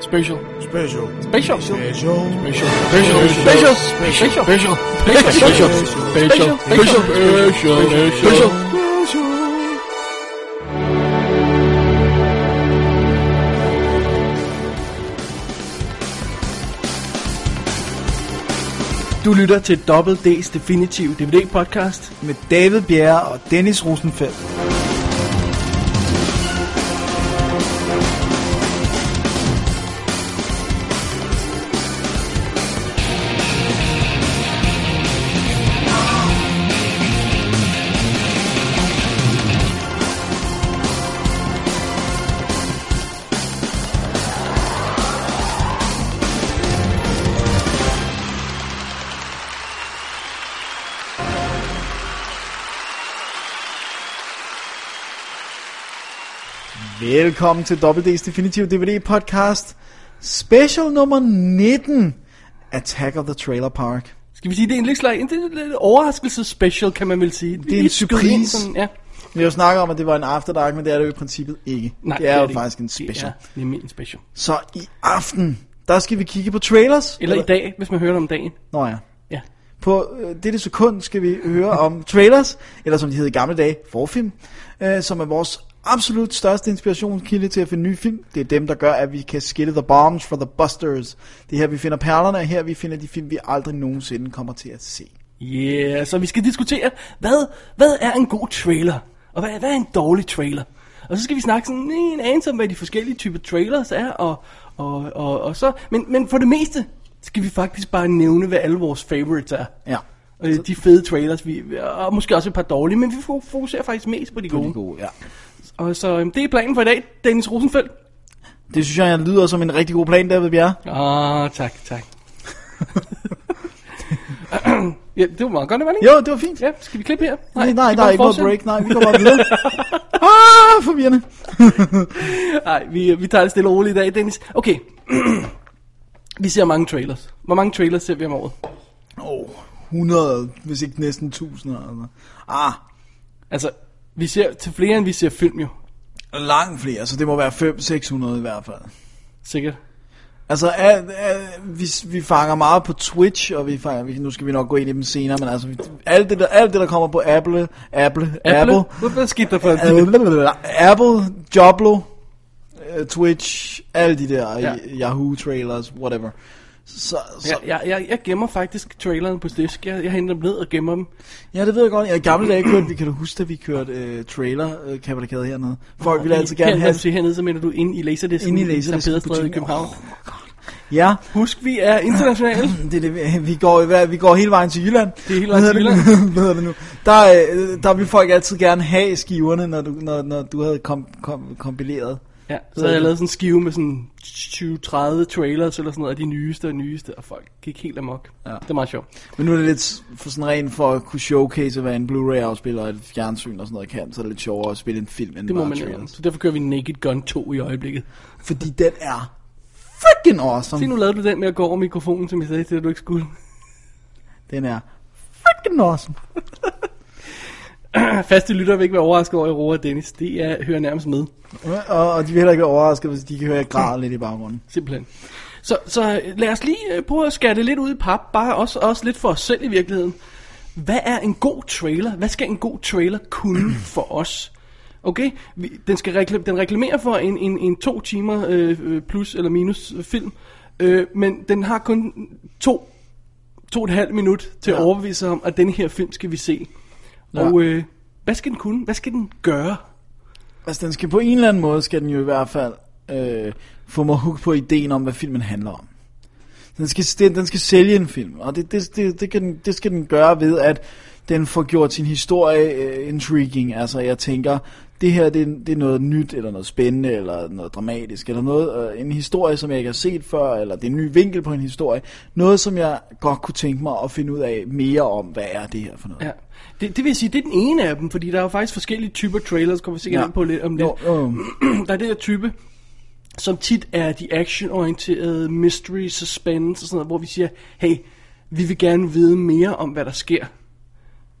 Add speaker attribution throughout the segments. Speaker 1: Special.
Speaker 2: Special.
Speaker 1: Special.
Speaker 2: Special.
Speaker 1: Special. Special. Special. Special. Special. Special. Special. Special. Special. Special. Special.
Speaker 3: Du lytter til Double D's Definitive DVD-podcast.
Speaker 2: Med David Bjerre og Dennis Rosenfeldt. Velkommen til WD's Definitive DVD Podcast. Special nummer 19. Attack of the Trailer Park.
Speaker 3: Skal vi sige, det er en lidt, slag, en lidt, lidt overraskelse-special, kan man vel sige.
Speaker 2: er en
Speaker 3: Lidt
Speaker 2: surprise.
Speaker 3: grin, sådan, ja.
Speaker 2: Vi har jo snakket om, at det var en After Dark, men det er det jo i princippet ikke. det er jo faktisk en special.
Speaker 3: Det er nemlig en special.
Speaker 2: Så i aften, der skal vi kigge på trailers.
Speaker 3: Eller i dag, hvis man hører det om dagen.
Speaker 2: Nå ja.
Speaker 3: Ja.
Speaker 2: På øh, dette sekund skal vi høre om trailers, eller som de hed i gamle dage, forfilm, øh, som er vores absolut største inspirationskilde til at finde nye film. Det er dem, der gør, at vi kan skille the bombs fra the busters. Det er her, vi finder perlerne, og her vi finder de film, vi aldrig nogensinde kommer til at se.
Speaker 3: Yeah, så vi skal diskutere, hvad, hvad er en god trailer? Og hvad, hvad er en dårlig trailer? Og så skal vi snakke sådan en anelse om, hvad de forskellige typer trailers er, og, og, og, og så... Men, men for det meste skal vi faktisk bare nævne, hvad alle vores favorites er.
Speaker 2: Ja.
Speaker 3: Øh, de fede trailers, vi, og måske også et par dårlige, men vi fo- fokuserer faktisk mest på de gode.
Speaker 2: De gode, ja.
Speaker 3: Og så øhm, det er planen for i dag, Dennis Rosenfeldt.
Speaker 2: Det synes jeg, jeg lyder som en rigtig god plan, David Bjerre.
Speaker 3: Ah, tak, tak. ja, det var meget godt, det var det ikke?
Speaker 2: Jo, det var fint.
Speaker 3: Ja, skal vi klippe her?
Speaker 2: Nej,
Speaker 3: vi
Speaker 2: nej,
Speaker 3: kan
Speaker 2: der er
Speaker 3: bare
Speaker 2: ikke noget
Speaker 3: fortsætte.
Speaker 2: break. Nej, vi går bare videre. ah, forvirrende.
Speaker 3: Nej, vi, vi tager det stille og roligt i dag, Dennis. Okay. vi ser mange trailers. Hvor mange trailers ser vi om året?
Speaker 2: Oh, 100, hvis ikke næsten 1000. Altså. Ah,
Speaker 3: Altså, vi ser til flere, end vi ser film jo.
Speaker 2: Langt flere, så det må være 500-600 i hvert fald.
Speaker 3: Sikkert.
Speaker 2: Altså, er, er, vi, vi fanger meget på Twitch, og vi fanger, vi, nu skal vi nok gå ind i dem senere, men altså, vi, alt, det der, alt det, der kommer på Apple, Apple, Apple,
Speaker 3: Hvad- Hvad skete der for en
Speaker 2: Apple, Apple Joblo, øh, Twitch, alle de der
Speaker 3: Ja.
Speaker 2: ja. Yahoo trailers, whatever. Så, så,
Speaker 3: jeg, jeg, jeg, jeg gemmer faktisk traileren på disk. Jeg, jeg henter dem ned og gemmer dem.
Speaker 2: Ja, det ved jeg godt. Jeg i gamle dage kørte, vi kan du huske, at vi kørte øh, trailer øh, kavalkade hernede. Folk ville altid altså gerne
Speaker 3: her,
Speaker 2: have...
Speaker 3: Når du siger hernede, så mener du ind i Laserdisken.
Speaker 2: Inde i
Speaker 3: St.
Speaker 2: Laserdisken
Speaker 3: Pederstræde i
Speaker 2: butikken.
Speaker 3: København.
Speaker 2: Ja,
Speaker 3: Husk, vi er internationale.
Speaker 2: det, er det, vi- vi, går, i hver- vi går hele vejen til Jylland.
Speaker 3: Det er hele vejen
Speaker 2: Hvad
Speaker 3: til
Speaker 2: hedder det nu? Hvad hedder det nu? Der, øh, der vil folk altid gerne have skiverne, når du, når, når du havde kom, kom, kompileret.
Speaker 3: Ja, så havde jeg lavet sådan en skive med sådan 20-30 trailers eller sådan noget af de nyeste og nyeste, og folk gik helt amok. Ja.
Speaker 2: Ja.
Speaker 3: Det er meget sjovt.
Speaker 2: Men nu er det lidt for sådan rent for at kunne showcase, hvad en Blu-ray-afspiller og et fjernsyn og sådan noget kan, så er det lidt sjovere at spille en film end
Speaker 3: Det må
Speaker 2: bare
Speaker 3: man lave.
Speaker 2: trailers.
Speaker 3: Så derfor kører vi Naked Gun 2 i øjeblikket.
Speaker 2: Fordi den er freaking
Speaker 3: Se,
Speaker 2: awesome.
Speaker 3: nu lavede du den med at gå over mikrofonen, som jeg sagde til dig, du ikke skulle.
Speaker 2: Den er freaking awesome.
Speaker 3: Faste lytter vil ikke være overrasket over Aurora og Dennis. Det er, hører nærmest med,
Speaker 2: Og, og de vil heller ikke være overrasket, hvis de kan høre, at jeg græder lidt i baggrunden.
Speaker 3: simpelthen. Så, så øh, lad os lige øh, prøve at skære det lidt ud i pap, bare også, også lidt for os selv i virkeligheden. Hvad er en god trailer? Hvad skal en god trailer kunne for os? Okay, vi, den, skal reklam, den reklamerer for en, en, en to timer øh, øh, plus eller minus øh, film, øh, men den har kun to, to og et halvt minut til ja. at
Speaker 2: Ja.
Speaker 3: overbevise om, at den her film skal vi se. Ja.
Speaker 2: Ja.
Speaker 3: Og øh, hvad skal den kunne? Hvad skal den gøre?
Speaker 2: Altså, den skal på en eller anden måde, skal den jo i hvert fald øh, få mig hooked på ideen om, hvad filmen handler om. Den skal, den, den skal sælge en film, og det, det, det, det, kan, den- det skal den gøre ved, at den får gjort sin historie øh, intriguing. Altså, jeg tænker, det her det, er- det er noget nyt, eller noget spændende, eller noget dramatisk, eller noget, øh, en historie, som jeg ikke har set før, eller det er en ny vinkel på en historie. Noget, som jeg godt kunne tænke mig at finde ud af mere om, hvad er det her for noget.
Speaker 3: Ja. Det, det vil sige, det er den ene af dem, fordi der er jo faktisk forskellige typer trailers, kommer vi sikkert ja. ind på lidt om lidt.
Speaker 2: Jo, jo.
Speaker 3: der er det her type, som tit er de actionorienterede mystery, suspense og sådan noget, hvor vi siger, hey, vi vil gerne vide mere om, hvad der sker.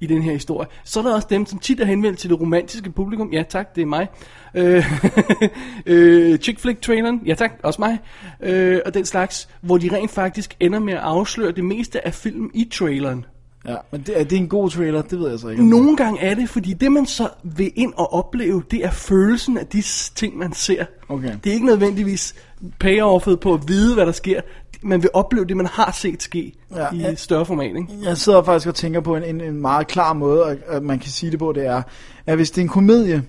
Speaker 3: i den her historie. Så er der også dem, som tit er henvendt til det romantiske publikum. Ja tak, det er mig. Øh, øh, chick flick traileren. Ja tak, også mig. Øh, og den slags, hvor de rent faktisk ender med at afsløre det meste af filmen i traileren.
Speaker 2: Ja, men det, er det en god trailer? Det ved jeg så ikke.
Speaker 3: Nogle gange er det, fordi det man så vil ind og opleve, det er følelsen af de s- ting, man ser.
Speaker 2: Okay.
Speaker 3: Det er ikke nødvendigvis payoffet på at vide, hvad der sker. Man vil opleve det, man har set ske
Speaker 2: Ja.
Speaker 3: ja. i
Speaker 2: Ja.
Speaker 3: et større format. Ikke?
Speaker 2: Jeg sidder faktisk og tænker på en, en, en meget klar måde, at, at man kan sige det på, det er, at hvis det er en komedie,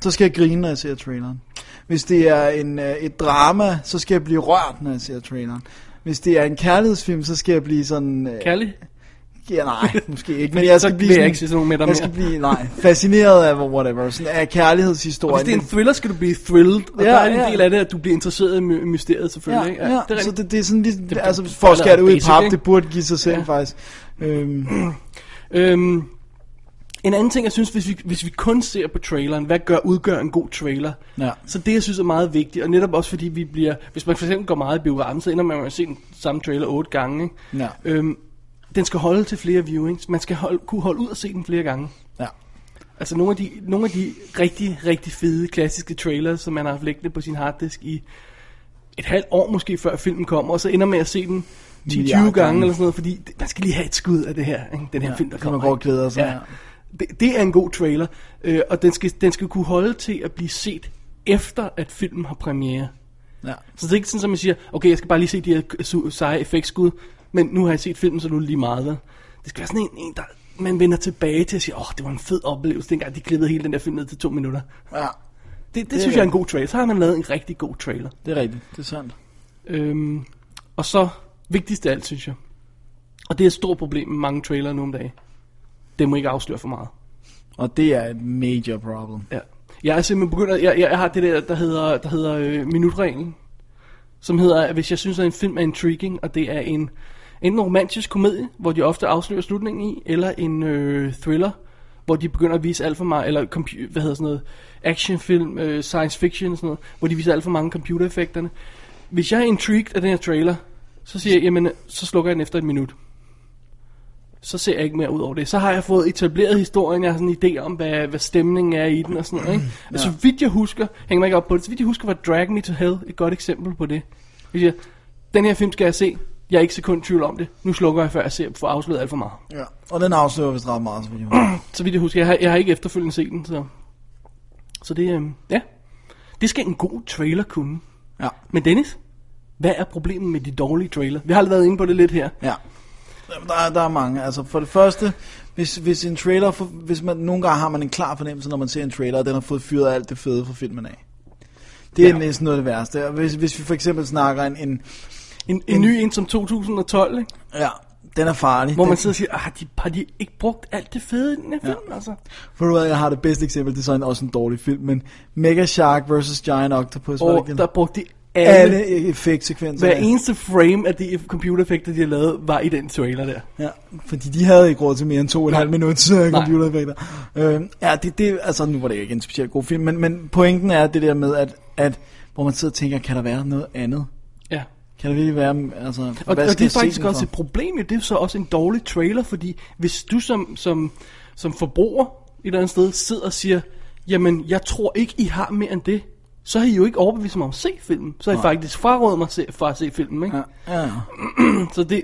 Speaker 2: så skal jeg grine, når jeg ser traileren. Hvis det er en, øh, et drama, så skal jeg blive rørt, når jeg ser traileren. Hvis det er en kærlighedsfilm, så skal jeg blive sådan... Øh,
Speaker 3: Kærlig?
Speaker 2: ja, nej, måske ikke. Men
Speaker 3: Fordi
Speaker 2: jeg
Speaker 3: så
Speaker 2: skal blive
Speaker 3: vil jeg
Speaker 2: sådan,
Speaker 3: ikke se sådan nogle med dig
Speaker 2: Jeg skal
Speaker 3: mere.
Speaker 2: blive, nej, fascineret af whatever, sådan af kærlighedshistorien.
Speaker 3: Og hvis det er en thriller, skal du blive thrilled. Og
Speaker 2: Ja,
Speaker 3: ja, der er en
Speaker 2: ja.
Speaker 3: ja. del af det, at du bliver interesseret i my- mysteriet selvfølgelig. ikke?
Speaker 2: Ja, ja,
Speaker 3: Det er
Speaker 2: så
Speaker 3: rigtigt.
Speaker 2: det, det er sådan ligesom, det,
Speaker 3: det-
Speaker 2: altså
Speaker 3: det
Speaker 2: for at
Speaker 3: falder
Speaker 2: skære det ud i
Speaker 3: basic,
Speaker 2: pap,
Speaker 3: ikke?
Speaker 2: det burde give sig selv ja.
Speaker 3: Ja.
Speaker 2: faktisk. Øhm,
Speaker 3: Øhm, en anden ting, jeg synes, hvis vi, hvis vi kun ser på traileren, hvad gør, udgør en god trailer?
Speaker 2: Ja.
Speaker 3: Så det, jeg synes er meget vigtigt, og netop også fordi vi bliver, hvis man for eksempel går meget i biografen, så ender man med at se den samme trailer otte gange. Ikke?
Speaker 2: Ja.
Speaker 3: Øhm, den skal holde til flere viewings. Man skal holde, kunne holde ud og se den flere gange.
Speaker 2: ja.
Speaker 3: Altså nogle af, de, nogle af de rigtig, rigtig fede, klassiske trailers, som man har haft liggende på sin harddisk i et halvt år måske, før filmen kommer, og så ender med at se den 10-20
Speaker 2: Milliard
Speaker 3: gange,
Speaker 2: gange.
Speaker 3: gange eller sådan noget, fordi det- man skal lige have et skud af det her, ikke? den her
Speaker 2: Ja,
Speaker 3: film, der
Speaker 2: så man
Speaker 3: kommer.
Speaker 2: går og glæder
Speaker 3: ikke?
Speaker 2: sig, ja.
Speaker 3: Ja. Det, det er en god trailer, øh, og den skal, den skal kunne holde til at blive set efter, at filmen har premiere.
Speaker 2: ja.
Speaker 3: Så det er ikke sådan, at man siger, okay, jeg skal bare lige se de her su- seje effektskud, men nu har jeg set filmen, så nu er det lige meget, vel? Det skal være sådan en, en der man vender tilbage til og siger, åh, oh, det var en fed oplevelse, dengang de klippede hele den der film ned til to minutter.
Speaker 2: ja.
Speaker 3: Det, det, det synes jeg er en god trailer. Så har man lavet en rigtig god trailer.
Speaker 2: Det er rigtigt, det er sandt.
Speaker 3: Øhm, og så, vigtigst af alt, synes jeg, og det er et stort problem med mange trailere nu om dagen, det må ikke afsløre for meget.
Speaker 2: Og det er et major problem.
Speaker 3: Ja. Jeg er simpelthen begyndt at, jeg, jeg, jeg har det der, der hedder, der hedder øh, minutreglen. Som hedder, at hvis jeg synes, at en film er intriguing, og det er en enten en romantisk komedie, hvor de ofte afslører slutningen i, eller en øh, thriller, hvor de begynder at vise alt for meget, eller compu- hvad hedder sådan noget, actionfilm, øh, science fiction og sådan noget, hvor de viser alt for mange computereffekterne. Hvis jeg er intrigued af den her trailer, så siger jeg, jamen, så slukker jeg den efter et minut så ser jeg ikke mere ud over det. Så har jeg fået etableret historien, jeg har sådan en idé om, hvad, hvad stemningen er i den og sådan noget. Ikke? Ja. Så vidt jeg husker, hænger mig ikke op på det, så vidt jeg husker var Drag Me to Hell et godt eksempel på det. Jeg siger, den her film skal jeg se, jeg er ikke sekund i tvivl om det, nu slukker jeg, før jeg ser, får afsløret alt for meget.
Speaker 2: Ja. Og den afslører vist ret meget, som
Speaker 3: Så vidt jeg husker, jeg har, jeg har ikke efterfølgende set den, så... Så det, øhm, ja. Det skal en god trailer kunne.
Speaker 2: Ja.
Speaker 3: Men Dennis, hvad er problemet med de dårlige trailer? Vi har aldrig været inde på det lidt her.
Speaker 2: Ja. Jamen, Der er, der er mange. Altså for det første, hvis, hvis en trailer, for, hvis man, nogle gange har man en klar fornemmelse, når man ser en trailer, og den har fået fyret alt det fede fra filmen af. Det er ja.
Speaker 3: Ja.
Speaker 2: næsten noget af det værste. Og Hvis, hvis vi for eksempel snakker en, en
Speaker 3: En, en ny en som 2012, ikke?
Speaker 2: ja, den er farlig.
Speaker 3: Hvor man
Speaker 2: Den-
Speaker 3: sidder og siger, "Ah, har de, har de ikke brugt alt det fede i den her film, ja. altså?
Speaker 2: For du ved, jeg har det bedste eksempel, det er sådan også en dårlig film, men Mega Shark vs. Giant Octopus, var
Speaker 3: Og
Speaker 2: det
Speaker 3: der
Speaker 2: der...
Speaker 3: brugte de alle, alle
Speaker 2: alle effektsekvenser.
Speaker 3: hver eneste frame af de computereffekter, de har lavet, var i den trailer der.
Speaker 2: Ja, fordi de havde ikke råd til mere end to og et halvt minut øh,
Speaker 3: Nej.
Speaker 2: computereffekter. Øh, ja, det, det, altså nu var det ikke en specielt god film, men, men pointen er det der med, at, at hvor man sidder og tænker, kan der være noget andet?
Speaker 3: Ja.
Speaker 2: Kan der virkelig være, altså, og,
Speaker 3: Og,
Speaker 2: hvad skal
Speaker 3: og det er
Speaker 2: jeg se
Speaker 3: faktisk
Speaker 2: den
Speaker 3: også
Speaker 2: for?
Speaker 3: et problem, jo. det er så også en dårlig trailer, fordi hvis du som, som, som forbruger et eller andet sted sidder og siger, jamen jeg tror ikke, I har mere end det, så har I jo ikke overbevist mig om at se filmen. Så har I faktisk frarådet mig se, fra at se filmen, ikke? Ja.
Speaker 2: Ja, ja.
Speaker 3: Så det,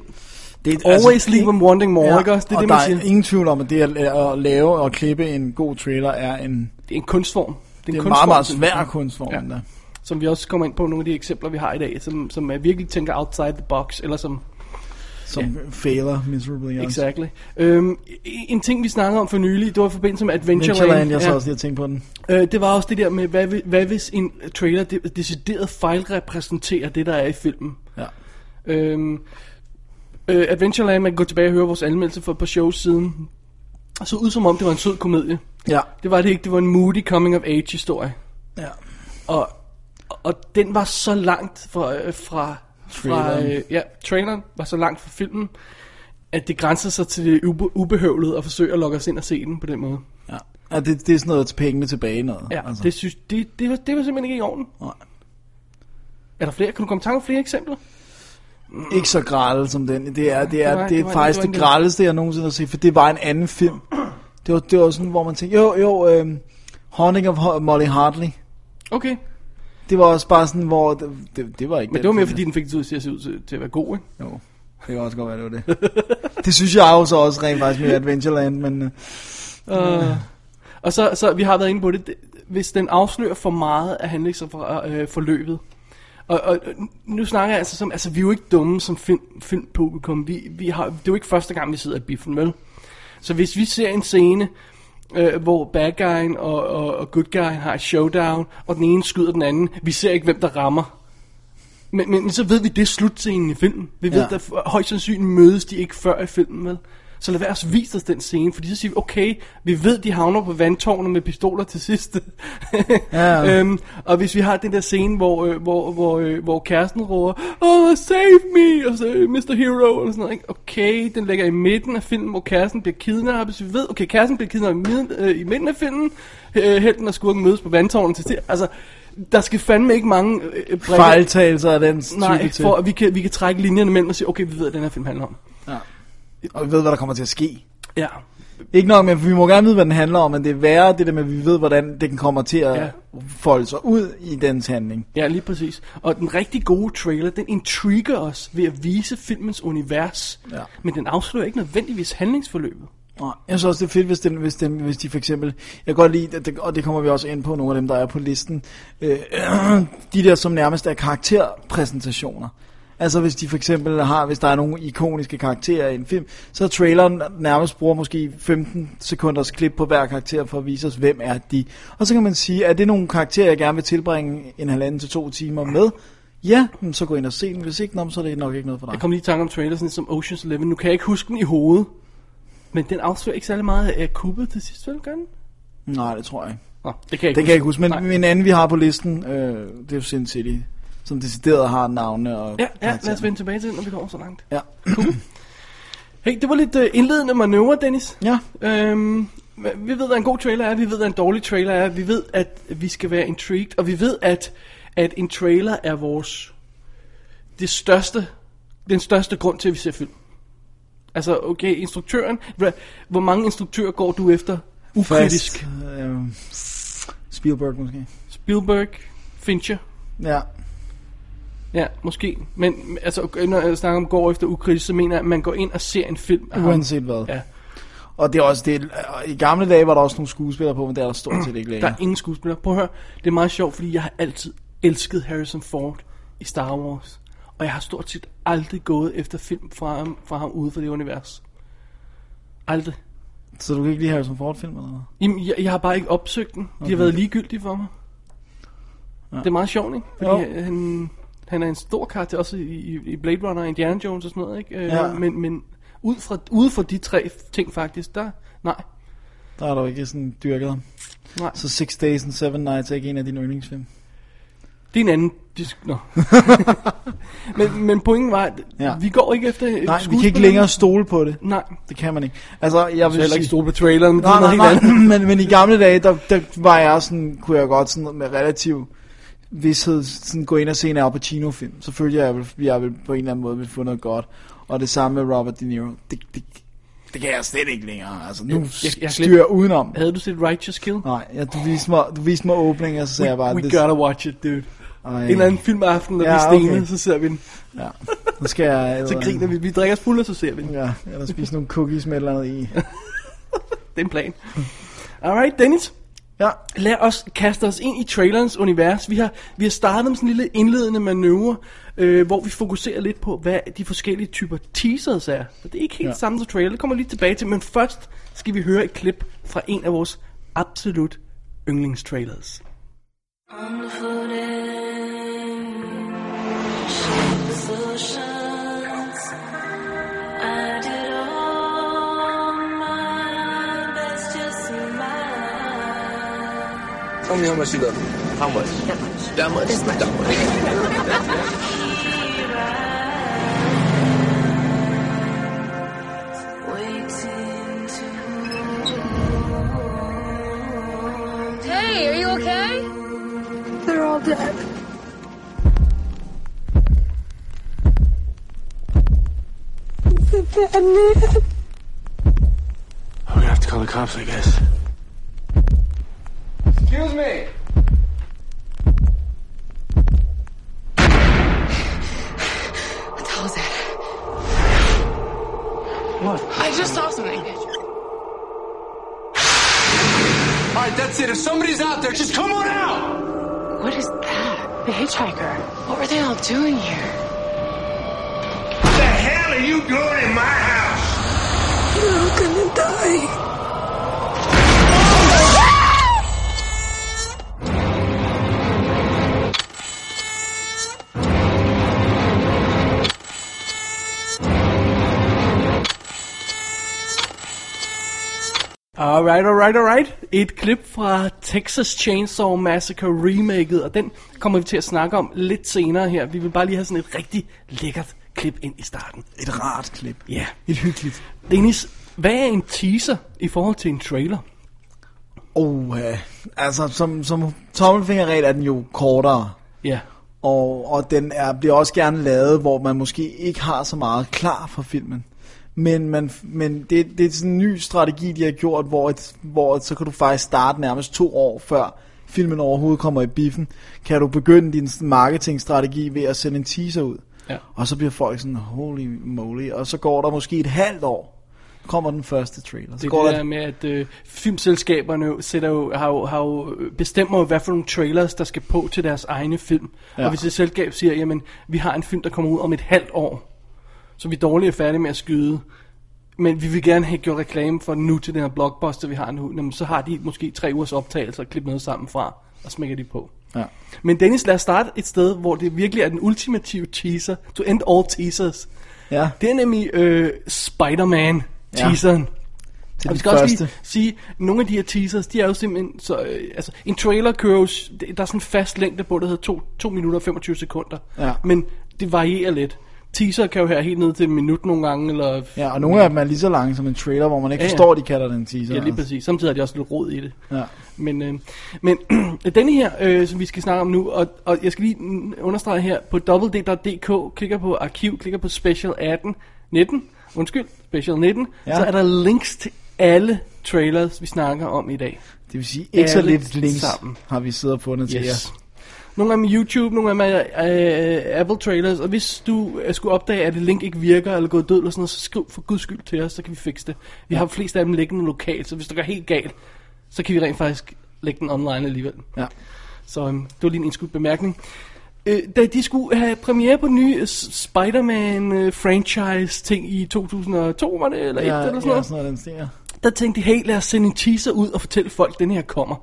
Speaker 2: Det er,
Speaker 3: always leave them wanting more, ikke også? Det er
Speaker 2: og
Speaker 3: det,
Speaker 2: der
Speaker 3: man
Speaker 2: er
Speaker 3: siger.
Speaker 2: ingen tvivl om, at det at, at lave og klippe en god trailer er en,
Speaker 3: det er en kunstform. Det er en,
Speaker 2: det er en meget,
Speaker 3: kunstform,
Speaker 2: meget
Speaker 3: som-
Speaker 2: svær kunstform. Ja.
Speaker 3: Ja.
Speaker 2: Der.
Speaker 3: som vi også kommer ind på nogle af de eksempler, vi har i dag, som, som er virkelig tænker outside the box, eller som...
Speaker 2: som ja. failer miserably også.
Speaker 3: Exactly. Øhm, en ting, vi snakkede om for nylig, det var i forbindelse med Adventureland.
Speaker 2: Ventureland, jeg så også lige at tænke på den.
Speaker 3: øh, det var også det der med, hvad, vi- hvad hvis en trailer de- decideret fejlrepræsenterer det, der er i filmen.
Speaker 2: Ja.
Speaker 3: Øhm, øh, Adventureland, man kan gå tilbage og høre vores anmeldelse for et par shows siden, så ud som om det var en sød komedie.
Speaker 2: Ja.
Speaker 3: Det var det ikke, det var en moody coming of age historie.
Speaker 2: ja.
Speaker 3: Og, og den var så langt fra, øh, fra, fra
Speaker 2: Traileren.
Speaker 3: øh, ja, traileren var så langt fra filmen, at det grænser sig til det ube, ubehøvlede at forsøge at lokke os ind og se den på den måde.
Speaker 2: ja. ja det, det er sådan noget til pengene tilbage noget.
Speaker 3: Ja, altså. det, synes, det, det, var, det var simpelthen ikke i orden.
Speaker 2: Nej.
Speaker 3: Er der flere? Kan du komme i tanke om flere eksempler?
Speaker 2: Ikke så grælle som den. Det er, det er,
Speaker 3: Nej,
Speaker 2: det
Speaker 3: det
Speaker 2: er
Speaker 3: var-
Speaker 2: faktisk
Speaker 3: det var
Speaker 2: det
Speaker 3: en-
Speaker 2: grældeste, jeg nogensinde har set, for det var en anden film, Det var, det var sådan, hvor man tænkte, jo, jo, øh, Haunting of Ho- Molly Hartley.
Speaker 3: Okay.
Speaker 2: Det var også bare sådan, hvor... Det, det, det var ikke
Speaker 3: Men
Speaker 2: den
Speaker 3: det var mere,
Speaker 2: film,
Speaker 3: fordi den fik det til at se ud til, til at være god, ikke?
Speaker 2: jeg- Jo, det kan også godt være, det var det. det synes jeg også, også rent faktisk med Adventureland, men... Øh,
Speaker 3: Uh, og så, så, vi har været inde på det, det- hvis den afslører for meget af øh, handlingsforløbet. Og, og nu snakker jeg altså som, altså vi er jo ikke dumme som film, filmpublikum, vi, vi har, det er jo ikke første gang, vi sidder i biffen, vel? Så hvis vi ser en scene, øh, hvor bad guyen og, og, og good guyen har et showdown, og den ene skyder den anden, vi ser ikke, hvem der rammer. Men, men så ved vi, det er slutscenen i filmen. Vi ved,
Speaker 2: Ja.
Speaker 3: ja. der f- højst sandsynligt mødes de ikke før i filmen, vel? Så lad være at vise os den scene, fordi så siger vi, okay, vi ved, de havner på vandtårnet med pistoler til sidst.
Speaker 2: Ja.
Speaker 3: øhm, og hvis vi har den der scene, hvor, øh, hvor, hvor, øh, hvor kæresten råber, oh, save me, og så øh, Mr. Hero, eller sådan noget, ikke? okay, den ligger i midten af filmen, hvor kæresten bliver kidnappet, så vi ved, okay, kæresten bliver kidnappet i, midten, øh, i midten af filmen, øh, helten og skurken mødes på vandtårnet til sidst. Altså, der skal fandme ikke mange øh, øh, brikker-
Speaker 2: fejltagelser af den type
Speaker 3: Nej,
Speaker 2: til.
Speaker 3: for at vi kan, vi kan trække linjerne mellem og sige, okay, vi ved, at den her film handler om.
Speaker 2: Ja. Og vi ved, hvad der kommer til at ske.
Speaker 3: Ja,
Speaker 2: Ikke nok, men vi må gerne vide, hvad den handler om, men det er værre det der med, at vi ved, hvordan den kommer til at
Speaker 3: Ja.
Speaker 2: folde sig ud i dens handling.
Speaker 3: ja lige præcis. Og den rigtig gode trailer, den intriger os ved at vise filmens univers,
Speaker 2: Ja.
Speaker 3: men den afslører ikke nødvendigvis handlingsforløbet.
Speaker 2: Og jeg synes også, det er fedt, hvis, den, hvis, den, hvis de for eksempel... Jeg kan godt lide, at det, og det kommer vi også ind på, nogle af dem, der er på listen. Øh, de der, som nærmest er karakterpræsentationer. Altså hvis de for eksempel har, hvis der er nogle ikoniske karakterer i en film, så traileren nærmest bruger måske 15 sekunders klip på hver karakter for at vise os, hvem er de. Og så kan man sige, er det nogle karakterer, jeg gerne vil tilbringe en halvanden til to timer med? Ja, men så gå ind og se den. Hvis ikke, nå, men så er det nok ikke noget for dig.
Speaker 3: Jeg kom lige i tanke om trailer, sådan som Ocean's Eleven. Nu kan jeg ikke huske den i hovedet, men den afslører ikke særlig meget af kuppet til sidst, vel, gør den?
Speaker 2: Nej, det tror jeg ikke.
Speaker 3: Nå, det kan jeg ikke
Speaker 2: Den kan jeg ikke huske, men
Speaker 3: Nej.
Speaker 2: men en anden, vi har på listen, øh, det er jo Sin City, som decideret har navne og
Speaker 3: Ja, ja, lad
Speaker 2: karakterer.
Speaker 3: os vende tilbage til den, når vi kommer så langt.
Speaker 2: Ja.
Speaker 3: Hey, det var lidt øh, indledende manøvre, Dennis.
Speaker 2: ja.
Speaker 3: Øhm, vi ved, hvad en god trailer er, vi ved, hvad en dårlig trailer er, vi ved, at vi skal være intrigued, og vi ved, at, at en trailer er vores, det største, den største grund til, at vi ser film. Altså, okay, instruktøren, hva- hvor mange instruktører går du efter? Ukritisk.
Speaker 2: Fast, øh, Spielberg måske.
Speaker 3: Spielberg, Fincher,
Speaker 2: Ja.
Speaker 3: ja, måske. Men altså, okay, når jeg snakker om går efter ukritisk, så mener jeg, at man går ind og ser en film af ham.
Speaker 2: Uanset hvad.
Speaker 3: Ja.
Speaker 2: Og det er også det, og i gamle dage var der også nogle skuespillere på, men det er der stort set ikke
Speaker 3: Der
Speaker 2: længere.
Speaker 3: er ingen skuespiller. Prøv at høre. Det er meget sjovt, fordi jeg har altid elsket Harrison Ford i Star Wars. Og jeg har stort set aldrig gået efter film fra ham, fra ham ude for det univers. Aldrig.
Speaker 2: Så du kan ikke lige have som Ford-film eller hvad?
Speaker 3: Jamen, jeg, jeg har bare ikke opsøgt den. De har været ligegyldige for mig. Ja. Det er meget sjovt, ikke? Fordi øh,
Speaker 2: Jo.
Speaker 3: han, han er en stor karakter, også i, i- i Blade Runner og Indiana Jones og sådan noget, ikke? Øh,
Speaker 2: Ja.
Speaker 3: Men, men ud, fra, ud fra de tre ting faktisk, der... Nej,
Speaker 2: Der er du ikke sådan dyrket ham.
Speaker 3: nej.
Speaker 2: Så Six Days and Seven Nights er ikke en af dine yndlingsfilm.
Speaker 3: Det er en anden disk. Nå. men, men pointen var, at
Speaker 2: Ja.
Speaker 3: ja. vi går ikke efter øh,
Speaker 2: Nej, vi kan ikke
Speaker 3: skuespilleren.
Speaker 2: længere stole på det.
Speaker 3: Nej.
Speaker 2: Det kan man ikke. Altså, jeg vil
Speaker 3: Så heller
Speaker 2: sige...
Speaker 3: ikke stole på traileren. det er
Speaker 2: Nej,
Speaker 3: noget
Speaker 2: nej,
Speaker 3: helt andet.
Speaker 2: nej. Men, men i gamle dage, der, der var jeg sådan, kunne jeg godt sådan med relativ vidshed sådan gå ind og se en Al Pacino-film. Så følte jeg, at jeg, ville, jeg ville på en eller anden måde ville få noget godt. Og det samme med Robert De Niro. Det, det, det kan jeg slet ikke længere. Altså, nu
Speaker 3: jeg- jeg
Speaker 2: styrer jeg udenom.
Speaker 3: Havde du set Righteous Kill?
Speaker 2: Nej, ja, du, viste mig, du viste mig åbningen, og så sagde jeg bare...
Speaker 3: We
Speaker 2: det-
Speaker 3: gotta watch it, dude.
Speaker 2: Ej,
Speaker 3: En eller anden filmaften, når
Speaker 2: Ja,
Speaker 3: ja, vi stener,
Speaker 2: okay.
Speaker 3: okay. så ser vi den.
Speaker 2: Ja. Nu skal jeg...
Speaker 3: Så griner vi. Vi drikker os fulde, og så ser vi den.
Speaker 2: Ja, eller spise nogle cookies med et eller andet i.
Speaker 3: Det er en plan. Alright, Dennis.
Speaker 2: Ja,
Speaker 3: Lad os kaste os ind i trailerens univers. Vi har, vi har startet med sådan en lille indledende manøvre, øh, hvor vi fokuserer lidt på, hvad de forskellige typer teasers er. Og det er ikke helt
Speaker 2: Ja.
Speaker 3: ja. samme som trailer, det kommer jeg lige tilbage til. Men først skal vi høre et klip fra en af vores absolut yndlingstrailers.
Speaker 4: Unfolding shapes, oceans. I did all my best, just mine.
Speaker 5: Tell me how much you love me. How much? That much. That much. That much.
Speaker 4: Waiting to.
Speaker 6: Hey, are you okay? They're all dead. The dead man.
Speaker 5: I'm gonna have to
Speaker 1: call the cops, I guess.
Speaker 5: Excuse me.
Speaker 7: What the hell is that?
Speaker 1: What?
Speaker 7: I just saw something.
Speaker 5: All right, that's it. If somebody's out there, just come on out.
Speaker 7: What is that? The hitchhiker. What were they all doing here?
Speaker 5: What the hell are you doing in my house?
Speaker 6: We're all gonna die.
Speaker 3: Alright, alright, alright. Et klip fra Texas Chainsaw Massacre remaket, og den kommer vi til at snakke om lidt senere her. Vi vil bare lige have sådan et rigtig lækkert klip ind i starten.
Speaker 2: Et rart klip.
Speaker 3: Ja. Yeah.
Speaker 2: Et hyggeligt.
Speaker 3: Dennis, hvad er en teaser i forhold til en trailer?
Speaker 2: Og øh, altså, som, som tommelfingerregel er den jo kortere.
Speaker 3: Ja. Yeah.
Speaker 2: Og, og den er, bliver også gerne lavet, hvor man måske ikke har så meget klar for filmen. Men, man, men det, det er sådan en ny strategi, de har gjort, hvor, et, hvor et, så kan du faktisk starte nærmest to år før filmen overhovedet kommer i biffen. Kan du begynde din sådan marketingstrategi ved at sende en teaser ud.
Speaker 3: Ja.
Speaker 2: Og så bliver folk sådan, holy moly. Og så går der måske et halvt år, kommer den første trailer. Så
Speaker 3: Det
Speaker 2: går
Speaker 3: er det
Speaker 2: der
Speaker 3: der med, at øh, filmselskaberne jo sætter jo, har, jo, har jo, øh, bestemmer jo, hvad for nogle trailers, der skal på til deres egne film. Ja. Og hvis et selskab siger, jamen, vi har en film, der kommer ud om et halvt år, så vi er dårligt færdige med at skyde, men vi vil gerne have gjort reklame for den nu til den her blockbuster, vi har nu, jamen, så har de måske tre ugers optagelser og klippe noget sammen fra, og smækker de på.
Speaker 2: Ja.
Speaker 3: Men Dennis, lad os starte et sted, hvor det virkelig er den ultimative teaser, to end all teasers.
Speaker 2: Ja.
Speaker 3: Det er nemlig øh, Spider-Man teaseren. Ja.
Speaker 2: til
Speaker 3: Og vi
Speaker 2: den
Speaker 3: skal også
Speaker 2: første.
Speaker 3: lige sige, at nogle af de her teasers, de er jo simpelthen, så, øh, altså en trailer kører jo, s- det- der er sådan en fast længde på, der hedder 2, 2 minutter og 25 sekunder.
Speaker 2: Ja.
Speaker 3: Men det varierer lidt. Teaser kan jo være helt ned til en minut nogle gange, eller...
Speaker 2: Ja, og nogle af dem er lige så lange som en trailer, hvor man ikke
Speaker 3: Ja,
Speaker 2: ja,
Speaker 3: ja.
Speaker 2: ja. forstår, de kalder den teaser. Altså.
Speaker 3: Ja, lige præcis. Samtidig er det også lidt rod i det.
Speaker 2: Ja.
Speaker 3: Men, øh, men denne her, øh, som vi skal snakke om nu, og, og jeg skal lige mm, understrege her, på www.dk, klikker på arkiv, klikker på special 18, 19, undskyld, special 19, ja.
Speaker 2: Ja.
Speaker 3: så er der links til alle trailers, vi snakker om i dag.
Speaker 2: Det vil sige, ikke så
Speaker 3: Alle
Speaker 2: lidt links
Speaker 3: sammen.
Speaker 2: sammen. har vi siddet og fundet til
Speaker 3: Yes.
Speaker 2: jer.
Speaker 3: Nogle af dem er YouTube, nogle af dem er øh, Apple Trailers, og hvis du øh, skulle opdage, at et link ikke virker, eller gået død, eller sådan noget, så skriv for guds skyld til os, så kan vi fikse det. Vi har flest af dem liggende lokalt, så hvis det går helt galt, så kan vi rent faktisk lægge den online alligevel.
Speaker 2: Ja.
Speaker 3: Så øhm, det var lige en indskudt bemærkning. Øh, da de skulle have premiere på den nye øh, S- Spider-Man-franchise-ting i 2002, var det, eller ja,
Speaker 2: Ja,
Speaker 3: et eller sådan
Speaker 2: ja,
Speaker 3: noget,
Speaker 2: sådan noget, den stiger.
Speaker 3: der tænkte de, hey, lad os sende en teaser ud og fortælle folk, at den her kommer.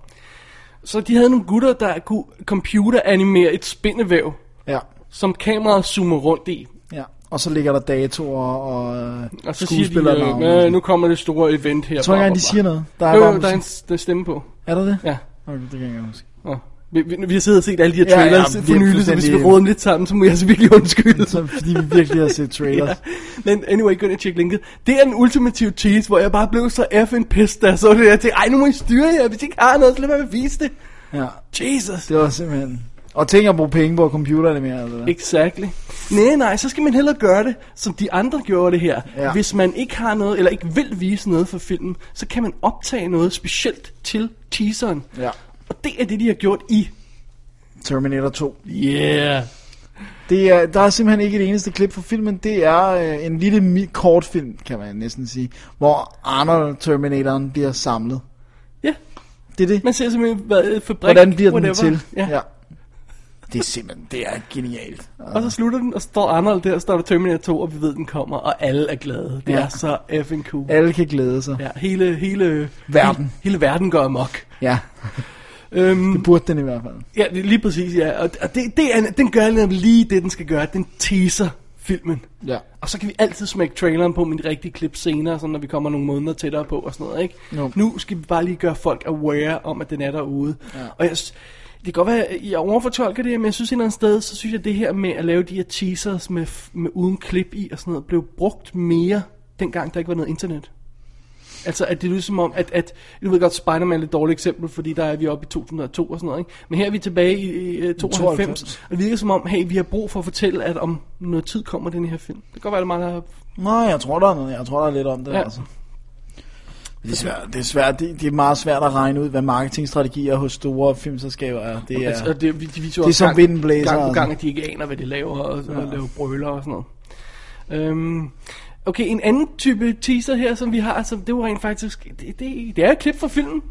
Speaker 3: Så de havde nogle gutter, der kunne computeranimere et spindevæv,
Speaker 2: Ja,
Speaker 3: som kameraet zoomer rundt i.
Speaker 2: ja. Og så ligger der datoer og, øh,
Speaker 3: Og så siger de,
Speaker 2: skuespillernavne.
Speaker 3: øh, "Nå, nu kommer det store event her.
Speaker 2: Jeg tror
Speaker 3: bla,
Speaker 2: ikke engang,
Speaker 3: bla,
Speaker 2: de
Speaker 3: bla."
Speaker 2: siger noget. Der er,
Speaker 3: Jo,
Speaker 2: bare
Speaker 3: jo, der er
Speaker 2: musik.
Speaker 3: en s- der er stemme på.
Speaker 2: er der det?
Speaker 3: Ja.
Speaker 2: Okay, det kan jeg ikke huske.
Speaker 3: Nå. Vi, vi, vi har siddet og set alle de her
Speaker 2: Ja, ja,
Speaker 3: trailers ja,
Speaker 2: vi
Speaker 3: ja,
Speaker 2: er
Speaker 3: for nylig, så hvis vi
Speaker 2: fuldstændig-
Speaker 3: råder dem lidt sammen, så må jeg altså virkelig undskylde.
Speaker 2: Så, fordi vi virkelig har set trailers.
Speaker 3: Men anyway, gå ind og tjek linket. Det er den ultimative tease, hvor jeg bare blev så effing pissed, da jeg så det der. Jeg tænkte, ej, nu må I styre jer. Hvis I ikke har noget, så lad være med at vise det.
Speaker 2: ja. ja.
Speaker 3: Jesus.
Speaker 2: det var simpelthen... Og tænk at bruge penge på computerne mere, eller hvad?
Speaker 3: Exactly. Nej, nej, så skal man hellere gøre det, som de andre gjorde det her. Ja.
Speaker 2: Ja.
Speaker 3: Hvis man ikke har noget, eller ikke vil vise noget for filmen, så kan man optage noget specielt til teaseren.
Speaker 2: Ja.
Speaker 3: Og det er det, de har gjort i.
Speaker 2: Terminator 2.
Speaker 3: Yeah.
Speaker 2: Det er, der er simpelthen ikke et eneste klip fra filmen. Det er øh, en lille mi- kortfilm, kan man næsten sige, hvor Arnold Terminatoren bliver samlet.
Speaker 3: Ja,
Speaker 2: Det er det.
Speaker 3: man ser simpelthen, hvad øh, fabrik,
Speaker 2: Hvordan bliver den
Speaker 3: whatever.
Speaker 2: til?
Speaker 3: Ja. ja.
Speaker 2: Det er simpelthen, det er genialt.
Speaker 3: Og så slutter den, og så står Arnold der, og står der Terminator 2, og vi ved, den kommer, og alle er glade. Det ja.
Speaker 2: Ja.
Speaker 3: er så effing cool.
Speaker 2: Alle kan glæde sig.
Speaker 3: Ja, hele, hele,
Speaker 2: Verden.
Speaker 3: Hele, hele verden går amok.
Speaker 2: Ja,
Speaker 3: Øhm,
Speaker 2: burde den i hvert fald.
Speaker 3: ja, det er lige præcis, ja. Og og det, det er, den gør netop lige det, den skal gøre. Den teaser filmen.
Speaker 2: Ja.
Speaker 3: Og så kan vi altid smække traileren på med de rigtige klip senere, sådan når vi kommer nogle måneder tættere på og sådan noget, ikke?
Speaker 2: Jo.
Speaker 3: Nu skal vi bare lige gøre folk aware om, at den er derude.
Speaker 2: Ja.
Speaker 3: Og jeg, s- det kan godt være, at jeg overfortolker det her, men jeg synes et eller andet sted, så synes jeg, at det her med at lave de her teasers med, f- med uden klip i og sådan noget, blev brugt mere dengang, der ikke var noget internet. Altså, at det lyder som om, at, at du ved godt, Spider-Man er et dårligt eksempel, fordi der er vi oppe i 2002 og sådan noget, ikke? Men her er vi tilbage i, i øh, 92,
Speaker 2: 92.
Speaker 3: og det virker som om, hey, vi har brug for at fortælle, at om noget tid kommer den her film. Det kan godt være, at det er meget...
Speaker 2: Nå, jeg tror, der er noget. Jeg tror, der er lidt om det,
Speaker 3: Ja.
Speaker 2: ja. altså. Det er svært. Det er, svært. Det, det er meget svært at regne ud, hvad marketingstrategier hos store filmselskaber er. Det er,
Speaker 3: Altså, det, vi- de viser
Speaker 2: Det er som
Speaker 3: gang,
Speaker 2: vindblæser
Speaker 3: Gang på
Speaker 2: og
Speaker 3: gang,
Speaker 2: sådan.
Speaker 3: at de ikke aner, hvad de laver, og, ja. og laver brøler og sådan noget. Øhm, okay, en anden type teaser her, som vi har, som det var rent faktisk... Det, det, det er et klip fra filmen.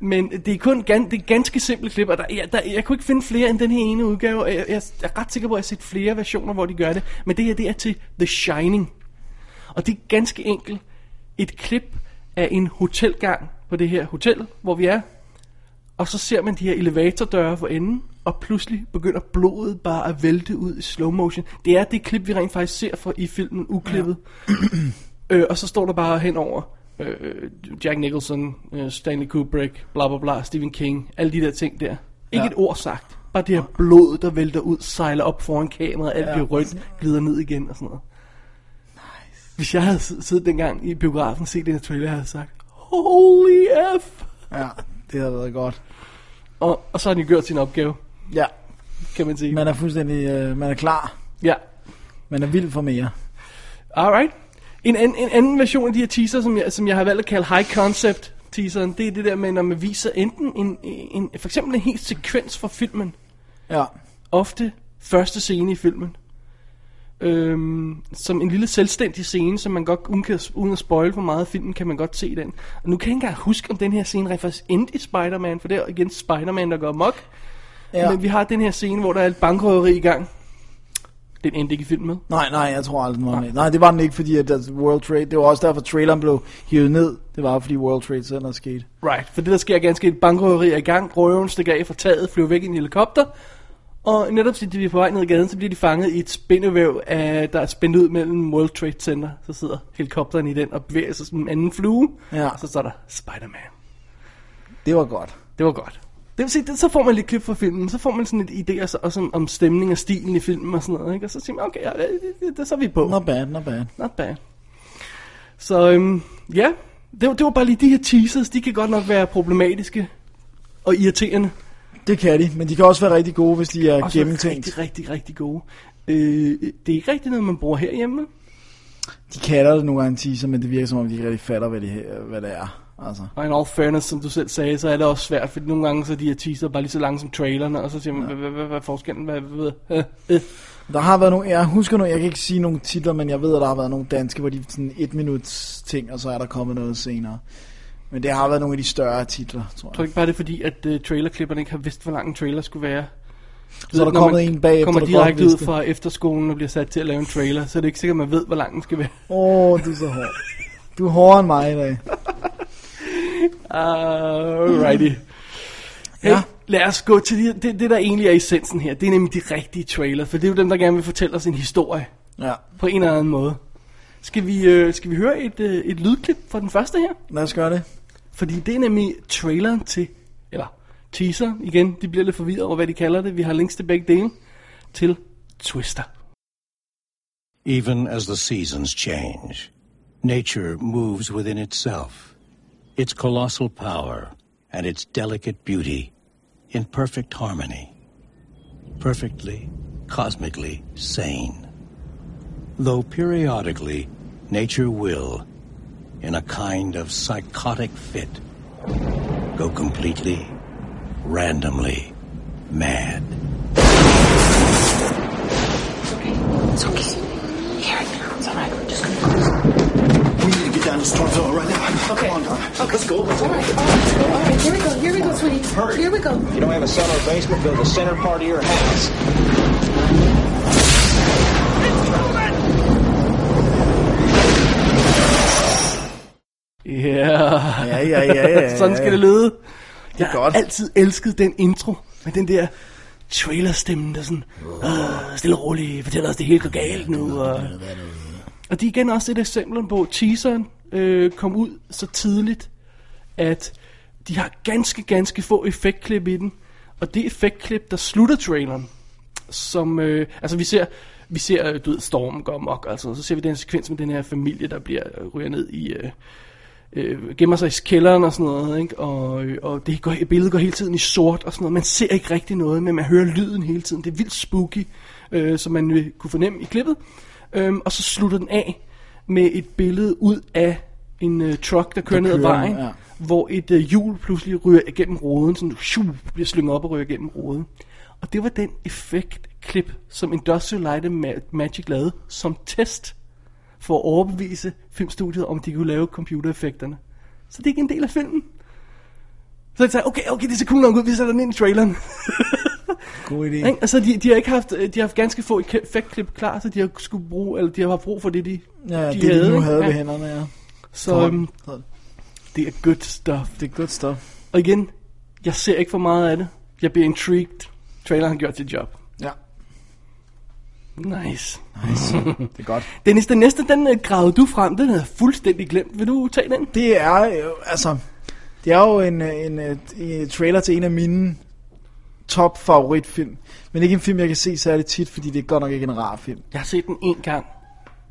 Speaker 3: Men det er kun gan, det er ganske simple klip, og der, jeg, der, jeg kunne ikke finde flere end den her ene udgave. og Jeg, jeg er ret sikker på, at jeg har set flere versioner, hvor de gør det. Men det her, det er til The Shining. Og det er ganske enkelt et klip af en hotelgang på det her hotel, hvor vi er. Og så ser man de her elevatordøre for enden, og pludselig begynder blodet bare at vælte ud i slow motion. Det er det klip, vi rent faktisk ser fra i filmen uklippet. Ja. øh, og så står der bare henover øh, Jack Nicholson, øh, Stanley Kubrick, bla bla bla, Stephen King, alle de der ting der. Ikke ja. et ord sagt. Bare det her blod, der vælter ud, sejler op foran kameraet, alt ja. bliver rødt, glider ned igen og sådan noget. Hvis jeg havde sid- siddet dengang i biografen og set den her trailer, havde jeg sagt, holy F!
Speaker 2: Ja, det har været godt.
Speaker 3: Og, og så har de gjort sin opgave,
Speaker 2: Ja,
Speaker 3: kan man sige.
Speaker 2: man er fuldstændig, øh, man er klar.
Speaker 3: Ja,
Speaker 2: Man er vild for mere.
Speaker 3: alright. En, an, en anden version af de her teaser, som jeg, som jeg har valgt at kalde high concept teaseren, det er det der med, når man viser enten en, en, for eksempel en hel sekvens fra filmen,
Speaker 2: Ja,
Speaker 3: ofte første scene i filmen. Øhm, som en lille selvstændig scene, som man godt, uden, kan, uden at spoil for meget af filmen, kan man godt se den. Og nu kan jeg ikke engang huske, om den her scene rent faktisk endte i Spider-Man, for det er igen Spider-Man, der går mok. Ja.
Speaker 2: Ja.
Speaker 3: Men vi har den her scene, hvor der er et bankrøveri i gang. Den endte ikke i filmen med.
Speaker 2: nej, nej, jeg tror aldrig, den var med. Nej, det var den ikke, fordi at altså, World Trade, det var også derfor, traileren blev hivet ned. Det var fordi World Trade Center skete.
Speaker 3: Right, for det der sker er ganske et bankrøveri er i gang. Røven stikker af fra taget, flyver væk i en helikopter. Og netop fordi de er på vej ned ad gaden, så bliver de fanget i et spindevæv, af, der er spændt ud mellem World Trade Center. Så sidder helikopteren i den og bevæger sig som en anden flue.
Speaker 2: Ja.
Speaker 3: Og så står der Spider-Man.
Speaker 2: Det var godt.
Speaker 3: Det var godt. Det vil sige, det, så får man lidt klip fra filmen, så får man sådan et idé også, også om, om stemning og stilen i filmen og sådan noget, ikke? Og så siger man, okay, ja, det, det, det, det, så er vi på.
Speaker 2: Not bad, not bad.
Speaker 3: Not bad. Så øhm, ja, det, var- det var bare lige de her teasers, de kan godt nok være problematiske og irriterende.
Speaker 2: Det kan de, men de kan også være rigtig gode, hvis de er
Speaker 3: Og så
Speaker 2: gennemtænkt.
Speaker 3: rigtig, rigtig, rigtig gode. Øh, det er ikke rigtig noget, man bruger herhjemme.
Speaker 2: De kalder det nogle gange teaser, men det virker som om, de ikke rigtig fatter, hvad, de, hvad det er. Altså,
Speaker 3: Og in all fairness, som du selv sagde, så er det også svært, fordi nogle gange så er de her teaser bare lige så lange som trailerne, og så siger man, "Hvad- hvad hvad- hvad er forskellen? Hvad, hvad, hvad, øh, øh."
Speaker 2: der har været nogle, jeg husker nu, jeg kan ikke sige nogle titler, men jeg ved, at der har været nogle danske, hvor de sådan et minuts ting, og så er der kommet noget senere. Men det har været nogle af de større titler, tror
Speaker 3: Jeg tror
Speaker 2: jeg.
Speaker 3: ikke bare, det er fordi, at uh, trailerklipperne ikke har vidst, hvor lang en trailer skulle være.
Speaker 2: Så er der
Speaker 3: Når
Speaker 2: kommet
Speaker 3: man
Speaker 2: en bagefter,
Speaker 3: kommer
Speaker 2: der godt
Speaker 3: direkte ud
Speaker 2: vidste.
Speaker 3: fra efterskolen og bliver sat til at lave en trailer, så er det ikke sikkert, at man ved, hvor lang den skal være.
Speaker 2: Åh, oh, du er så hård. Du er hårdere end mig i dag.
Speaker 3: Alrighty. Hey, ja.
Speaker 2: Ja.
Speaker 3: lad os gå til det, det, det, der egentlig er essensen her. Det er nemlig de rigtige trailer, for det er jo dem, der gerne vil fortælle os en historie
Speaker 2: Ja,
Speaker 3: på en eller anden måde. Skal vi, øh, skal vi høre et, øh, et lydklip fra den første her?
Speaker 2: lad os gøre det.
Speaker 3: Fordi det er nemlig traileren til, eller teaser igen, de bliver lidt forvirret over, hvad de kalder det. Vi har links til begge dele til Twister.
Speaker 8: Even as the seasons change, nature moves within itself, its colossal power and its delicate beauty in perfect harmony, perfectly, cosmically sane. Though periodically, nature will, in a kind of psychotic fit, go completely, randomly mad.
Speaker 7: It's okay. Here, it's all right. We're just gonna go.
Speaker 5: We need to get down to Storm Zone right now.
Speaker 7: Okay.
Speaker 5: Come on, Don. Let's go. Let's
Speaker 7: All
Speaker 5: go.
Speaker 7: right, all right, all right. Here we go. Here we go, sweetie.
Speaker 5: Hurry.
Speaker 7: Here we go.
Speaker 9: If you don't have a cellar or basement, build the center part of your house.
Speaker 3: Ja, yeah.
Speaker 2: Ja, ja, ja, ja, ja.
Speaker 3: sådan skal det lyde. Det er jeg
Speaker 2: godt.
Speaker 3: har altid elsket den intro med den der trailerstemme, der sådan, øh, stille og roligt, fortæller os, det hele går galt nu. Og, og det er igen også et eksempel på, at teaseren øh, kom ud så tidligt, at de har ganske, ganske få effektklip i den. Og det effektklip, der slutter traileren, som, øh, altså vi ser, vi ser, øh, du ved, stormen går amok, altså, og så ser vi den sekvens med den her familie, der bliver øh, ryger ned i, øh, øh, gemmer sig i kælderen og sådan noget, ikke? Og, øh, og det går, billedet går hele tiden i sort og sådan noget. Man ser ikke rigtig noget, men man hører lyden hele tiden. Det er vildt spooky, øh, som man vil kunne fornemme i klippet. Øhm, og så slutter den af med et billede ud af en øh, truck, der kører
Speaker 2: Der
Speaker 3: ned ad
Speaker 2: kører,
Speaker 3: vejen,
Speaker 2: ja.
Speaker 3: hvor et øh, hjul pludselig ryger igennem roden, sådan shoo, bliver slynget op og ryger igennem roden. Og det var den effektklip, som Industrial Light and Ma- Magic lavede som test for at overbevise filmstudiet, om de kunne lave computereffekterne. Så det er ikke en del af filmen. Så jeg sagde, okay, okay, det ser cool nok ud, vi sætter den ind i traileren.
Speaker 2: God idé.
Speaker 3: Ikke? Altså, de, de, har ikke haft, de har haft ganske få effektklip klar, så de har skulle bruge, eller de har haft brug for det, de,
Speaker 2: Ja, de det havde, de nu
Speaker 3: ikke?
Speaker 2: havde
Speaker 3: Ja.
Speaker 2: ved hænderne, ja.
Speaker 3: Så øhm,
Speaker 2: Hold.
Speaker 3: det er good stuff.
Speaker 2: Det er godt stof.
Speaker 3: Og igen, jeg ser ikke for meget af det. Jeg bliver intrigued. Traileren har gjort sit job.
Speaker 2: Ja,
Speaker 3: Nice.
Speaker 2: det er godt.
Speaker 3: Dennis, den næste, den øh, gravede du frem. Den havde jeg fuldstændig glemt. Vil du tage den?
Speaker 2: Det er jo, altså, det er jo en, øh, en, øh, en trailer til en af mine top favoritfilm. Men ikke en film, jeg kan se særlig tit, fordi det er godt nok ikke en rar film.
Speaker 3: Jeg har set den én gang.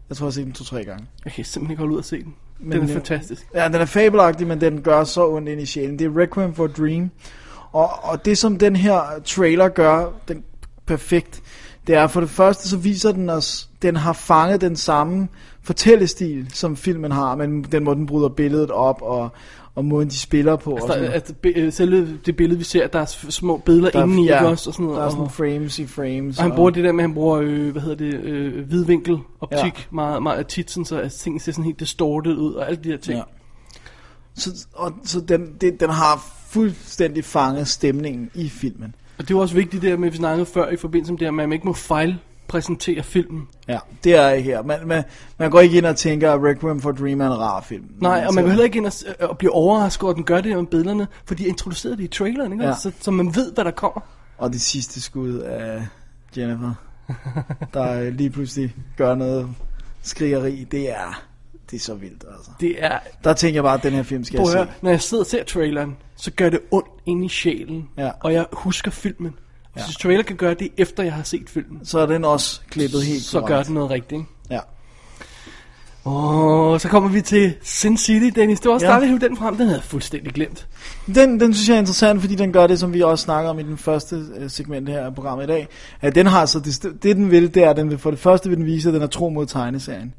Speaker 2: Jeg tror, jeg har set den to-tre gange.
Speaker 3: Jeg kan simpelthen ikke holde ud at se den. Men,
Speaker 2: Men,
Speaker 3: den er
Speaker 2: øh,
Speaker 3: fantastisk.
Speaker 2: Ja, den er fabelagtig, men den gør så ondt ind i sjælen. Det er Requiem for a Dream. Og, og det, som den her trailer gør den perfekt, det er for det første, så viser den os, den har fanget den samme fortællestil, som filmen har, men den måde, den bryder billedet op, og, og måden, de spiller på. og
Speaker 3: Altså,
Speaker 2: sådan
Speaker 3: der,
Speaker 2: noget.
Speaker 3: altså, be, øh, selve det billede, vi ser, der er s- små billeder
Speaker 2: Der er-
Speaker 3: inde i
Speaker 2: ja,
Speaker 3: ja, også, og sådan noget.
Speaker 2: Der er sådan
Speaker 3: og,
Speaker 2: frames i frames.
Speaker 3: og han bruger det der med, at han bruger, øh, hvad hedder det, øh, hvidvinkeloptik ja. meget, meget tit, sådan, så at tingene ser sådan helt distorted ud, og alle de her ting.
Speaker 2: Ja. Så, og, så den, det, den har fuldstændig fanget stemningen i filmen.
Speaker 3: Og det var også vigtigt det der med, at vi snakkede før i forbindelse med det her med, at man ikke må fejlpræsentere filmen.
Speaker 2: Ja, det er jeg her. Man, man, man går ikke ind og tænker, at Requiem for a Dream er en rar film.
Speaker 3: Nej, og
Speaker 2: vil
Speaker 3: man vil heller ikke ind og, s- øh, og blive overrasket over, at den gør det der med billederne, for de introducerede det i traileren, ikke?
Speaker 2: Ja.
Speaker 3: Ja. Så, så man ved, hvad der kommer.
Speaker 2: Og det sidste skud af Jennifer, der øh, lige pludselig gør noget skrigeri, det er, det er så vildt, altså.
Speaker 3: Det er,
Speaker 2: Der tænker jeg bare, at den her film skal
Speaker 3: prøv at
Speaker 2: jeg
Speaker 3: høre,
Speaker 2: se.
Speaker 3: når jeg sidder og ser traileren, så gør det ondt inde i sjælen,
Speaker 2: Ja.
Speaker 3: og jeg husker filmen. Hvis ja. trailer kan gøre det, efter jeg har set filmen,
Speaker 2: Så er den også klippet helt
Speaker 3: så
Speaker 2: korrekt.
Speaker 3: gør den noget rigtigt, ikke?
Speaker 2: Ja.
Speaker 3: Åh, så kommer vi til Sin City, Dennis. Det var også
Speaker 2: Ja.
Speaker 3: ja. dejligt at hive den frem. Den havde jeg fuldstændig glemt.
Speaker 2: Den, den synes jeg er interessant, fordi den gør det, som vi også snakker om i den første øh, segment her af programmet i dag. At den har så det, det den vil, det er, at den vil, for det første vil den vise, at den er tro mod tegneserien.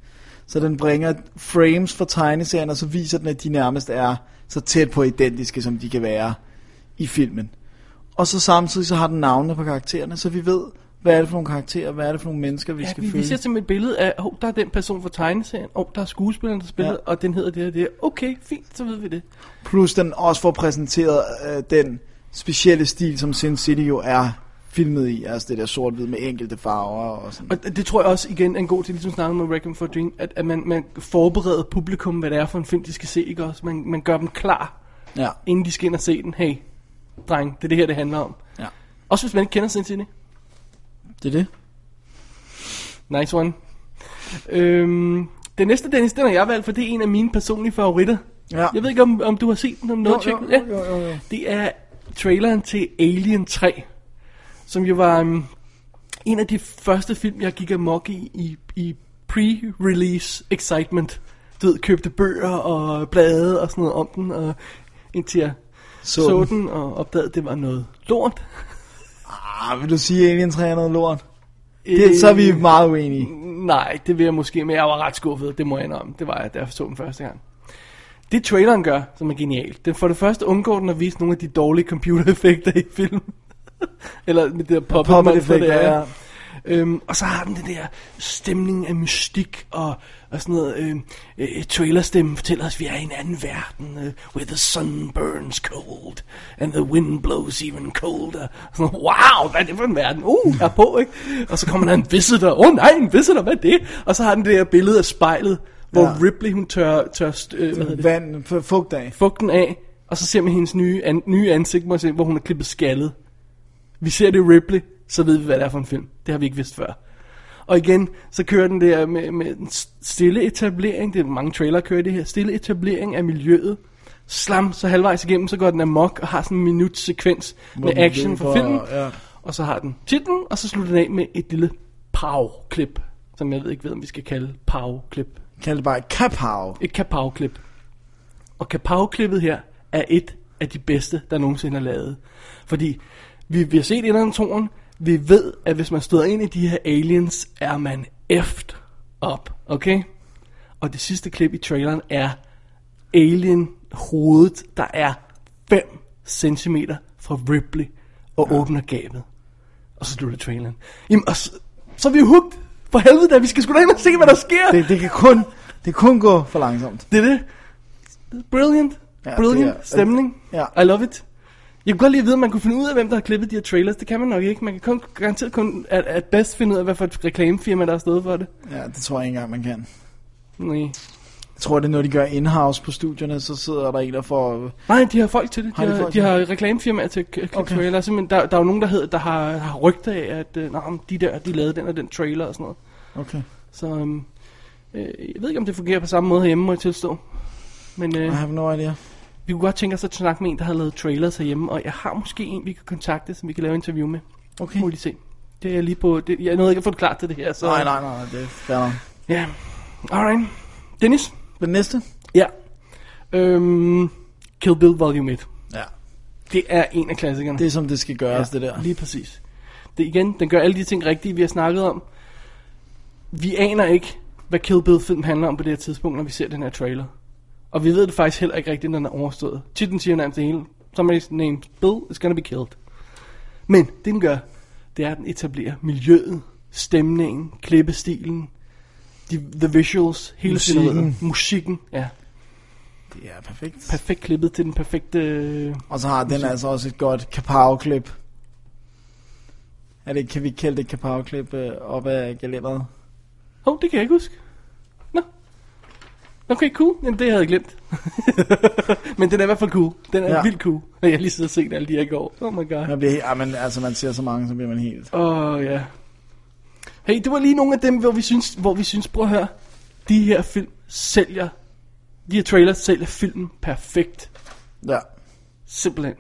Speaker 2: Så den bringer frames fra tegneserien, og så viser den, at de nærmest er så tæt på identiske, som de kan være i filmen. Og så samtidig så har den navnene på karaktererne, så vi ved, hvad er det for nogle karakterer, hvad er det for nogle mennesker, vi
Speaker 3: Ja,
Speaker 2: skal
Speaker 3: vi, vi
Speaker 2: følge.
Speaker 3: ser simpelthen et billede af, oh, der er den person fra tegneserien, oh, der er skuespilleren, der spiller,
Speaker 2: Ja.
Speaker 3: ja. og den hedder det her, det her. Okay, fint, så ved vi det.
Speaker 2: Plus den også får præsenteret øh, den specielle stil, som Sin City jo er filmet i. Altså det der sort-hvid med enkelte farver og sådan
Speaker 3: Og det tror jeg også igen er en god til, ligesom snakke med Reckon for a Dream, at, at man, man forbereder publikum, hvad det er for en film, de skal se, ikke også? Man, man gør dem klar,
Speaker 2: Ja,
Speaker 3: inden de skal ind og se den. Hey, dreng, det er det her, det handler om.
Speaker 2: Ja.
Speaker 3: Også hvis man ikke kender Sin City.
Speaker 2: det er det.
Speaker 3: Nice one. Øhm, den næste, Dennis, den har jeg valgt, for det er en af mine personlige favoritter.
Speaker 2: Ja.
Speaker 3: Jeg ved ikke, om, om du har set den, om noget
Speaker 2: Jo,
Speaker 3: tjek.
Speaker 2: jo,
Speaker 3: Ja.
Speaker 2: jo, jo, jo.
Speaker 3: Det er traileren til Alien 3, som jo var um, en af de første film, jeg gik amok i, i, i pre-release excitement. Du ved, købte bøger og blade og sådan noget om den, og indtil jeg så, så den. den og opdagede, at det var noget lort.
Speaker 2: Ah, vil du sige, at Alien 3 er noget lort? Det, så er vi meget uenige.
Speaker 3: Øhm, Nej, det vil jeg måske, men jeg var ret skuffet, det må jeg indrømme. Det var jeg, da jeg så den første gang. Det traileren gør, som er genialt, den for det første undgår den at vise nogle af de dårlige computereffekter i filmen. Eller med det der puppet,
Speaker 2: Pop
Speaker 3: monster,
Speaker 2: effekt,
Speaker 3: det er.
Speaker 2: ja.
Speaker 3: Øhm, og så har den den der stemning af mystik og, og sådan noget. Øhm, øh, trailerstemmen fortæller os, at vi er i en anden verden. Øh, where the sun burns cold, and the wind blows even colder. Og sådan, wow, hvad er det for en verden? Uh, jeg er på, ikke? Og så kommer der en visitor. Åh oh, nej, en visitor, hvad er det? Og så har den det der billede af spejlet, hvor
Speaker 2: Ja.
Speaker 3: ja. Ripley, hun tør, tør st- øh, hvad hedder det?
Speaker 2: Vand, f- fugt af.
Speaker 3: fugten af, og så ser man hendes nye, an, nye ansigt, må se, hvor hun er klippet skaldet. Vi ser det i Ripley, så ved vi, hvad det er for en film. Det har vi ikke vidst før. Og igen, så kører den der med, med en s- stille etablering, det er mange trailer kører det her, stille etablering af miljøet. Slam, så halvvejs igennem, så går den amok og har sådan en minut sekvens med
Speaker 2: den
Speaker 3: action
Speaker 2: løber,
Speaker 3: fra filmen.
Speaker 2: ja.
Speaker 3: Og så har den titlen, og så slutter den af med et lille pow-klip, som jeg ved ikke ved, om vi skal kalde pow-klip
Speaker 2: Kald det bare et kapav.
Speaker 3: et kapavklip. Og kapavklippet her er et af de bedste, der nogensinde er lavet. Fordi vi, vi har set inderen toren, vi ved, at hvis man støder ind i de her aliens, er man eft op, okay? Og det sidste klip i traileren er alien hovedet, der er 5 cm fra Ripley, og ja. åbner gabet. Og så slutter traileren. Jamen, og så, så er vi jo hooked. For helvede da, vi skal sgu da ind og se, hvad der sker.
Speaker 2: Det, det kan kun, det kan kun gå for langsomt.
Speaker 3: Det er det. Brilliant.
Speaker 2: Ja,
Speaker 3: Ja, Brilliant
Speaker 2: det er-
Speaker 3: stemning.
Speaker 2: Ja.
Speaker 3: I love it. Jeg kunne godt lige vide, at man kunne finde ud af, hvem der har klippet de her trailers. Det kan man nok ikke. Man kan kun, garanteret kun at, at bedst finde ud af, hvad for et reklamefirma, der er stået for det.
Speaker 2: Ja, det tror jeg ikke engang, man kan.
Speaker 3: Nej.
Speaker 2: Jeg tror, det er, når de gør in-house på studierne, så sidder der en, der får...
Speaker 3: Nej, de har folk til det. De
Speaker 2: Har
Speaker 3: har,
Speaker 2: de
Speaker 3: de
Speaker 2: folk
Speaker 3: de
Speaker 2: til
Speaker 3: har reklamefirmaer til at k- klippe okay. trailer. Simpelthen, der, der er jo nogen, der, hedder, der har, har rygter af, at øh, nah, men de der de lavede den og den trailer og sådan noget.
Speaker 2: Okay.
Speaker 3: Så øhm, øh, jeg ved ikke, om det fungerer på samme måde herhjemme, må jeg tilstå. Men øh,
Speaker 2: I have no idea.
Speaker 3: vi kunne godt tænke os at snakke med en, der har lavet trailers herhjemme. Og jeg har måske en, vi kan kontakte, som vi kan lave interview med.
Speaker 2: Okay.
Speaker 3: Må vi lige se. Det er jeg lige på. Det, jeg nåede ikke at få det klart til det her. Så,
Speaker 2: Nej, nej, nej, det er fair nok.
Speaker 3: Ja. Alright. Dennis?
Speaker 2: Den næste?
Speaker 3: Ja. Øhm, Kill Bill Volume 1.
Speaker 2: Ja.
Speaker 3: Det er en af klassikerne.
Speaker 2: Det er, som det skal gøres, det der.
Speaker 3: Lige præcis. Det igen, den gør alle de ting rigtige, vi har snakket om. Vi aner ikke, hvad Kill Bill film handler om på det her tidspunkt, når vi ser den her trailer. Og vi ved det faktisk heller ikke rigtigt, når den er overstået. Titlen siger jo nærmest det hele. Somebody's named Bill is gonna be killed. Men det den gør, det er, at den etablerer miljøet, stemningen, klippestilen, de, the visuals, hele
Speaker 2: Musikken.
Speaker 3: scenariet. Musikken, ja.
Speaker 2: Det er perfekt.
Speaker 3: Perfekt klippet til den perfekte... øh,
Speaker 2: Og så har den altså også et godt kapow-klip. Er det, kan vi kalde det kapow-klip øh, op ad gelænderet?
Speaker 3: Åh, oh, det kan jeg ikke huske. Nå. Okay, cool. Jamen, det havde jeg glemt. Men den er i hvert fald cool. Den er ja.
Speaker 2: Ja.
Speaker 3: vildt cool. Og jeg har lige siddet og set alle de her i går. Oh my god.
Speaker 2: Man bliver, he- ja, men, altså, man ser så mange, så bliver man helt...
Speaker 3: Åh, oh, ja. Hey, det var lige nogle af dem, hvor vi synes, hvor vi synes prøv at høre, de her film sælger, de her trailers sælger filmen perfekt.
Speaker 2: Ja,
Speaker 3: Simpelthen.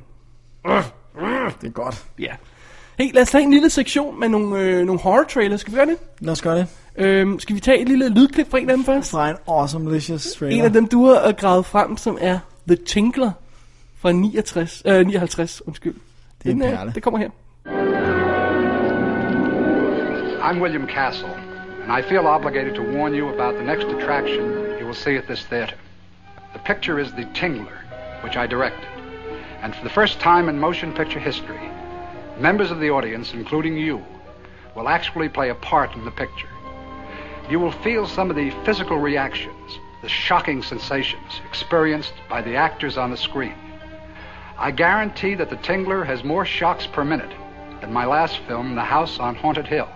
Speaker 2: det er godt.
Speaker 3: Ja. Yeah. Hey, lad os tage en lille sektion med nogle, øh, nogle horror trailers. Skal vi gøre det?
Speaker 2: Lad os gøre det.
Speaker 3: Øhm, skal vi tage et lille lydklip fra en af dem først?
Speaker 2: Fra en awesome delicious trailer.
Speaker 3: En af dem, du har øh, gravet frem, som er The Tinkler fra 69, øh, 59. Undskyld.
Speaker 2: Det er en
Speaker 3: Den, øh,
Speaker 2: perle.
Speaker 3: Det kommer her.
Speaker 10: I'm William Castle, and I feel obligated to warn you about the next attraction you will see at this theater. The picture is The Tingler, which I directed. And for the first time in motion picture history, members of the audience, including you, will actually play a part in the picture. You will feel some of the physical reactions, the shocking sensations experienced by the actors on the screen. I guarantee that The Tingler has more shocks per minute than my last film, The House on Haunted Hill.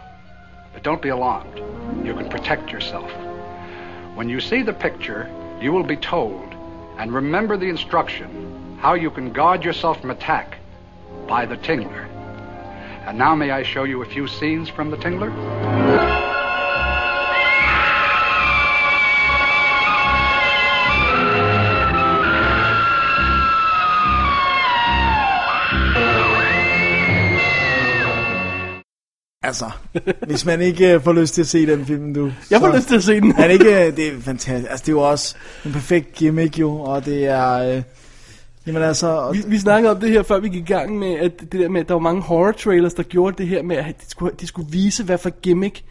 Speaker 10: But don't be alarmed. You can protect yourself. When you see the picture, you will be told and remember the instruction how you can guard yourself from attack by the Tingler. And now may I show you a few scenes from the Tingler?
Speaker 2: Altså, hvis man ikke øh, får lyst til at se den film, du...
Speaker 3: Jeg får
Speaker 2: så-
Speaker 3: lyst til at se den.
Speaker 2: Er det ikke... øh, Det er fantastisk. Altså, det er jo også en perfekt gimmick, jo. Og det er... Øh, jamen altså... Og,
Speaker 3: Vi, vi snakkede om det her, før vi gik i gang med, at det der med, at der var mange horror trailers, der gjorde det her med, at de skulle, de skulle vise, hvad for gimmick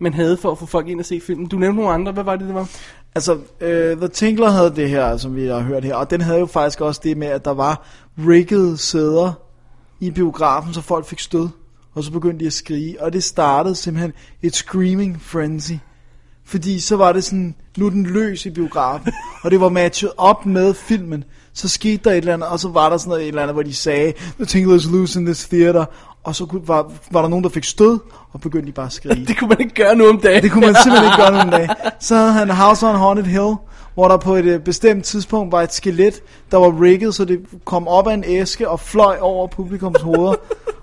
Speaker 3: man havde for at få folk ind og se filmen. Du nævnte nogle andre. Hvad var det, det var?
Speaker 2: Altså, øh, The Tinkler havde det her, som vi har hørt her, og den havde jo faktisk også det med, at der var riggede sæder i biografen, så folk fik stød, og så begyndte de at skrige, og det startede simpelthen et screaming frenzy. Fordi så var det sådan, nu er den løs i biografen, og det var matchet op med filmen. Så skete der et eller andet, og så var der sådan noget, et eller andet, hvor de sagde, The Tinkler is loose in this theater, og så kunne- var, var der nogen, der fik stød, og begyndte de bare at skrige.
Speaker 3: Det kunne man ikke gøre nu om dagen.
Speaker 2: Det kunne man simpelthen ikke gøre nogen dag. Så havde han House on Haunted Hill, hvor der på et øh, bestemt tidspunkt var et skelet, der var rigget, så det kom op af en æske og fløj over publikums hoveder.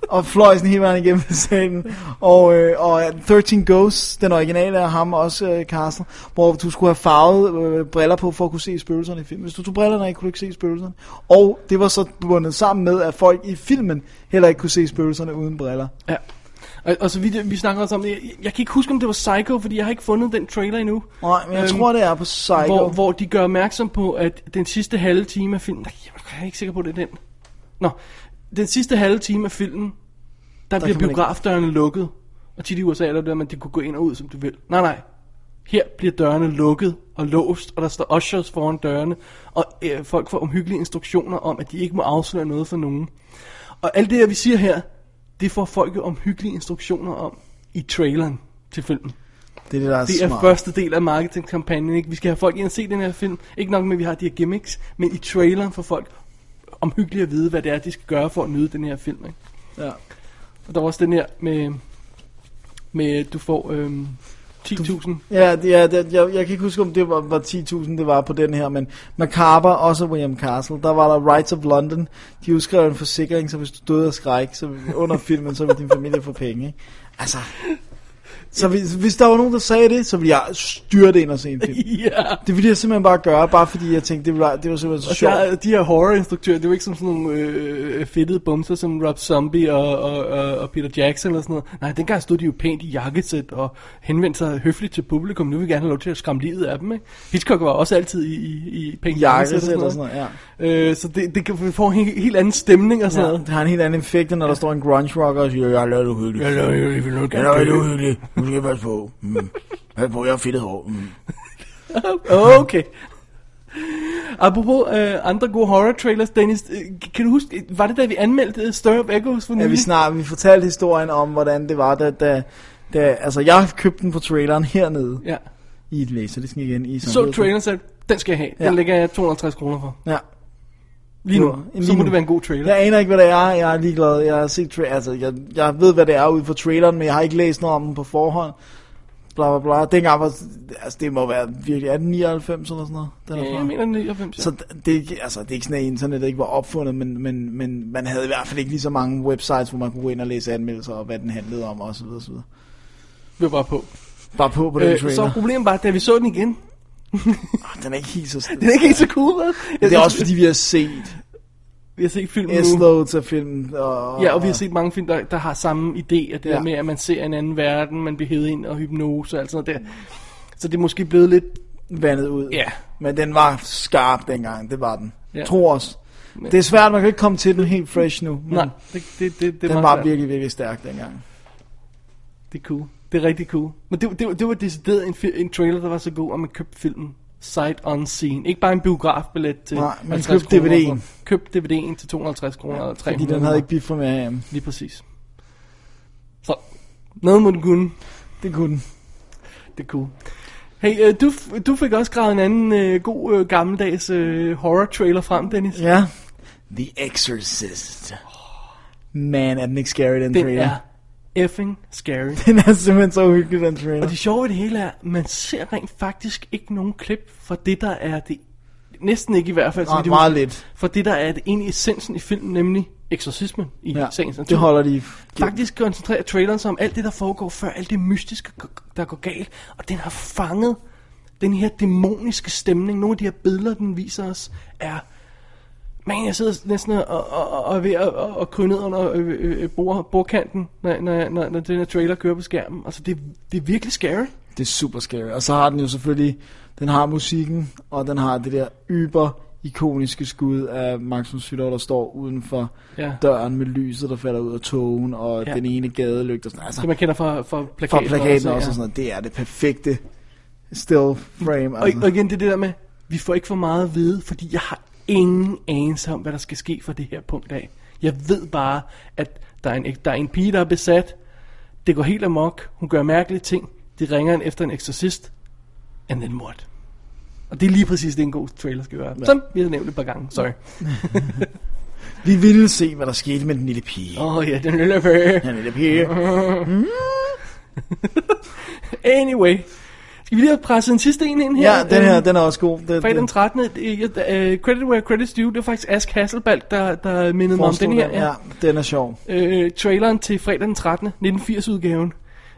Speaker 2: og fløj sådan hele vejen igennem salen. Og, øh, og 13 Ghosts, den originale af ham også, øh, Castle, hvor du skulle have farvet øh, briller på for at kunne se spøgelserne i filmen. Hvis du tog brillerne af, kunne du ikke se spøgelserne. Og det var så bundet sammen med, at folk i filmen heller ikke kunne se spøgelserne uden briller.
Speaker 3: Ja. Og, og så vi, vi snakker også om det. Jeg, jeg kan ikke huske, om det var Psycho, fordi jeg har ikke fundet den trailer endnu.
Speaker 2: Nej, men jeg
Speaker 3: Øhm,
Speaker 2: tror, det er på Psycho.
Speaker 3: Hvor, hvor de gør opmærksom på, at den sidste halve time af filmen... Nej, jeg er ikke sikker på, at det er den. Nå, den sidste halve time af filmen, der, der bliver
Speaker 2: kan man ikke-
Speaker 3: biografdørene lukket. Og tit i USA er der det, at man de kunne gå ind og ud, som du vil. Nej, nej. Her bliver dørene lukket og låst, og der står ushers foran dørene, og øh, folk får omhyggelige instruktioner om, at de ikke må afsløre noget for nogen. Og alt det, jeg vi siger her, det får folk jo omhyggelige instruktioner om i traileren til filmen.
Speaker 2: Det er det, der er
Speaker 3: Det er
Speaker 2: smart.
Speaker 3: første del af marketingkampagnen. Ikke? Vi skal have folk ind og se den her film. Ikke nok med, at vi har de her gimmicks, men i traileren får folk omhyggeligt at vide, hvad det er, de skal gøre for at nyde den her film. Ikke?
Speaker 2: Ja.
Speaker 3: Og der var også den her med, med du får øhm, 10.000.
Speaker 2: Ja, det, ja det, jeg, jeg kan ikke huske, om det var, var 10.000, det var på den her, men Macabre, også William Castle, der var der Rights of London, de udskrev en forsikring, så hvis du døde af skræk, så under filmen, så ville din familie få penge. Ikke? Altså, så hvis, hvis der var nogen, der sagde det, så ville jeg styrte ind og se en film.
Speaker 3: Ja.
Speaker 2: Det ville jeg simpelthen bare gøre, bare fordi jeg tænkte, det var, det var simpelthen så
Speaker 3: Og
Speaker 2: sjovt.
Speaker 3: der, de her horrorinstruktører, det er jo ikke som sådan nogle øh, fedtede bumser som Rob Zombie og, og, og, og Peter Jackson eller sådan noget. Nej, dengang stod de jo pænt i jakkesæt og henvendte sig høfligt til publikum. Nu vil vi gerne have lov til at skræmme livet af dem, ikke? Hitchcock var også altid i, i, i pænt
Speaker 2: Jakkesæt og sådan
Speaker 3: noget.
Speaker 2: noget,
Speaker 3: Øh, så det, det kan vi får en helt, helt anden stemning og sådan
Speaker 2: Ja,
Speaker 3: ja. noget.
Speaker 2: det har en helt anden effekt, end når der står en grunge rocker og siger, jeg er lidt uhyggelig.
Speaker 3: Jeg er lidt uhyggelig, vi vil
Speaker 2: Jeg
Speaker 3: nok
Speaker 2: er
Speaker 3: gerne
Speaker 2: lidt
Speaker 3: dø."
Speaker 2: uhyggelig. Nu skal jeg passe på. Mm. Pas på, jeg har fedtet hår. Mm.
Speaker 3: Okay. Apropos øh, andre gode horror trailers, Dennis, øh, kan du huske, øh, var det da vi anmeldte øh, Stir Up Echoes for
Speaker 2: Ja,
Speaker 3: nylig?
Speaker 2: vi snart, vi fortalte historien om, hvordan det var, da, da, da altså jeg købte den på traileren hernede.
Speaker 3: Ja.
Speaker 2: I et laserdisken igen. I
Speaker 3: Så traileren sagde, den skal jeg have. Den
Speaker 2: Ja.
Speaker 3: lægger jeg 250 kroner for.
Speaker 2: Ja.
Speaker 3: Lige nu. så må det være en god trailer.
Speaker 2: Jeg aner ikke, hvad det er. Jeg er ligeglad. Jeg har set tra- altså, jeg, jeg ved, hvad det er ude fra traileren, men jeg har ikke læst noget om den på forhånd. Bla, bla, bla. Dengang var, altså det må være virkelig, er den 99 eller sådan noget? Den er
Speaker 3: Ja,
Speaker 2: fra?
Speaker 3: jeg mener den er 99.
Speaker 2: Så d- det, er ikke- altså, det er ikke sådan, at internettet ikke var opfundet, men, men, men man havde i hvert fald ikke lige så mange websites, hvor man kunne gå ind og læse anmeldelser og hvad den handlede om osv. osv.
Speaker 3: Vi var bare på.
Speaker 2: Bare på på den øh,
Speaker 3: så
Speaker 2: trailer.
Speaker 3: er problemet bare, da vi så den igen,
Speaker 2: Den er ikke helt så
Speaker 3: den er ikke helt så cool, hvad?
Speaker 2: Det er også fordi, vi har set
Speaker 3: Vi har set filmen nu.
Speaker 2: S-loads af filmen. Og,
Speaker 3: Ja, og vi har set mange film, der, der har samme idé, og det ja.
Speaker 2: Ja.
Speaker 3: der med, at man ser en anden verden, man bliver hævet ind og hypnose og alt sådan noget der. Så det er måske blevet lidt...
Speaker 2: vandet ud.
Speaker 3: Ja.
Speaker 2: Men den var skarp dengang, det var den.
Speaker 3: Ja.
Speaker 2: Ja. Tro os.
Speaker 3: Men-
Speaker 2: Det er svært, man kan ikke komme til den helt fresh nu. Men
Speaker 3: Nej, det, det, det, det er
Speaker 2: Mm. den
Speaker 3: meget
Speaker 2: var
Speaker 3: svært.
Speaker 2: virkelig, virkelig stærk dengang.
Speaker 3: Det er cool. Det er rigtig cool. Men det, det, det var decideret en, fi- en trailer, der var så god, at man købte filmen sight unseen. Ikke bare en biografbillet til
Speaker 2: Nej, man
Speaker 3: 50
Speaker 2: købte
Speaker 3: kroner.
Speaker 2: DVD'en.
Speaker 3: Købte DVD'en til 250 kroner eller 300
Speaker 2: Fordi den havde ikke biffet med AM.
Speaker 3: Lige præcis. Så, noget må den kunne.
Speaker 2: Det kunne den.
Speaker 3: Det er cool. Hey, øh, du, f- du fik også gravet en anden øh, god øh, gammeldags øh, horror-trailer frem, Dennis.
Speaker 2: Ja. The Exorcist. Man, er den ikke scary, den,
Speaker 3: Den
Speaker 2: trailer.
Speaker 3: er effing scary.
Speaker 2: Den er simpelthen så uhyggelig, den trailer.
Speaker 3: Og det sjove ved det hele er, man ser rent faktisk ikke nogen klip fra det, der er det... Næsten ikke i hvert fald. så
Speaker 2: Nej,
Speaker 3: vidt jeg
Speaker 2: Ah, meget
Speaker 3: husker.
Speaker 2: lidt.
Speaker 3: For det, der er det egentlig essensen i filmen, nemlig eksorcismen i ja,
Speaker 2: Ja,
Speaker 3: sagens natur.
Speaker 2: det holder de.
Speaker 3: Faktisk koncentrerer traileren sig om alt det, der foregår før, alt det mystiske, der går galt. Og den har fanget den her dæmoniske stemning. Nogle af de her billeder, den viser os, er... Man, jeg sidder næsten og, og, og, og er ved at og, og kryge ned under øh, øh, bord, bordkanten, når, når, når, når den her trailer kører på skærmen. Altså, det, det er virkelig scary.
Speaker 2: Det er super scary. Og så har den jo selvfølgelig, den har musikken, og den har det der yber ikoniske skud af Max von Sydow, der står uden for
Speaker 3: Ja.
Speaker 2: døren med lyset, der falder ud af togen, og
Speaker 3: Ja.
Speaker 2: ja. den ene gadelygte. og Sådan. Altså,
Speaker 3: Det man kender fra, fra plakaten.
Speaker 2: fra plakaten også,
Speaker 3: ja.
Speaker 2: og sådan noget. Det er det perfekte still frame.
Speaker 3: Og,
Speaker 2: Altså.
Speaker 3: og igen det er det der med, vi får ikke for meget at vide, fordi jeg har ingen anelse om, hvad der skal ske fra det her punkt af. Jeg ved bare, at der er en, der er en pige, der er besat. Det går helt amok. Hun gør mærkelige ting. De ringer en efter en eksorcist. And then what? Og det er lige præcis det, en god trailer skal være. Ja. Som vi har nævnt et par gange. Sorry.
Speaker 2: Vi ville se, hvad der skete med den lille pige.
Speaker 3: Åh oh, ja, den lille pige.
Speaker 2: Den lille pige.
Speaker 3: Anyway. Skal vi lige have presset en sidste en ind her?
Speaker 2: Ja, den her,
Speaker 3: Øhm,
Speaker 2: den er også god. Det,
Speaker 3: Fredag den
Speaker 2: det,
Speaker 3: 13. øh, jeg- øh, Credit where credit's due, det var faktisk Ask Hasselbalg, der, der mindede mig om
Speaker 2: forestod
Speaker 3: den her.
Speaker 2: den. Ja, den er sjov.
Speaker 3: øh, traileren til fredag den 13. 1980 udgaven,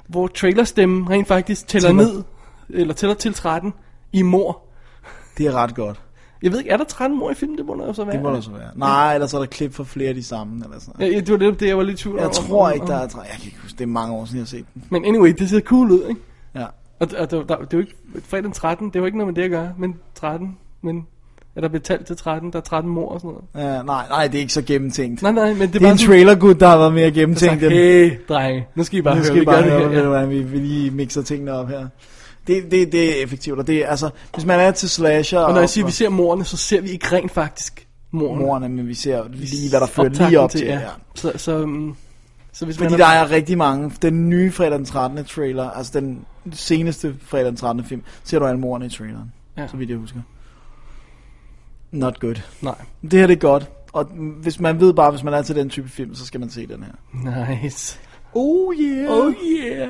Speaker 3: hvor trailerstemmen rent faktisk tæller
Speaker 2: Tæller.
Speaker 3: ned, eller tæller til 13 i mor.
Speaker 2: Det er ret godt.
Speaker 3: Jeg ved ikke, er der 13 mor i filmen? Det må der jo så være.
Speaker 2: Det må der så være. Nej, ellers er der klip for flere af de samme. Eller sådan noget.
Speaker 3: Ja, ja, det var det, det, jeg var lidt i tvivl om.
Speaker 2: Jeg
Speaker 3: om-
Speaker 2: tror
Speaker 3: om-
Speaker 2: ikke,
Speaker 3: om-
Speaker 2: der er træ. Jeg kan ikke huske, det er mange år siden, jeg har set den.
Speaker 3: Men anyway, det ser cool ud, ikke?
Speaker 2: Ja.
Speaker 3: Og, og der, der, det er jo ikke... Fredag den 13, det er jo ikke noget med det at gøre, men 13, men... Er der betalt til 13? Der er 13 mor og sådan noget.
Speaker 2: Uh, nej, nej, det er ikke så gennemtænkt.
Speaker 3: Nej, nej, men det,
Speaker 2: det er
Speaker 3: bare
Speaker 2: en trailer der har været mere gennemtænkt
Speaker 3: sådan,
Speaker 2: end...
Speaker 3: hey, drenge, nu skal I bare
Speaker 2: Nu
Speaker 3: høre,
Speaker 2: skal
Speaker 3: vi
Speaker 2: I bare
Speaker 3: gør
Speaker 2: høre,
Speaker 3: det her.
Speaker 2: hvordan vi, vi lige mixer tingene op her. Det, det, det er effektivt, og det er, altså, hvis man er til slasher...
Speaker 3: Og når jeg siger, at vi ser morerne, så ser vi ikke rent faktisk morerne.
Speaker 2: Morerne, men vi ser lige, hvad der fører lige op til.
Speaker 3: ja.
Speaker 2: Ja.
Speaker 3: Så, så, um, så hvis
Speaker 2: Fordi
Speaker 3: man
Speaker 2: der er rigtig mange. Den nye fredag den 13. trailer, altså den seneste fredag den 13. film, ser du alle morerne i traileren,
Speaker 3: Ja.
Speaker 2: ja. så vidt jeg husker. Not good.
Speaker 3: Nej.
Speaker 2: Det her det er godt, og hvis man ved bare, hvis man er til den type film, så skal man se den her.
Speaker 3: Nice. Oh yeah. Oh yeah.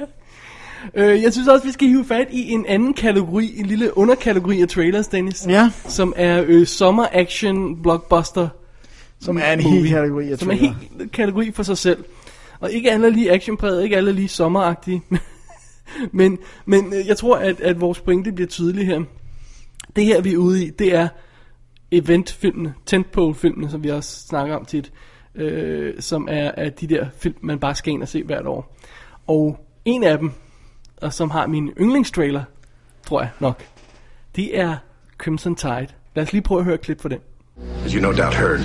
Speaker 3: Øh, jeg synes også, vi skal hive fat i en anden kategori, en lille underkategori af trailers, Dennis.
Speaker 2: Ja.
Speaker 3: Som er øh, summer action blockbuster.
Speaker 2: Som er en
Speaker 3: movie.
Speaker 2: hel kategori af
Speaker 3: Som er en
Speaker 2: trailer.
Speaker 3: hel kategori for sig selv. Og ikke alle er lige actionpræget, ikke alle er lige sommeragtige. men, men øh, jeg tror, at, at vores pointe bliver tydelig her. Det her, vi er ude i, det er eventfilmene, tentpole-filmene, som vi også snakker om tit, øh, som er, er de der film, man bare skal ind og se hvert år. Og en af dem, og som har min yndlingstrailer, tror jeg nok, det er Crimson Tide. Lad os lige prøve at høre et klip for den.
Speaker 11: As you no doubt heard,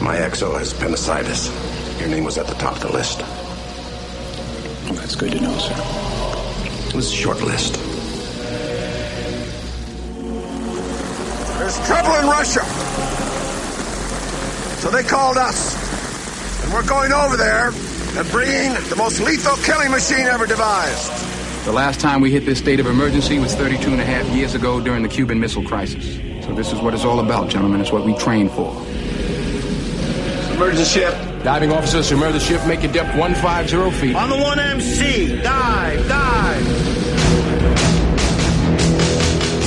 Speaker 11: my exo has appendicitis. Your name was at the top of the list. That's good to know, sir. It was a short list.
Speaker 12: There's trouble in Russia. So they called us. And we're going over there and bringing the most lethal killing machine ever devised.
Speaker 13: The last time we hit this state of emergency was 32 and a half years ago during the Cuban Missile Crisis. So this is what it's all about, gentlemen. It's what we train for.
Speaker 5: Submerge the ship. Diving officer, submerge the ship. Make your depth 150 feet.
Speaker 12: On the 1MC, dive, dive.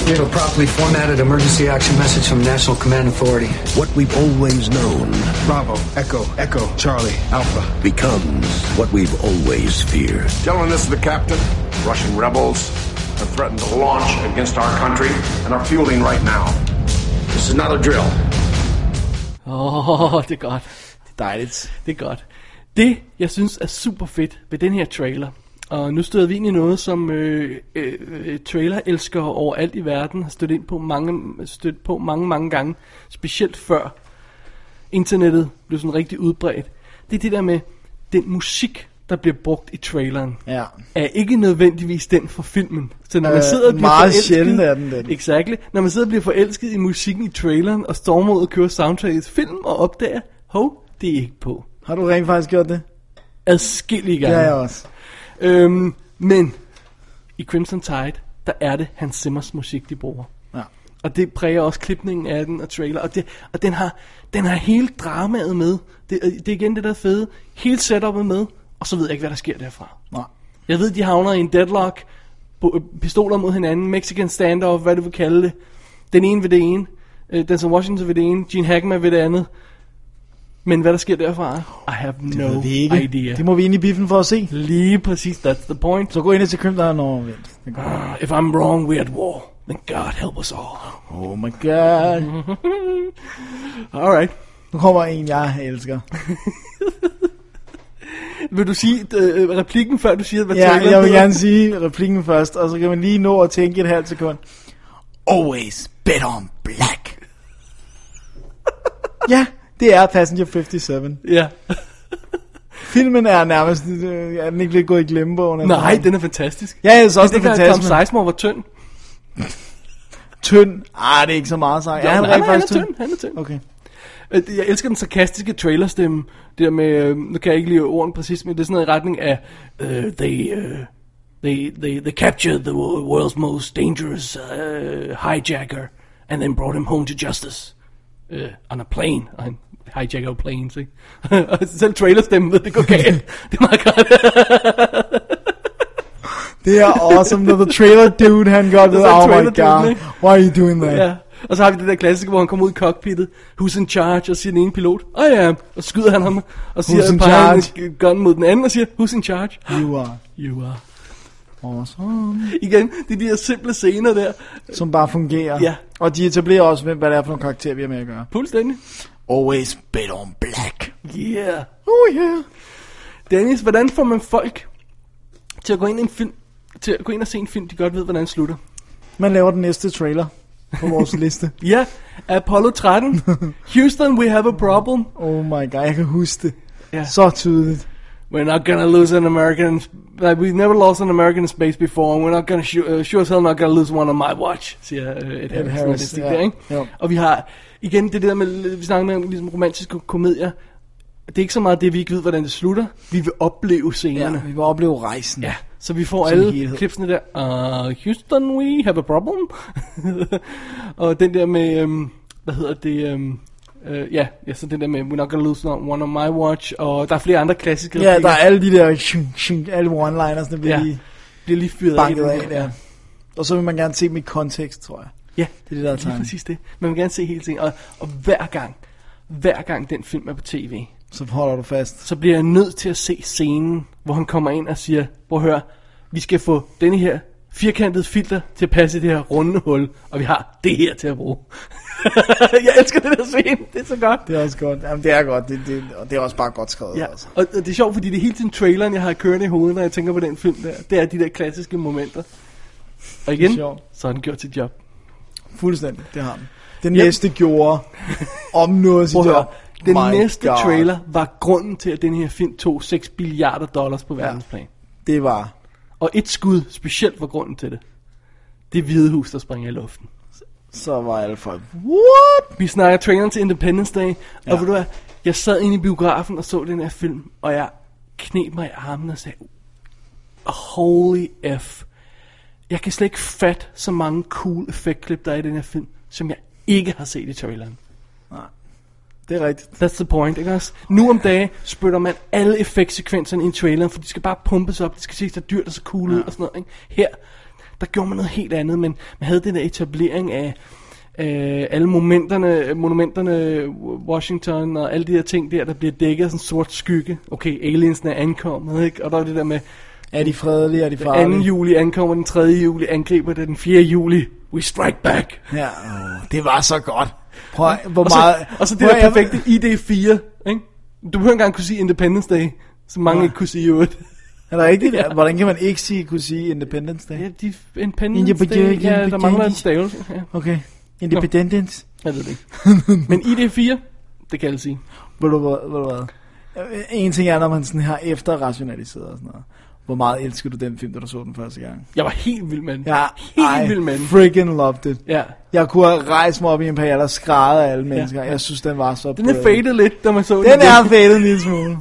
Speaker 14: We have a properly formatted emergency action message from National Command Authority. What we've always known. Bravo, Echo, Echo, Charlie, Alpha.
Speaker 11: Becomes what we've always feared.
Speaker 12: Gentlemen, this is the captain. Russian rebels have threatened to launch against our country and are fueling right now. This is not a drill.
Speaker 3: Åh, oh, det er godt. Det
Speaker 2: er dejligt.
Speaker 3: Det er godt. Det, jeg synes er super fedt ved den her trailer, og nu støder vi ind i noget, som øh, øh, øh, trailer-elskere overalt i verden har stødt ind på mange, stødt på mange, mange gange, specielt før internettet blev sådan rigtig udbredt. Det er det der med den musik, der bliver brugt i traileren.
Speaker 2: Ja.
Speaker 3: Er ikke nødvendigvis den fra filmen. Så når man
Speaker 2: Øh,
Speaker 3: sidder og bliver
Speaker 2: meget
Speaker 3: forelsket-
Speaker 2: sjældent er den den.
Speaker 3: Exactly. Når man sidder og bliver forelsket i musikken i traileren, og stormer ud og kører soundtracket til film, og opdager, hov, det er ikke på.
Speaker 2: Har du rent faktisk gjort det?
Speaker 3: Adskillige gange.
Speaker 2: Det har jeg også.
Speaker 3: Øhm, men i Crimson Tide, der er det Hans Simmers musik, de bruger.
Speaker 2: Ja.
Speaker 3: Og det præger også klipningen af den og trailer. Og, det, og den, har, den har hele dramaet med. Det, og det er igen det der er fede. Hele setupet med. Og så ved jeg ikke, hvad der sker derfra.
Speaker 2: Nej.
Speaker 3: Jeg ved, de havner i en deadlock. bo- øh, Pistoler mod hinanden. Mexican standoff, hvad du vil kalde det. Den ene ved det ene. øh, Denzel Washington ved det ene. Gene Hackman ved det andet. Men hvad der sker derfra? I have no
Speaker 2: ved vi ikke.
Speaker 3: idea.
Speaker 2: Det må vi ind i biffen for at se.
Speaker 3: Lige præcis, that's the point.
Speaker 2: Så gå ind til Krim, der er en overvendt.
Speaker 3: Ah, if I'm wrong, we're at war. Then God help us all.
Speaker 2: Oh my god.
Speaker 3: Alright.
Speaker 2: Nu kommer en, jeg elsker.
Speaker 3: Vil du sige øh, replikken, før du siger, hvad
Speaker 2: Ja,
Speaker 3: traileren
Speaker 2: jeg vil
Speaker 3: hedder?
Speaker 2: gerne sige replikken først, og så kan man lige nå at tænke et halvt sekund. Always bet on black. ja, det er Passenger 57.
Speaker 3: Ja.
Speaker 2: Filmen er nærmest, øh, er den ikke lidt gået i glemmebogen? eller
Speaker 3: Nej,
Speaker 2: hvad?
Speaker 3: den er fantastisk.
Speaker 2: Ja, jeg synes også,
Speaker 3: det
Speaker 2: den er
Speaker 3: dengang,
Speaker 2: fantastisk,
Speaker 3: Tom
Speaker 2: men-
Speaker 3: Sizemore var tynd.
Speaker 2: Tynd. Ah, det er ikke så meget sagt.
Speaker 3: Jo,
Speaker 2: Er han
Speaker 3: nej,
Speaker 2: rent
Speaker 3: nej, han
Speaker 2: faktisk
Speaker 3: er
Speaker 2: tynd?
Speaker 3: tynd, han er tynd.
Speaker 2: Okay.
Speaker 3: Øh, Jeg elsker den sarkastiske trailerstemme. Det der med, øh, nu kan jeg ikke lige ordene præcis, men det er sådan noget i retning af, øh, they, øh, they, they, they captured the wo- world's most dangerous øh, hijacker, and then brought him home to justice. Øh, on a plane. Og han hijacker jo planes, ikke? Og Selv trailerstemmen ved, det går galt. det er meget godt.
Speaker 2: Det er awesome, når the trailer dude, han godt ved,
Speaker 3: Det er så
Speaker 2: oh my
Speaker 3: trailer dude,
Speaker 2: god,
Speaker 3: ikke?
Speaker 2: why are you doing that?
Speaker 3: Ja. Og så har vi det der klassiske, hvor han kommer ud i cockpittet, who's in charge, og siger den ene pilot, I am, og så skyder han ham, og
Speaker 2: Who's
Speaker 3: siger,
Speaker 2: in
Speaker 3: peger
Speaker 2: charge?
Speaker 3: en gun mod den anden, og siger, who's in charge?
Speaker 2: You are.
Speaker 3: You are.
Speaker 2: Awesome.
Speaker 3: Igen, det er de her simple scener der.
Speaker 2: Som bare fungerer.
Speaker 3: Ja.
Speaker 2: Og de etablerer også, hvem- hvad det er for nogle karakterer, vi har med at gøre.
Speaker 3: Fuldstændig.
Speaker 2: Always bet on black.
Speaker 3: Yeah.
Speaker 2: Oh yeah.
Speaker 3: Dennis, hvordan får man folk til at gå ind, i en film, til at gå ind og se en film, de godt ved, hvordan den slutter?
Speaker 2: Man laver den næste trailer på vores liste.
Speaker 3: Ja, Apollo 13. Houston, we have a problem.
Speaker 2: Oh my god, jeg kan huske det.
Speaker 3: Ja.
Speaker 2: Så tydeligt.
Speaker 3: We're not gonna lose an American. Like, we've never lost an American in space before, and we're not gonna shoot, uh, sure as hell not gonna lose one on my watch, siger uh, Ed Harris.
Speaker 2: Harris,
Speaker 3: Harris
Speaker 2: ja.
Speaker 3: ja. der, ikke?
Speaker 2: Jo.
Speaker 3: Og vi har, igen, det der med, vi snakker med om ligesom romantiske komedier. Det er ikke så meget det, vi ikke ved, hvordan det slutter. Vi vil opleve scenerne.
Speaker 2: Ja, vi vil opleve rejsen.
Speaker 3: Ja, så vi får
Speaker 2: Som
Speaker 3: alle
Speaker 2: helhed.
Speaker 3: klipsene der. Uh, Houston, we have a problem. og den der med, um, hvad hedder det, um, øh, ja, ja, så den der med, we're not gonna lose one on my watch, og der er flere andre klassiske.
Speaker 2: Ja, der
Speaker 3: replikker.
Speaker 2: er alle de der, shing, shing, alle one-liners, der bliver
Speaker 3: Ja.
Speaker 2: lige,
Speaker 3: bliver lige fyret
Speaker 2: banket
Speaker 3: af i
Speaker 2: af.
Speaker 3: den her,
Speaker 2: Ja.
Speaker 3: ja.
Speaker 2: Og så vil man gerne se dem i kontekst, tror jeg.
Speaker 3: Ja,
Speaker 2: det er det, der er
Speaker 3: lige
Speaker 2: tanken.
Speaker 3: præcis det. Man vil gerne se hele tiden, og, og hver gang, hver gang den film er på tv,
Speaker 2: så holder du fast.
Speaker 3: Så bliver jeg nødt til at se scenen, hvor han kommer ind og siger, prøv at høre, vi skal få denne her firkantede filter til at passe i det her runde hul, og vi har det her til at bruge. jeg elsker det der scene, det er så godt.
Speaker 2: Det er også godt. Jamen, det er godt, det, det, og det er også bare godt skrevet.
Speaker 3: Ja,
Speaker 2: Altså.
Speaker 3: og, og det er sjovt, fordi det er hele tiden traileren, jeg har kørende i hovedet, når jeg tænker på den film der. Det er de der klassiske momenter. Og
Speaker 2: Det er
Speaker 3: igen,
Speaker 2: sjovt.
Speaker 3: så har den gjort sit job.
Speaker 2: Fuldstændig, det har den. Den
Speaker 3: Yep.
Speaker 2: næste gjorde om noget
Speaker 3: Prøv
Speaker 2: sit
Speaker 3: at høre,
Speaker 2: job.
Speaker 3: den
Speaker 2: My
Speaker 3: næste
Speaker 2: God.
Speaker 3: trailer var grunden til, at den her film tog 6 billiarder dollars på verdensplan.
Speaker 2: Det var...
Speaker 3: Og et skud specielt var grunden til det. Det hvide hus, der springer i luften.
Speaker 2: Så var alle folk...
Speaker 3: What? Vi snakker traileren til Independence Day. Ja. Og ved du hvad, jeg sad inde i biografen og så den her film, og jeg knep mig i armen og sagde, holy F. Jeg kan slet ikke fatte så mange cool effektklip, der er i den her film, som jeg ikke har set i traileren.
Speaker 2: Nej. Det er rigtigt.
Speaker 3: That's the point, ikke også? Nu om dagen spytter man alle effektsekvenserne i en trailer, for de skal bare pumpes op, de skal se så dyrt og så cool ud og sådan noget, ikke? Her, der gjorde man noget helt andet, men man havde den der etablering af øh, alle momenterne, monumenterne, Washington og alle de der ting der, der bliver dækket af sådan en sort skygge. Okay, aliensene er ankommet, ikke? Og der var det der med...
Speaker 2: Er de fredelige, er de
Speaker 3: Den 2.
Speaker 2: farlige?
Speaker 3: juli ankommer, den 3. juli angriber, det, den 4. juli, we strike back.
Speaker 2: Ja, åh, det var så godt. Prøv, at- hvor
Speaker 3: og så,
Speaker 2: meget...
Speaker 3: Og så det
Speaker 2: prøv at-
Speaker 3: der perfekte ID4, ikke? Du behøver ikke engang kunne sige Independence Day, som mange ikke kunne sige i øvrigt.
Speaker 2: Er der ikke det der? Hvordan kan man ikke sige, kunne sige Independence Day? Ja,
Speaker 3: de Independence Day, ja, der mangler en stavelse. Ja.
Speaker 2: Okay. Independence.
Speaker 3: Jeg ved det ikke. Men ID4, det kan alle sige.
Speaker 2: Ved du hvad? Ved du hvad? Øh, En ting er, når man sådan har efterrationaliseret og sådan noget. Hvor meget elsker du den film, da du så den første gang?
Speaker 3: Jeg var helt vild med den.
Speaker 2: Ja,
Speaker 3: helt vild med den.
Speaker 2: freaking loved it.
Speaker 3: Ja.
Speaker 2: Jeg kunne have rejst mig op i en par og skrædder af alle mennesker.
Speaker 3: ja.
Speaker 2: Jeg synes, den var så
Speaker 3: Den er
Speaker 2: brilliant.
Speaker 3: faded lidt, da man så den.
Speaker 2: Øh. Den er fadet en lille smule.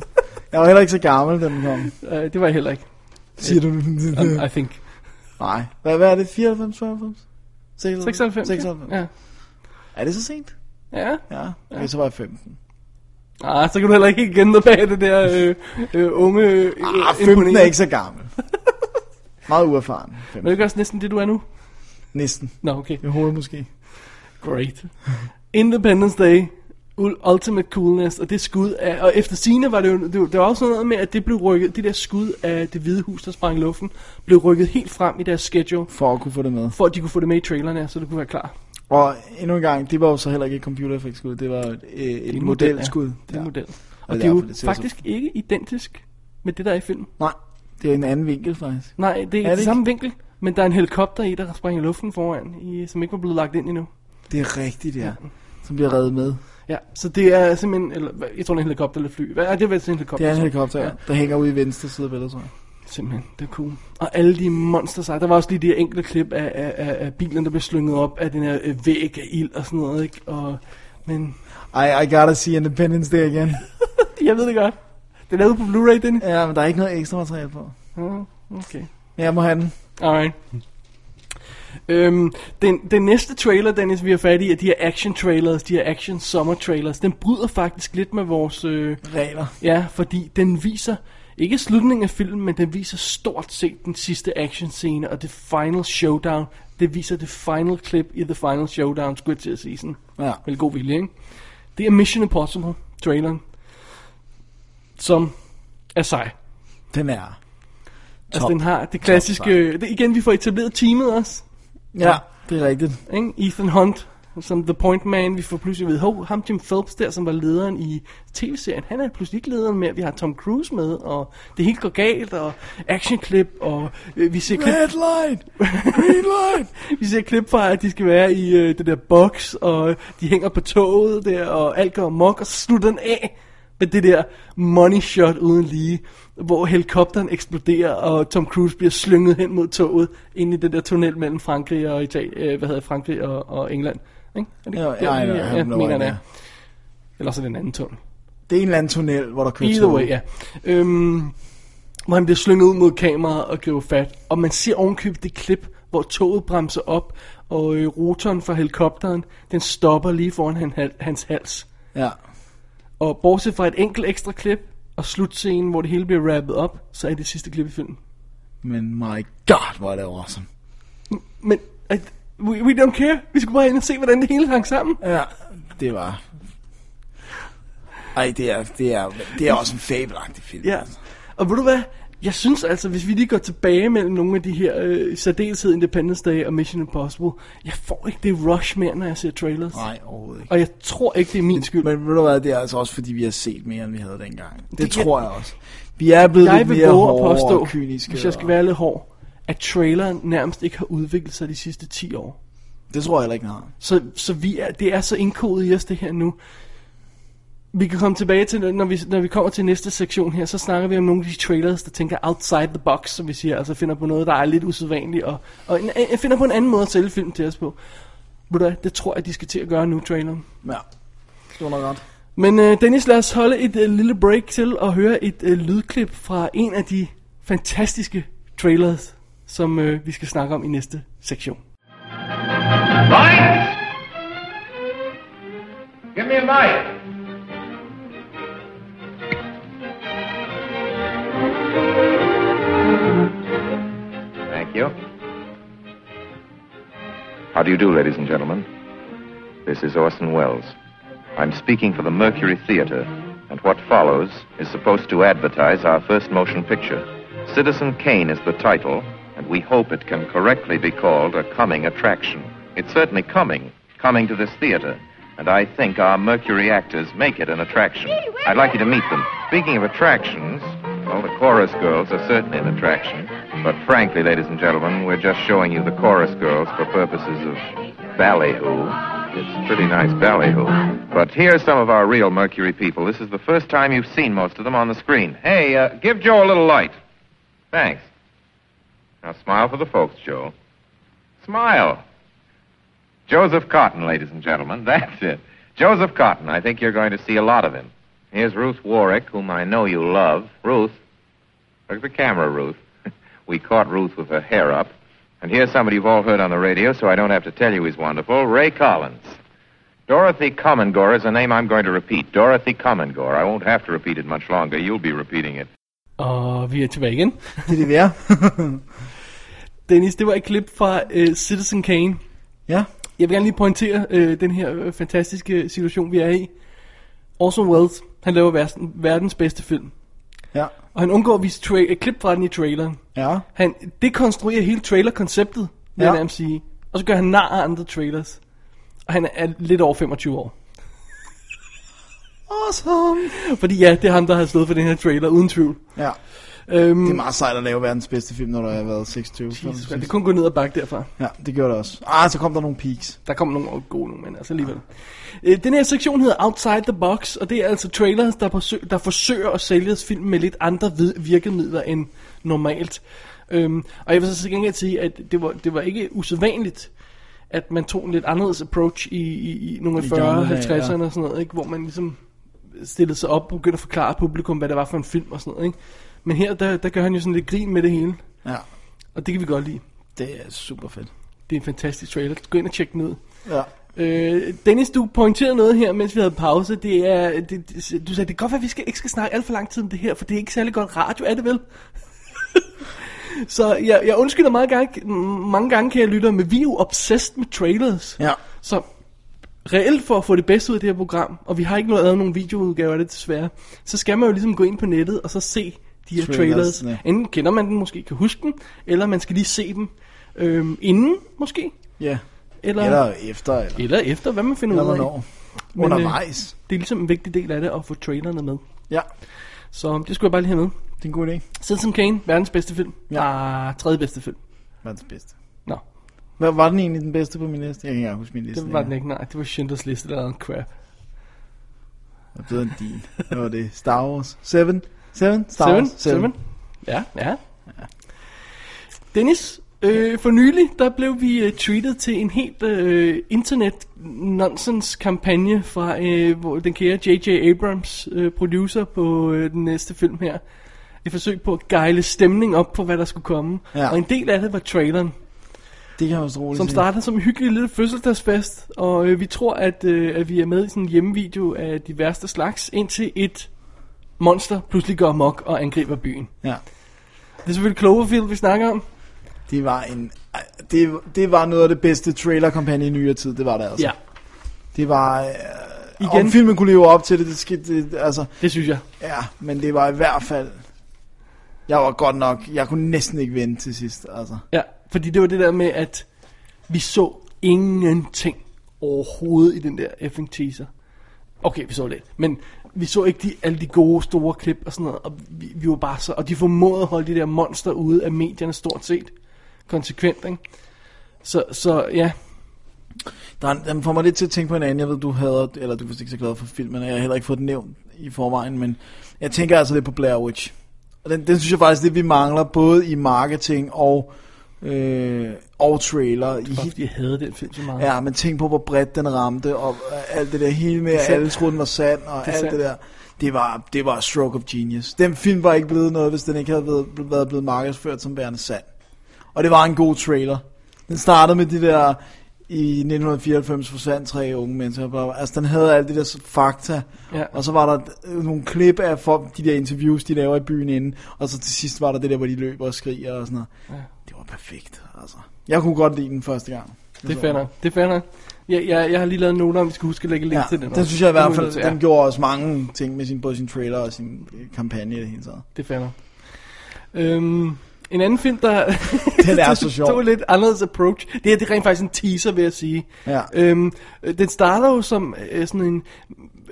Speaker 2: Jeg var heller ikke så gammel, da den kom.
Speaker 3: Øh, det var jeg heller ikke.
Speaker 2: Siger du? Øh.
Speaker 3: Um, I think.
Speaker 2: Nej. Hvad, hvad er det? 94, 95?
Speaker 3: 96,
Speaker 2: 96.
Speaker 3: ja.
Speaker 2: Er det så sent?
Speaker 3: Ja.
Speaker 2: Ja, okay, så var jeg 15.
Speaker 3: Ah, så kan du heller ikke igen dig bag det der øh, øh, unge... Øh,
Speaker 2: Ah, 15 er ikke så gammel. Meget uerfaren.
Speaker 3: Men det er ikke også næsten det, du er nu?
Speaker 2: Næsten.
Speaker 3: Nå, okay.
Speaker 2: I hovedet måske.
Speaker 3: Great. Independence Day, ul- Ultimate Coolness, og det skud af, og efter sine var det jo, det, var- der var også noget med, at det blev rykket, det der skud af det hvide hus, der sprang i luften, blev rykket helt frem i deres schedule,
Speaker 2: For at kunne få det med.
Speaker 3: for at de kunne få det med i trailerne, så det kunne være klar.
Speaker 2: Og endnu en gang, det var jo så heller ikke et computereffektskud, det var et, øh, et,
Speaker 3: en
Speaker 2: et
Speaker 3: model, ja.
Speaker 2: modelskud. Ja.
Speaker 3: Det er en model. Og,
Speaker 2: Og
Speaker 3: det er jo
Speaker 2: derfor, det ser så-
Speaker 3: faktisk ikke identisk med det, der er i filmen.
Speaker 2: Nej, det er en anden vinkel faktisk.
Speaker 3: Nej, det er, ikke
Speaker 2: det
Speaker 3: den
Speaker 2: ikke?
Speaker 3: samme vinkel, men der er en helikopter i, der springer i luften foran, i, som ikke var blevet lagt ind endnu.
Speaker 2: Det er rigtigt, ja. Som bliver reddet med.
Speaker 3: Ja, så det er simpelthen, eller, hvad- jeg tror, det er en helikopter eller fly. Hvad er det, vel sådan en helikopter?
Speaker 2: Det er en
Speaker 3: så?
Speaker 2: helikopter, ja. der hænger ude i venstre side af billedet, tror jeg.
Speaker 3: Simpelthen, det er cool. Og alle de monster sig. Der var også lige det her enkelte klip af, af, af, af bilen, der blev slynget op af den her øh, væg af ild og sådan noget, ikke? Og, men
Speaker 2: I, I gotta see Independence Day igen.
Speaker 3: jeg ved det godt. Det er lavet på Blu-ray, den.
Speaker 2: Ja, men der er ikke noget ekstra materiale på.
Speaker 3: Uh, okay.
Speaker 2: Men jeg må have den.
Speaker 3: Alright. Øhm, den, den næste trailer, Dennis, vi har fat i, er de her action trailers, de her action summer trailers. Den bryder faktisk lidt med vores... Øh,
Speaker 2: Regler.
Speaker 3: Ja, fordi den viser, ikke slutningen af filmen, men den viser stort set den sidste action scene og det final showdown. Det viser det final clip i The Final Showdown, skulle jeg til at sige sådan.
Speaker 2: Ja.
Speaker 3: Vel god vilje, ikke? Det er Mission Impossible, traileren, som er sej.
Speaker 2: Den er.
Speaker 3: Altså,
Speaker 2: Top.
Speaker 3: den har det klassiske... Det, igen, vi får etableret teamet også.
Speaker 2: Ja, det er rigtigt.
Speaker 3: Ikke? Ethan Hunt, som The Point Man, vi får pludselig ved, hov, ham Jim Phelps der, som var lederen i tv-serien, han er pludselig ikke lederen mere, vi har Tom Cruise med, og det hele går galt, og actionklip, og øh, vi ser klip,
Speaker 2: Red light! Green light!
Speaker 3: vi ser klip fra, at de skal være i øh, det der boks, og de hænger på toget der, og alt går mok, og så slutter den af Men det der money shot uden lige, hvor helikopteren eksploderer, og Tom Cruise bliver slynget hen mod toget, ind i den der tunnel mellem Frankrig og, Italien, øh, hvad hedder, Frankrig og, og England. Ikke? Er det,
Speaker 2: Ja,
Speaker 3: det-
Speaker 2: ja, ja,
Speaker 3: ja,
Speaker 2: jeg har
Speaker 3: ja,
Speaker 2: no
Speaker 3: mener jeg, det
Speaker 2: idea.
Speaker 3: er. Eller så er det en anden tunnel.
Speaker 2: Det er en eller anden tunnel, hvor der kører
Speaker 3: Either
Speaker 2: tog.
Speaker 3: way, ja. Øhm, hvor han bliver slynget ud mod kameraet og griber fat. Og man ser ovenkøbet det klip, hvor toget bremser op, og øh, rotoren fra helikopteren, den stopper lige foran han, hal- hans hals.
Speaker 2: Ja.
Speaker 3: Og bortset fra et enkelt ekstra klip, og slutscenen, hvor det hele bliver rappet op, så er det sidste klip i filmen.
Speaker 2: Men my god, hvor er det awesome.
Speaker 3: Men at, we, we don't care. Vi skulle bare ind og se, hvordan det hele hang sammen.
Speaker 2: Ja, det var... Ej, det er, det er, det er også en fabelagtig film. altså.
Speaker 3: Ja. Og ved du hvad? Jeg synes altså, hvis vi lige går tilbage mellem nogle af de her, øh, i særdeleshed Independence Day og Mission Impossible, jeg får ikke det rush mere, når jeg ser trailers.
Speaker 2: Nej, overhovedet ikke.
Speaker 3: Og jeg tror ikke, det er min skyld.
Speaker 2: Men ved du hvad, det er altså også, fordi vi har set mere, end vi havde dengang. Det,
Speaker 3: Det
Speaker 2: det
Speaker 3: kan-
Speaker 2: tror jeg også. Vi er blevet
Speaker 3: jeg
Speaker 2: lidt
Speaker 3: vil
Speaker 2: mere
Speaker 3: våge
Speaker 2: hårde
Speaker 3: at påstå,
Speaker 2: og kyniske.
Speaker 3: hvis jeg skal
Speaker 2: og-
Speaker 3: være lidt hård, at traileren nærmest ikke har udviklet sig de sidste 10 år.
Speaker 2: Det tror jeg heller ikke, den har.
Speaker 3: Så, så vi er, det er så indkodet i os, det her nu. Vi kan komme tilbage til, når vi, når vi kommer til næste sektion her, så snakker vi om nogle af de trailers, der tænker outside the box, som vi siger, altså finder på noget, der er lidt usædvanligt, og, og en, en, finder på en anden måde at sælge film til os på. Ved du hvad, det tror jeg, de skal til at gøre nu, traileren.
Speaker 2: Ja, det var nok godt.
Speaker 3: Men øh, Dennis, lad os holde et øh, lille break til at høre et øh, lydklip fra en af de fantastiske trailers, som øh, vi skal snakke om i næste sektion.
Speaker 15: Lights! Give me a light.
Speaker 16: Thank you. How do you do, ladies and gentlemen? This is Orson Welles. I'm speaking for the Mercury Theater, and what follows is supposed to advertise our first motion picture. Citizen Kane is the title, and we hope it can correctly be called a coming attraction. It's certainly coming, coming to this theater, and I think our Mercury actors make it an attraction. I'd like you to meet them. Speaking of attractions, well, the chorus girls are certainly an attraction. But frankly, ladies and gentlemen, we're just showing you the chorus girls for purposes of ballyhoo. It's pretty nice ballyhoo. But here are some of our real Mercury people. This is the first time you've seen most of them on the screen. Hey, uh, give Joe a little light. Thanks. Now smile for the folks, Joe. Smile. Joseph Cotton, ladies and gentlemen. That's it. Joseph Cotton. I think you're going to see a lot of him. Here's Ruth Warwick, whom I know you love. Ruth. Look at the camera, Ruth. we caught Ruth with her hair up. And here's somebody you've all heard on the radio, so I don't have to tell you he's wonderful Ray Collins. Dorothy Commongore is a name I'm going to repeat. Dorothy Commongore. I won't have to repeat it much longer. You'll be repeating it.
Speaker 3: Og vi er tilbage igen.
Speaker 2: Det er det, vi er.
Speaker 3: Dennis, det var et klip fra uh, Citizen Kane.
Speaker 2: Ja.
Speaker 3: Jeg vil gerne lige pointere uh, den her øh, fantastiske situation, vi er i. Orson Welles, han laver verdens, verdens bedste film.
Speaker 2: Ja.
Speaker 3: Og han undgår at vise tra- et klip fra den i traileren.
Speaker 2: Ja.
Speaker 3: Han dekonstruerer hele trailer-konceptet, vil ja.
Speaker 2: Ja.
Speaker 3: jeg nærmest sige. Og så gør han nar af andre trailers. Og han er lidt over 25 år.
Speaker 2: Awesome.
Speaker 3: Fordi ja, det er ham, der har stået for den her trailer, uden tvivl.
Speaker 2: Ja.
Speaker 3: Øhm,
Speaker 2: det er meget sejt at lave verdens bedste film, når du har været 26.
Speaker 3: Jesus, Christ, det kunne gå ned og bakke derfra.
Speaker 2: Ja, det gjorde det også. Ah, så kom der nogle peaks.
Speaker 3: Der kom nogle gode nogle, men altså alligevel. Øh, Den her sektion hedder Outside the Box, og det er altså trailers, der, forsøg, der forsøger at sælge os film med lidt andre vid- virkemidler end normalt. Øhm, og jeg vil så til gengæld sige, at det var, det var ikke usædvanligt, at man tog en lidt anderledes approach i, i, i nogle af
Speaker 2: I gamle
Speaker 3: 40'erne,
Speaker 2: dage,
Speaker 3: 50'erne og
Speaker 2: ja.
Speaker 3: sådan noget, ikke? hvor man ligesom stillede sig op og begyndte at forklare publikum, hvad det var for en film og sådan noget. Ikke? Men her, der, der gør han jo sådan lidt grin med det hele.
Speaker 2: Ja.
Speaker 3: Og det kan vi godt lide.
Speaker 2: Det er super fedt.
Speaker 3: Det er en fantastisk trailer. Gå ind og tjek den ud.
Speaker 2: Ja.
Speaker 3: Øh, Dennis, du pointerede noget her, mens vi havde pause. Det er, det, det, du sagde, det er godt, at vi skal, ikke skal snakke alt for lang tid om det her, for det er ikke særlig godt radio, er det vel? Så jeg, jeg undskylder meget gang, m- mange gange, kan jeg lytte, men vi er jo obsessed med trailers.
Speaker 2: Ja.
Speaker 3: Så reelt for at få det bedste ud af det her program, og vi har ikke noget lavet nogen videoudgaver af det desværre, så skal man jo ligesom gå ind på nettet og så se de her trailers.
Speaker 2: Trailers, ja.
Speaker 3: trailers. Enten kender man den måske, kan huske den, eller man skal lige se dem øhm, inden måske.
Speaker 2: Ja.
Speaker 3: Eller-
Speaker 2: eller efter. Eller,
Speaker 3: Eller efter, hvad man finder
Speaker 2: eller
Speaker 3: ud af.
Speaker 2: hvornår.
Speaker 3: Men, øh,
Speaker 2: Undervejs.
Speaker 3: det er ligesom en vigtig del af det at få trailerne med.
Speaker 2: Ja.
Speaker 3: Så det skulle jeg bare lige have med.
Speaker 2: Det er en god idé.
Speaker 3: Citizen Kane, verdens bedste film. Ja. Ah, tredje bedste film.
Speaker 2: Verdens bedste.
Speaker 3: Nå.
Speaker 2: Hvad var den egentlig den bedste på min liste? Jeg kan ikke engang huske min liste.
Speaker 3: Det var den ikke, nej. Det var Schindlers Liste, der lavede en crap.
Speaker 2: er bedre end din. Hvad var det? Star Wars? Seven? Seven? Star
Speaker 3: Seven?
Speaker 2: Wars?
Speaker 3: Seven. Ja, ja. Dennis, øh, for nylig, der blev vi øh, treated til en helt øh, internet-nonsense-kampagne fra øh, hvor den kære J.J. Abrams, øh, producer på øh, den næste film her. Et forsøg på at gejle stemning op på, hvad der skulle komme.
Speaker 2: Ja.
Speaker 3: Ja. Og en del af det var traileren.
Speaker 2: Det kan man også roligt
Speaker 3: Som
Speaker 2: sige.
Speaker 3: starter som en hyggelig lille fødselsdagsfest, og øh, vi tror, at, øh, at vi er med i sådan en hjemmevideo af de værste slags, indtil et monster pludselig går amok og angriber byen.
Speaker 2: Ja.
Speaker 3: Det er selvfølgelig Cloverfield, vi snakker om.
Speaker 2: Det var en... ej, Det, det var noget af det bedste trailer-kampagne i nyere tid, det var det altså.
Speaker 3: Ja.
Speaker 2: Det var... Øh, Igen.
Speaker 3: Igen.
Speaker 2: Om filmen kunne leve op til det, det, skete, det, altså,
Speaker 3: det synes jeg.
Speaker 2: Ja, men det var i hvert fald... Jeg var godt nok... Jeg kunne næsten ikke vente til sidst, altså.
Speaker 3: Ja, fordi det var det der med, at vi så ingenting overhovedet i den der effing teaser. Okay, vi så lidt, men vi så ikke de, alle de gode, store klip og sådan noget, og vi, vi var bare så... Og de formåede at holde de der monster ude af medierne stort set konsekvent, ikke? Så, så ja,
Speaker 2: Der, er- den får mig lidt til at tænke på en anden. Jeg ved, du hader, eller du er vist ikke så glad for filmen, og jeg har heller ikke fået den nævnt i forvejen, men jeg tænker altså lidt på Blair Witch. Og den, den synes jeg faktisk, det vi mangler, både i marketing og, øh, og trailer. I,
Speaker 3: bare fordi jeg havde den film så meget.
Speaker 2: Ja, men tænk på, hvor bredt den ramte, og øh, alt det der hele med,
Speaker 3: Det er
Speaker 2: at
Speaker 3: sandt.
Speaker 2: alle troede, den var sand, og
Speaker 3: Det er
Speaker 2: alt
Speaker 3: sandt.
Speaker 2: det der. Det var, det var stroke of genius. Den film var ikke blevet noget, hvis den ikke havde været, været blevet markedsført som værende sand. Og det var en god trailer. Den startede med de der i 1994 forsvandt tre unge mennesker. bla, bla. Altså, den havde alle de der s- fakta.
Speaker 3: Ja.
Speaker 2: Og så var der øh, nogle klip af folk, de der interviews, de laver i byen inden. Og så til sidst var der det der, hvor de løber og skriger og sådan noget.
Speaker 3: Ja.
Speaker 2: Det var perfekt, altså. Jeg kunne godt lide den første gang.
Speaker 3: Det er fair nok. Det er fair nok. Jeg, jeg, jeg har lige lavet noter, om vi skal huske at lægge link
Speaker 2: Ja,
Speaker 3: til den.
Speaker 2: den
Speaker 3: også.
Speaker 2: synes jeg i
Speaker 3: Det er
Speaker 2: hvert
Speaker 3: vi
Speaker 2: fald,
Speaker 3: nødt til,
Speaker 2: den gjorde også mange ting med sin, både sin trailer og sin øh, kampagne i det hele taget.
Speaker 3: Det falder. Øhm, en anden film, der...
Speaker 2: Den er så sjov.
Speaker 3: Det var lidt anderledes approach. Det her det er rent faktisk en teaser, vil jeg sige.
Speaker 2: Ja.
Speaker 3: Øhm, øh, den starter jo som øh, sådan en...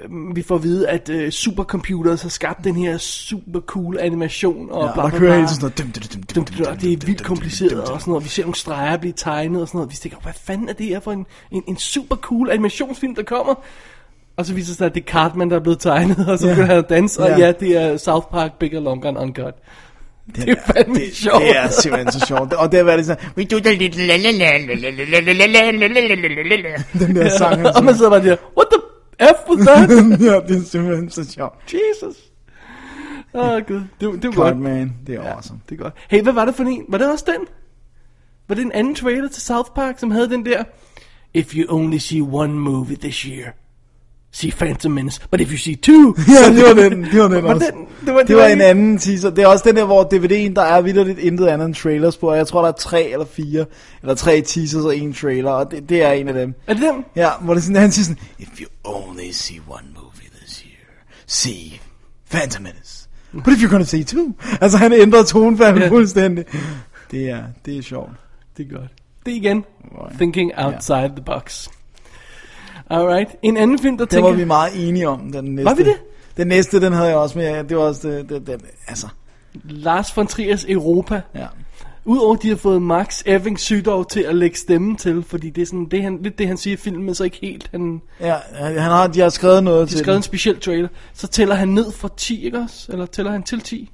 Speaker 3: øh, Vi får at vide, at øh, supercomputers har skabt den her super cool animation. Og
Speaker 2: Ja,
Speaker 3: bla,
Speaker 2: og der
Speaker 3: bla,
Speaker 2: kører
Speaker 3: bla.
Speaker 2: hele tiden sådan noget, dum, dum, dum, dum,
Speaker 3: Dum, dum, og Det er vildt kompliceret og sådan noget. Vi ser nogle streger blive tegnet og sådan noget. Vi tænker, hvad fanden er det her for en, en, en super cool animationsfilm, der kommer? Og så viser det sig, at det er Cartman, der er blevet tegnet, og så
Speaker 2: Ja.
Speaker 3: begynder han at danse, og
Speaker 2: Ja.
Speaker 3: ja, det er South Park, Bigger, Longer and Uncut. Det er fandme
Speaker 2: det,
Speaker 3: sjovt.
Speaker 2: Det er simpelthen så sjovt. Og det har været sådan, we do the little la la la la la la la la la la la la la la la. den der sang.
Speaker 3: og man sidder bare der, what the F was that?
Speaker 2: ja, det er simpelthen så sjovt.
Speaker 3: Jesus. Åh, oh, gud. Det, det var godt.
Speaker 2: Cartman, det er awesome.
Speaker 3: Det er godt. Hey, hvad var det for en? Var det også den? Var det en anden trailer til South Park, som havde den der... If you only see one movie this year, see Phantom Menace. But if you see two...
Speaker 2: Ja, det var den, det var den
Speaker 3: Var
Speaker 2: også.
Speaker 3: den- det var- det
Speaker 2: det var
Speaker 3: var
Speaker 2: en
Speaker 3: lige-
Speaker 2: anden teaser. Det er også den der, hvor DVD'en, der er vildt lidt intet andet end trailers på. Og jeg tror, der er tre eller fire, eller tre teasers og en trailer, og det, det er en af dem.
Speaker 3: Er det dem?
Speaker 2: Ja, hvor det er sådan, han siger sådan, If you only see one movie this year, see Phantom Menace. But if you're gonna see two. Altså, han ændrer tonefaldet
Speaker 3: Ja.
Speaker 2: fuldstændig. Det er, det er sjovt.
Speaker 3: Det er godt. Det er igen, thinking outside the box. Alright, en anden film, der
Speaker 2: Den
Speaker 3: tænker...
Speaker 2: var vi meget enige om, den næste.
Speaker 3: Var vi det?
Speaker 2: Den næste, den havde jeg også med. Det var også, det, det, det, altså,
Speaker 3: Lars von Triers Europa.
Speaker 2: Ja.
Speaker 3: Udover de har fået Max Eving Sydow til at lægge stemmen til, fordi det er sådan, det er han, lidt det, han siger i filmen, men så ikke helt. Han,
Speaker 2: ja, han har, de har skrevet noget
Speaker 3: de
Speaker 2: til
Speaker 3: har skrevet en
Speaker 2: den.
Speaker 3: speciel trailer. Så tæller han ned fra 10, ikke også? Eller tæller han til 10?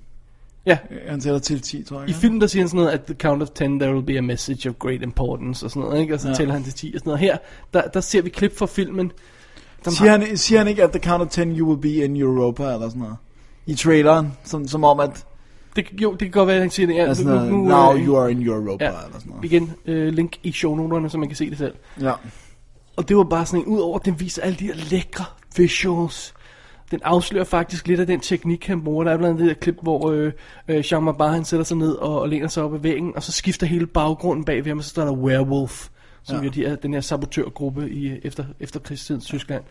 Speaker 3: Ja.
Speaker 2: Han tæller til 10, tror jeg.
Speaker 3: I filmen der siger han sådan noget, at the count of 10, there will be a message of great importance, og sådan noget, ikke? Og så
Speaker 2: Ja.
Speaker 3: ja. tæller han til 10 og sådan noget. Her, der, der ser vi klip fra filmen. Dem
Speaker 2: Siger
Speaker 3: har-
Speaker 2: han, siger han ikke, at the count of 10 you will be in Europa, eller sådan noget? I traileren, som, som om at...
Speaker 3: Det, jo, det kan godt være, at han siger det. Ja,
Speaker 2: Altså, now you are in Europa,
Speaker 3: ja,
Speaker 2: eller sådan noget.
Speaker 3: øh, Igen, øh, link i shownoterne, så man kan se det selv.
Speaker 2: Ja.
Speaker 3: Og det var bare sådan en, udover at den viser alle de her lækre visuals, den afslører faktisk lidt af den teknik, han bruger. Der er blandt andet det der klip, hvor øh, øh, Jean Mabar, han sætter sig ned og, og læner sig op ad væggen, og så skifter hele baggrunden bag ved ham, og så står der Werewolf, som
Speaker 2: Ja.
Speaker 3: ja. jo er de her, den her sabotørgruppe i øh, efter, efter krigstidens Tyskland.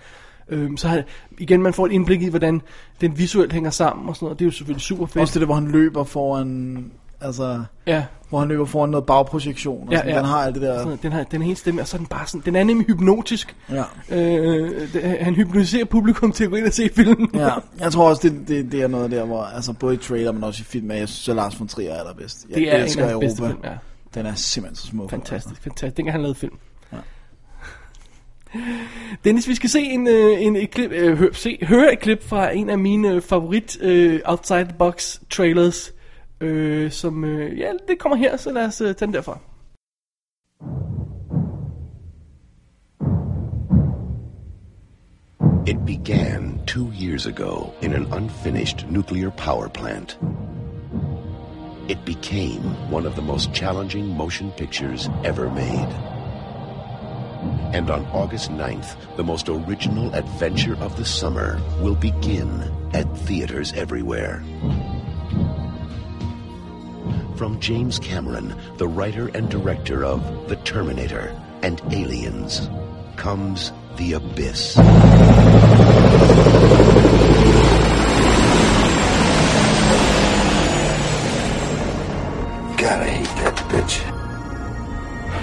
Speaker 3: Øhm, så har, igen, man får et indblik i, hvordan den visuelt hænger sammen og sådan noget. Det er jo selvfølgelig super fedt.
Speaker 2: Også det der, hvor han løber foran... Altså...
Speaker 3: Ja.
Speaker 2: Hvor han løber foran noget bagprojektion, og ja, sådan, ja. den har alt det der...
Speaker 3: Sådan noget. den, har, den har en stemme, og så er den bare sådan, den er nemlig hypnotisk.
Speaker 2: Ja.
Speaker 3: Øh, det, han hypnotiserer publikum til at gå ind og se filmen.
Speaker 2: Ja, jeg tror også, det, det, det er noget der, hvor altså, både i trailer, men også i film, at jeg synes, at Lars von Trier er allerbedst. Jeg
Speaker 3: Det er en af
Speaker 2: elsker
Speaker 3: hans bedste
Speaker 2: Europa.
Speaker 3: film, ja.
Speaker 2: Den er simpelthen så smuk.
Speaker 3: Fantastisk, fantastisk. Dengang han lavede film.
Speaker 2: Ja.
Speaker 3: Dennis, vi skal se en, øh, en et klip, øh, hør, se, høre et klip fra en af mine øh, favorit øh, outside the box trailers, øh, som øh, ja, det kommer her, så lad os øh, tage den derfra.
Speaker 15: It began two years ago in an unfinished nuclear power plant. It became one of the most challenging motion pictures ever made. And on August 9th, the most original adventure of the summer will begin at theaters everywhere. From James Cameron, the writer and director of The Terminator and Aliens, comes The Abyss.
Speaker 17: God, I hate that bitch.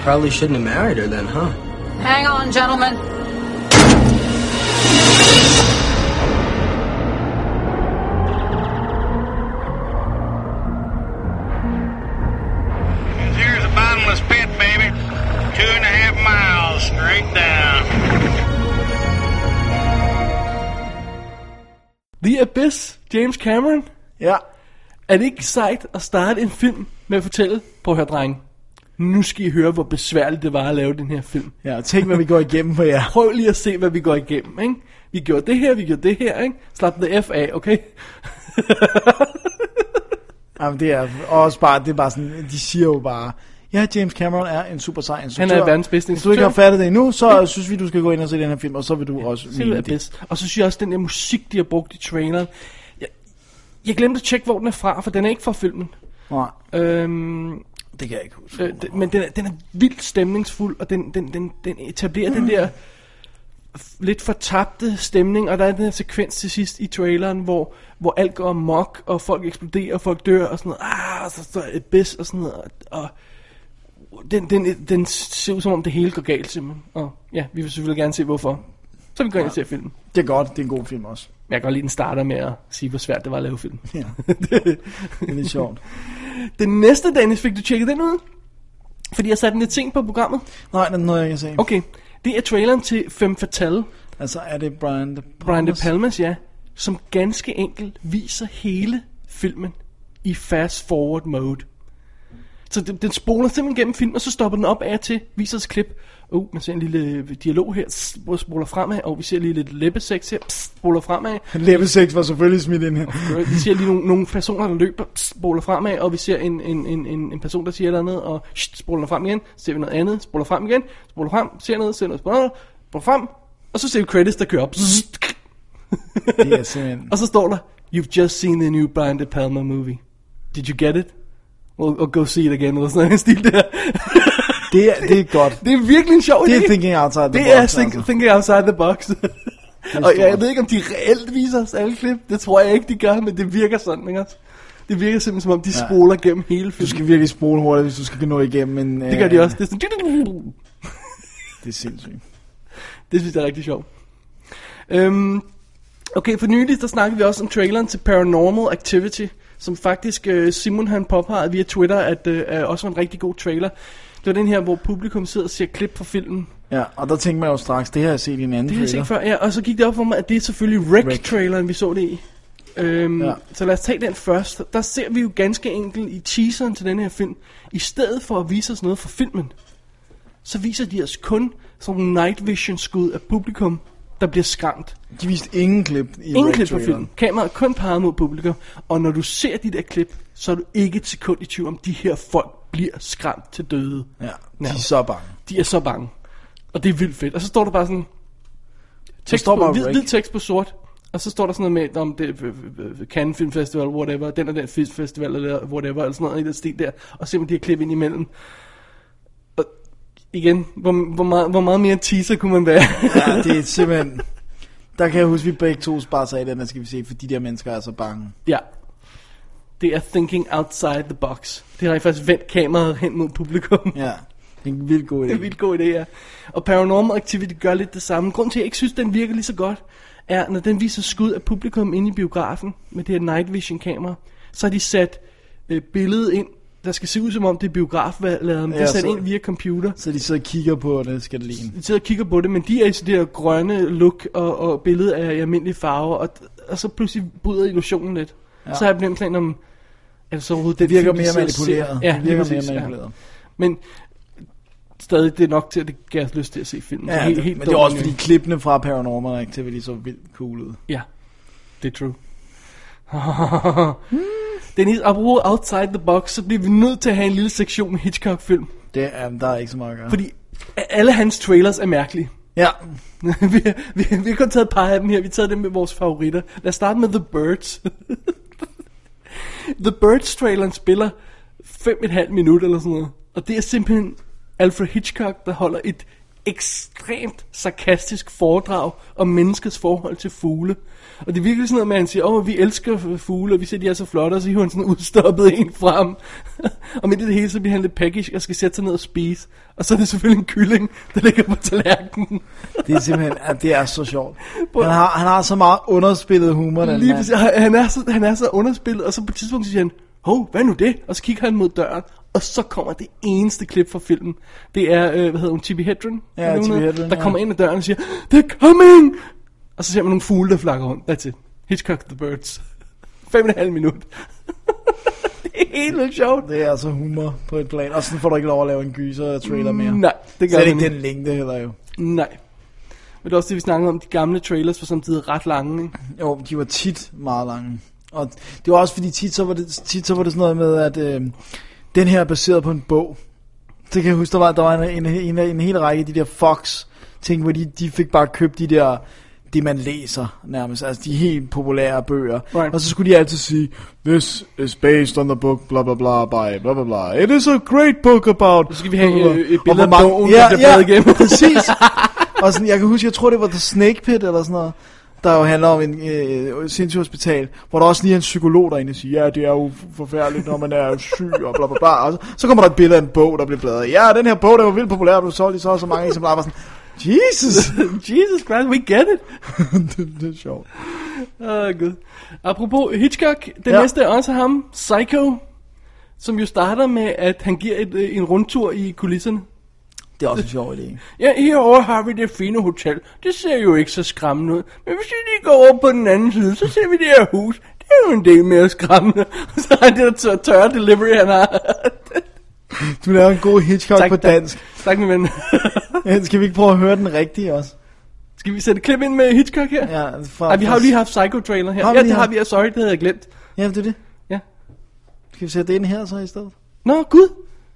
Speaker 17: Probably shouldn't have married her then, huh?
Speaker 18: Hang on, gentlemen.
Speaker 19: Here's a bottomless pit, baby. Two and a half miles straight down.
Speaker 3: The Abyss, James Cameron.
Speaker 2: Ja.
Speaker 3: Er det ikke sejt at starte en film med at fortælle, prøv at høre, dreng, nu skal I høre, hvor besværligt det var at lave den her film.
Speaker 2: Ja, og tænk, hvad vi går igennem for jer.
Speaker 3: Prøv lige at se, hvad vi går igennem, ikke? Vi gjorde det her, vi gjorde det her, ikke? Slap the F af, okay?
Speaker 2: Jamen, det er også bare, det er bare sådan, de siger jo bare, ja, James Cameron er en super sej instruktør.
Speaker 3: Han er verdens bedste
Speaker 2: Hvis du ikke
Speaker 3: instruktør.
Speaker 2: har fattet det endnu, så synes vi, du skal gå ind og se den her film, og så vil du også
Speaker 3: Selv er
Speaker 2: det.
Speaker 3: bedst. Og så synes jeg også, den der musik, de har brugt i traileren. Jeg, jeg glemte at tjekke, hvor den er fra, for den er ikke fra filmen.
Speaker 2: Nej.
Speaker 3: Øhm,
Speaker 2: det kan jeg ikke huske.
Speaker 3: Øh, den, men den er, den er vildt stemningsfuld, og den, den, den, den etablerer den der f- lidt fortabte stemning, og der er den her sekvens til sidst i traileren, hvor, hvor alt går amok, og folk eksploderer, og folk dør, og sådan noget, ah, og så, så et bæs, og sådan noget, og, og den, den, den ser ud som om det hele går galt simpelthen, og ja, vi vil selvfølgelig gerne se hvorfor. Så vi går ind og
Speaker 2: Ja.
Speaker 3: ser filmen.
Speaker 2: Det er godt, det er en god film også.
Speaker 3: Men jeg kan godt lide, den starter med at sige, hvor svært det var at lave film.
Speaker 2: Ja.
Speaker 3: det,
Speaker 2: er lidt sjovt.
Speaker 3: Den næste, Dennis, fik du tjekket den ud? Fordi jeg satte en lidt ting på programmet.
Speaker 2: Nej, den nåede jeg ikke at se.
Speaker 3: Okay, det er traileren til Femme Fatale.
Speaker 2: Altså er det Brian De Palmas?
Speaker 3: Brian De Palmas, ja. Som ganske enkelt viser hele filmen i fast forward mode. Så den, den spoler simpelthen gennem filmen, og så stopper den op af og til, viser os klip. Uh, man ser en lille dialog her, s- hvor spoler fremad, og vi ser lige lidt læbeseks her, pss, spoler fremad.
Speaker 2: Læbesex var selvfølgelig smidt ind her.
Speaker 3: Vi ser lige nogle, nogle personer, der løber, pss, spoler fremad, og vi ser en, en, en, en, en person, der siger et eller andet, og shh, spoler frem igen, så ser vi noget andet, spoler frem igen, spoler frem, ser noget, ser noget, spoler, noget, spoler frem, og så ser vi credits, der kører op.
Speaker 2: Mm. det er simpelthen...
Speaker 3: og så står der, You've just seen the new Brian De Palma movie. Did you get it? Well, or go see it again, eller sådan en stil der.
Speaker 2: det, er, det er godt.
Speaker 3: Det er virkelig en sjov
Speaker 2: Det er
Speaker 3: idé.
Speaker 2: thinking outside the
Speaker 3: det
Speaker 2: box,
Speaker 3: er think,
Speaker 2: altså.
Speaker 3: thinking outside the box. og jeg,
Speaker 2: stort.
Speaker 3: ved ikke, om de reelt viser os alle klip. Det tror jeg ikke, de gør, men det virker sådan, ikke også? Det virker simpelthen, som om de
Speaker 2: Ja.
Speaker 3: spoler gennem hele
Speaker 2: Du
Speaker 3: filmen.
Speaker 2: skal virkelig spole hurtigt, hvis du skal nå igennem en...
Speaker 3: Det gør de også. Det er sådan...
Speaker 2: Det er sindssygt.
Speaker 3: Det synes jeg er rigtig sjovt. Øhm, okay, for nylig der snakkede vi også om traileren til Paranormal Activity, som faktisk øh, Simon han påpegede via Twitter, at øh, er også var en rigtig god trailer. Det var den her, hvor publikum sidder og ser klip fra filmen.
Speaker 2: Ja, og der tænker man jo straks, det har jeg set i en anden
Speaker 3: Det har jeg
Speaker 2: trailer.
Speaker 3: set før, ja, og så gik det op for mig, at det er selvfølgelig Wreck-traileren, vi så det i. Øhm,
Speaker 2: Ja.
Speaker 3: ja. Så lad os tage den først. Der ser vi jo ganske enkelt i teaseren til den her film, i stedet for at vise os noget fra filmen, så viser de os kun sådan nogle night vision skud af publikum, der bliver skræmt.
Speaker 2: De viste ingen klip i
Speaker 3: Ingen klip fra
Speaker 2: Wreck-traileren.
Speaker 3: filmen. Kameraet er kun peget mod publikum, og når du ser de der klip, så er du ikke et sekund i tvivl om, de her folk bliver skræmt til døde.
Speaker 2: Ja, de
Speaker 3: Nærmest.
Speaker 2: er så bange.
Speaker 3: De er så bange. Og det er vildt fedt. Og så står der bare sådan... Tekst
Speaker 2: står
Speaker 3: står
Speaker 2: bare
Speaker 3: på, hvid,
Speaker 2: Rick.
Speaker 3: hvid tekst på sort. Og så står der sådan noget med, om det er øh, Cannes Film Festival, whatever, den og den film festival, eller whatever, eller sådan noget i den stil der. Og simpelthen de her klip ind imellem. Og igen, hvor, hvor, meget, hvor meget mere teaser kunne man være?
Speaker 2: Ja, det er simpelthen... Der kan jeg huske, at vi begge to bare sagde, at den skal vi se, for de der mennesker er så bange.
Speaker 3: Ja. Det er thinking outside the box. Det har jeg faktisk vendt kameraet hen mod publikum.
Speaker 2: Ja. Det er en vildt god idé.
Speaker 3: Det er en vildt god idé, ja. Og Paranormal Activity gør lidt det samme. Grunden til, at jeg ikke synes, den virker lige så godt, er, når den viser skud af publikum inde i biografen med det her night vision kamera, så har de sat øh, billedet ind der skal se ud som om det er biografladen, ja, det er sat ind via computer.
Speaker 2: Så de sidder og kigger på det, skal det ligne.
Speaker 3: de sidder og kigger på det, men de er i sådan der grønne look og, og billede af i almindelige farver, og, og så pludselig bryder illusionen lidt.
Speaker 2: Ja.
Speaker 3: Ja. Så har jeg blevet klar om, er det så overhovedet
Speaker 2: Det
Speaker 3: den
Speaker 2: virker
Speaker 3: film, de
Speaker 2: mere
Speaker 3: sidder og ser?
Speaker 2: manipuleret.
Speaker 3: Ja,
Speaker 2: Det virker
Speaker 3: lige præcis,
Speaker 2: mere
Speaker 3: ja.
Speaker 2: manipuleret.
Speaker 3: Men stadig, det er nok til, at det giver os lyst til at se filmen.
Speaker 2: Ja,
Speaker 3: helt,
Speaker 2: det,
Speaker 3: helt
Speaker 2: men det er også
Speaker 3: dumt.
Speaker 2: fordi klippene fra Paranormal Activity så vildt cool ud.
Speaker 3: Ja, det er true. Dennis, apropos outside the box, så bliver vi nødt til at have en lille sektion med Hitchcock-film.
Speaker 2: Det er, der er ikke så meget at gøre.
Speaker 3: Fordi alle hans trailers er mærkelige.
Speaker 2: Ja.
Speaker 3: vi, har, vi, har- vi har kun taget et par af dem her. Vi har taget dem med vores favoritter. Lad os starte med The Birds. The Birds traileren spiller 5,5 minutter eller sådan noget. Og det er simpelthen Alfred Hitchcock, der holder et ekstremt sarkastisk foredrag om menneskets forhold til fugle. Og det er virkelig sådan noget med, at han siger, åh, vi elsker fugle, og vi ser, de er så flotte, og så hiver han sådan udstoppet en frem. og midt i det hele, så bliver han lidt peckish og skal sætte sig ned og spise. Og så er det selvfølgelig en kylling, der ligger på tallerkenen.
Speaker 2: Det er simpelthen, ja, det er så sjovt. Han har, han har så meget underspillet humor, den
Speaker 3: Lige
Speaker 2: mand.
Speaker 3: præcis. Han- han, er så, han er så underspillet, og så på et tidspunkt siger han, hov, hvad er nu det? Og så kigger han mod døren, og så kommer det eneste klip fra filmen. Det er, øh, hvad hedder hun, Tippi Hedren?
Speaker 2: Ja,
Speaker 3: Er det hun
Speaker 2: Tippi
Speaker 3: hedder?
Speaker 2: Hedren,
Speaker 3: Der
Speaker 2: ja.
Speaker 3: kommer ind ad døren og siger, they're coming! Og så ser man nogle fugle, der flakker rundt. That's it. Hitchcock the Birds. Fem og en halv minut. det er helt vildt sjovt.
Speaker 2: Det er altså humor på et plan. Og sådan får du ikke lov at lave en gyser trailer mere.
Speaker 3: Nej, det gør
Speaker 2: Slet
Speaker 3: man
Speaker 2: ikke
Speaker 3: ikke.
Speaker 2: den længde heller jo.
Speaker 3: Nej. Men det er også det, vi snakkede om, de gamle trailers var samtidig ret lange, ikke?
Speaker 2: Jo, de var tit meget lange. Og det var også fordi tit så var det, tit så var det sådan noget med, at øh, den her er baseret på en bog. Det kan jeg huske, der var, der var en, en, en, en hel række af de der Fox ting, hvor de, de fik bare købt de der det man læser nærmest, altså de helt populære bøger. Right. Og så skulle de altid sige, this is based on the book, bla bla bla, by bla bla bla. It is a great book about... Så
Speaker 3: skal vi have, øh, et billede
Speaker 2: Og hvor
Speaker 3: af
Speaker 2: mange-
Speaker 3: bogen, der bliver bladet igennem.
Speaker 2: præcis. Og sådan, jeg kan huske, jeg tror det var The Snake Pit eller sådan noget, der jo handler om en øh, sindssyg hospital, hvor der også lige er en psykolog derinde og siger, ja, det er jo forfærdeligt, når man er syg og bla bla bla. Og så, så kommer der et billede af en bog, der bliver bladret. i. Ja, den her bog, der var vildt populær, du solgte i så og så mange eksemplarer. Jeg var sådan, Jesus!
Speaker 3: Jesus Christ, we get it!
Speaker 2: det, det er sjovt.
Speaker 3: Åh, oh, gud. Apropos Hitchcock, den
Speaker 2: Ja.
Speaker 3: ja. næste er også ham, Psycho, som jo starter med, at han giver et, øh, en rundtur i kulisserne.
Speaker 2: Det er også en sjov idé.
Speaker 3: Ja, herovre har vi det fine hotel. Det ser jo ikke så skræmmende ud. Men hvis vi lige går over på den anden side, så ser vi det her hus. Det er jo en del mere skræmmende. så har han det der tør- tørre delivery, han har.
Speaker 2: Du laver en god Hitchcock
Speaker 3: Tak,
Speaker 2: på
Speaker 3: tak.
Speaker 2: dansk.
Speaker 3: tak, min ven.
Speaker 2: Ja, Skal vi ikke prøve at høre den rigtige også?
Speaker 3: Skal vi sætte klip ind med Hitchcock her?
Speaker 2: Ja, fra,
Speaker 3: Ej, vi har jo lige haft Psycho-trailer her.
Speaker 2: Har vi
Speaker 3: ja,
Speaker 2: lige
Speaker 3: det har
Speaker 2: haft?
Speaker 3: vi, ja, sorry, det havde jeg glemt.
Speaker 2: Ja, det er det.
Speaker 3: Ja.
Speaker 2: Skal vi sætte det ind her så i stedet?
Speaker 3: Nå, gud.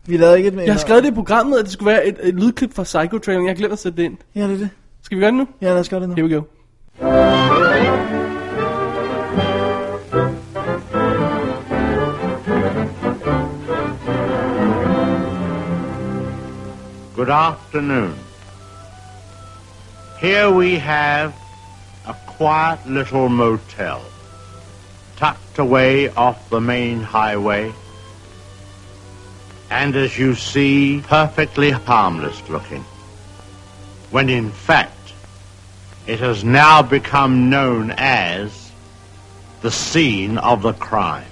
Speaker 2: Vi lavede ikke et med.
Speaker 3: Jeg har skrevet det i programmet, at det skulle være et, et lydklip fra Psycho-traileren. Jeg har glemt at sætte det ind.
Speaker 2: Ja, det er det.
Speaker 3: Skal vi gøre det nu?
Speaker 2: Ja, lad os gøre det nu.
Speaker 3: Here we go.
Speaker 18: Good afternoon. Here we have a quiet little motel, tucked away off the main highway, and as you see, perfectly harmless looking, when in fact, it has now become known as the scene of the crime.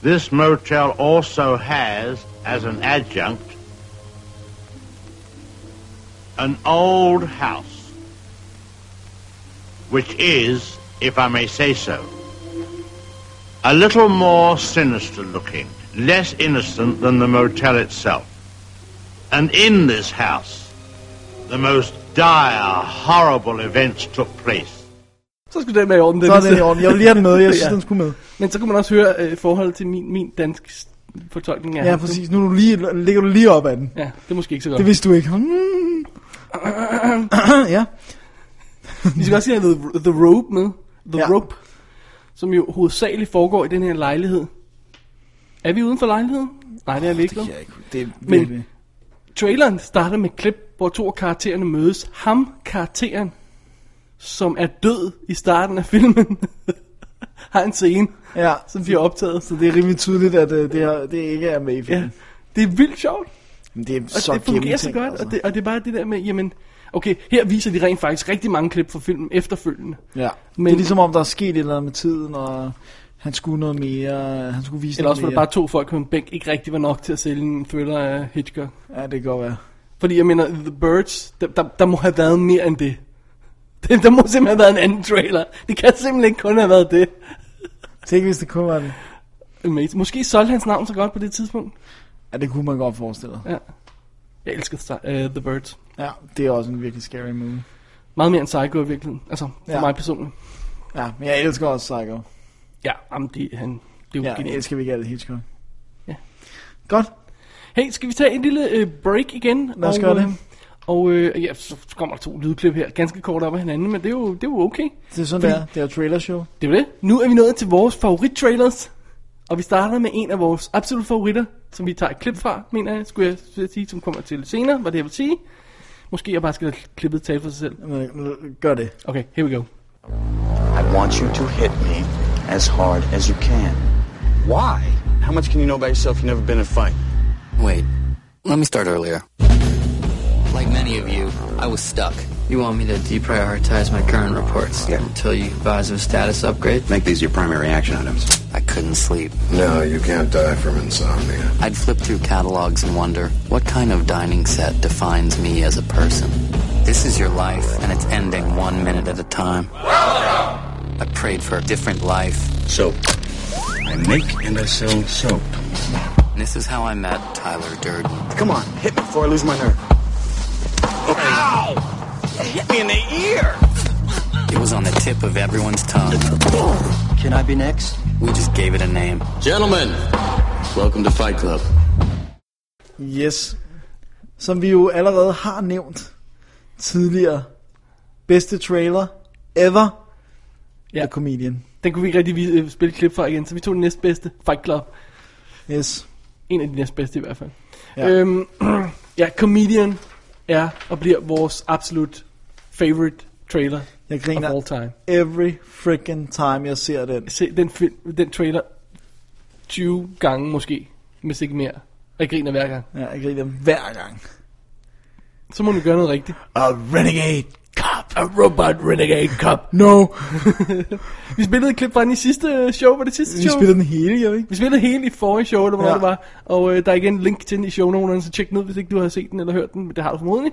Speaker 18: This motel also has, as an adjunct, an old house, which is, if I may say so, a little more sinister looking, less innocent than the motel itself. And in this house, the most dire, horrible events took place.
Speaker 3: Så skulle den være i orden.
Speaker 18: Så er den i orden. Jeg vil lige have den med. Jeg synes, den
Speaker 2: skulle med.
Speaker 3: Men så kunne man også høre øh, forholdet til min, min dansk s- fortolkning af
Speaker 2: Ja,
Speaker 3: ham.
Speaker 2: præcis. Nu er du lige, ligger du lige op ad den.
Speaker 3: Ja, det er måske ikke så godt.
Speaker 2: Det vidste du ikke. Hmm. ja.
Speaker 3: Vi skal også lige have The, the Rope med. The ja. Rope. Som jo hovedsageligt foregår i den her lejlighed. Er vi uden for lejligheden? Nej, det er vi ikke. Det
Speaker 2: Det er
Speaker 3: Men traileren starter med et klip, hvor to af karaktererne mødes. Ham, karakteren, som er død i starten af filmen, har en scene,
Speaker 2: ja.
Speaker 3: som bliver optaget.
Speaker 2: Så det er rimelig tydeligt, at øh, det, her, det ikke er med i filmen.
Speaker 3: Det er vildt sjovt.
Speaker 2: Men det er
Speaker 3: Og
Speaker 2: så
Speaker 3: det fungerer så
Speaker 2: gennemtænkt,
Speaker 3: godt, altså. og, det, og det er bare det der med, jamen, okay, her viser de rent faktisk rigtig mange klip fra filmen efterfølgende.
Speaker 2: Ja. Men...
Speaker 3: Men-
Speaker 2: Det er ligesom om, der er sket et eller andet med tiden, og Han skulle noget mere, han skulle vise
Speaker 3: Eller
Speaker 2: noget
Speaker 3: også var det
Speaker 2: mere.
Speaker 3: bare to folk på en bænk, ikke rigtig var nok til at sælge en thriller af Hitchcock.
Speaker 2: Ja, det kan godt være.
Speaker 3: Fordi jeg mener, The Birds, der, der, der må have været mere end det. Der, der må simpelthen have været en anden trailer. Det kan simpelthen ikke kun have været det.
Speaker 2: Tænk, hvis det kun var det.
Speaker 3: Amazing. Måske solgte hans navn så godt på det tidspunkt.
Speaker 2: Ja, det kunne man godt forestille sig.
Speaker 3: Ja. Jeg elsker uh, The Birds.
Speaker 2: Ja, det er også en virkelig scary movie.
Speaker 3: Meget mere end Psycho i virkeligheden. Altså, for
Speaker 2: Ja.
Speaker 3: ja. mig personligt.
Speaker 2: Ja, men jeg elsker også Psycho.
Speaker 3: Ja, jamen det, han, det er jo
Speaker 2: Ja,
Speaker 3: genialt.
Speaker 2: jeg elsker virkelig alt Hitchcock.
Speaker 3: Ja.
Speaker 2: Godt.
Speaker 3: Hey, skal vi tage en lille øh, break igen?
Speaker 2: Lad os
Speaker 3: Og,
Speaker 2: gøre det.
Speaker 3: øh, Og øh, ja, så kommer der to lydklip her, ganske kort op af hinanden, men det er jo, det er jo okay.
Speaker 2: Det er sådan, det er. Det er jo trailer show.
Speaker 3: Det er jo det. Nu er vi nået til vores favorittrailers, og vi starter med en af vores absolut favoritter, som vi tager et klip fra, mener jeg, skulle jeg skulle jeg sige, som kommer til senere, hvad det jeg vil sige. Måske jeg bare skal lade klippet tale for sig selv.
Speaker 2: Gør det.
Speaker 3: Okay, here we go.
Speaker 20: I want you to hit me as hard as you can.
Speaker 17: Why? How much can you know about yourself? You've never been in a fight.
Speaker 20: Wait, let me start earlier.
Speaker 17: Like many of you, I was stuck. You want me to deprioritize my current reports until you advise of a status upgrade?
Speaker 20: Make these your primary action items. I couldn't sleep.
Speaker 11: No, you can't die from insomnia.
Speaker 20: I'd flip through catalogs and wonder what kind of dining set defines me as a person. This is your life, and it's ending one minute at a time. I prayed for a different life. Soap. I make and I sell soap. And this is how I met Tyler Durden.
Speaker 17: Come on, hit me before I lose my nerve. Ow! You hit me in the ear!
Speaker 20: It was on the tip of everyone's tongue. Can I be next? We just gave it a name. Gentlemen, welcome to Fight Club.
Speaker 2: Yes. Som vi jo allerede har nævnt tidligere. Bedste trailer ever.
Speaker 3: Ja.
Speaker 2: The Comedian.
Speaker 3: Den kunne vi ikke rigtig vi- øh, spille et klip fra igen, så vi tog den næstbedste, Fight Club.
Speaker 2: Yes.
Speaker 3: En af de næstbedste i hvert fald.
Speaker 2: Ja.
Speaker 3: Ja, øhm, ja Comedian er og bliver vores absolut favorite trailer
Speaker 2: Jeg
Speaker 3: of
Speaker 2: griner
Speaker 3: all time.
Speaker 2: every freaking time, jeg ser den.
Speaker 3: Se den, fil- den trailer 20 gange måske, hvis ikke mere. Og jeg griner hver gang.
Speaker 2: Ja, jeg griner hver gang.
Speaker 3: Så må du gøre noget rigtigt.
Speaker 2: A renegade
Speaker 3: cop. A robot renegade cop.
Speaker 2: No.
Speaker 3: vi spillede et klip fra den i sidste øh, show, var det sidste
Speaker 2: Vi
Speaker 3: show?
Speaker 2: spillede den hele, jo ikke?
Speaker 3: Vi spillede hele i forrige show, eller hvor
Speaker 2: Ja.
Speaker 3: ja. det var. Og øh, der er igen en link til den i shownoterne, så tjek den ud, hvis ikke du har set den eller hørt den. Men det har du formodentlig.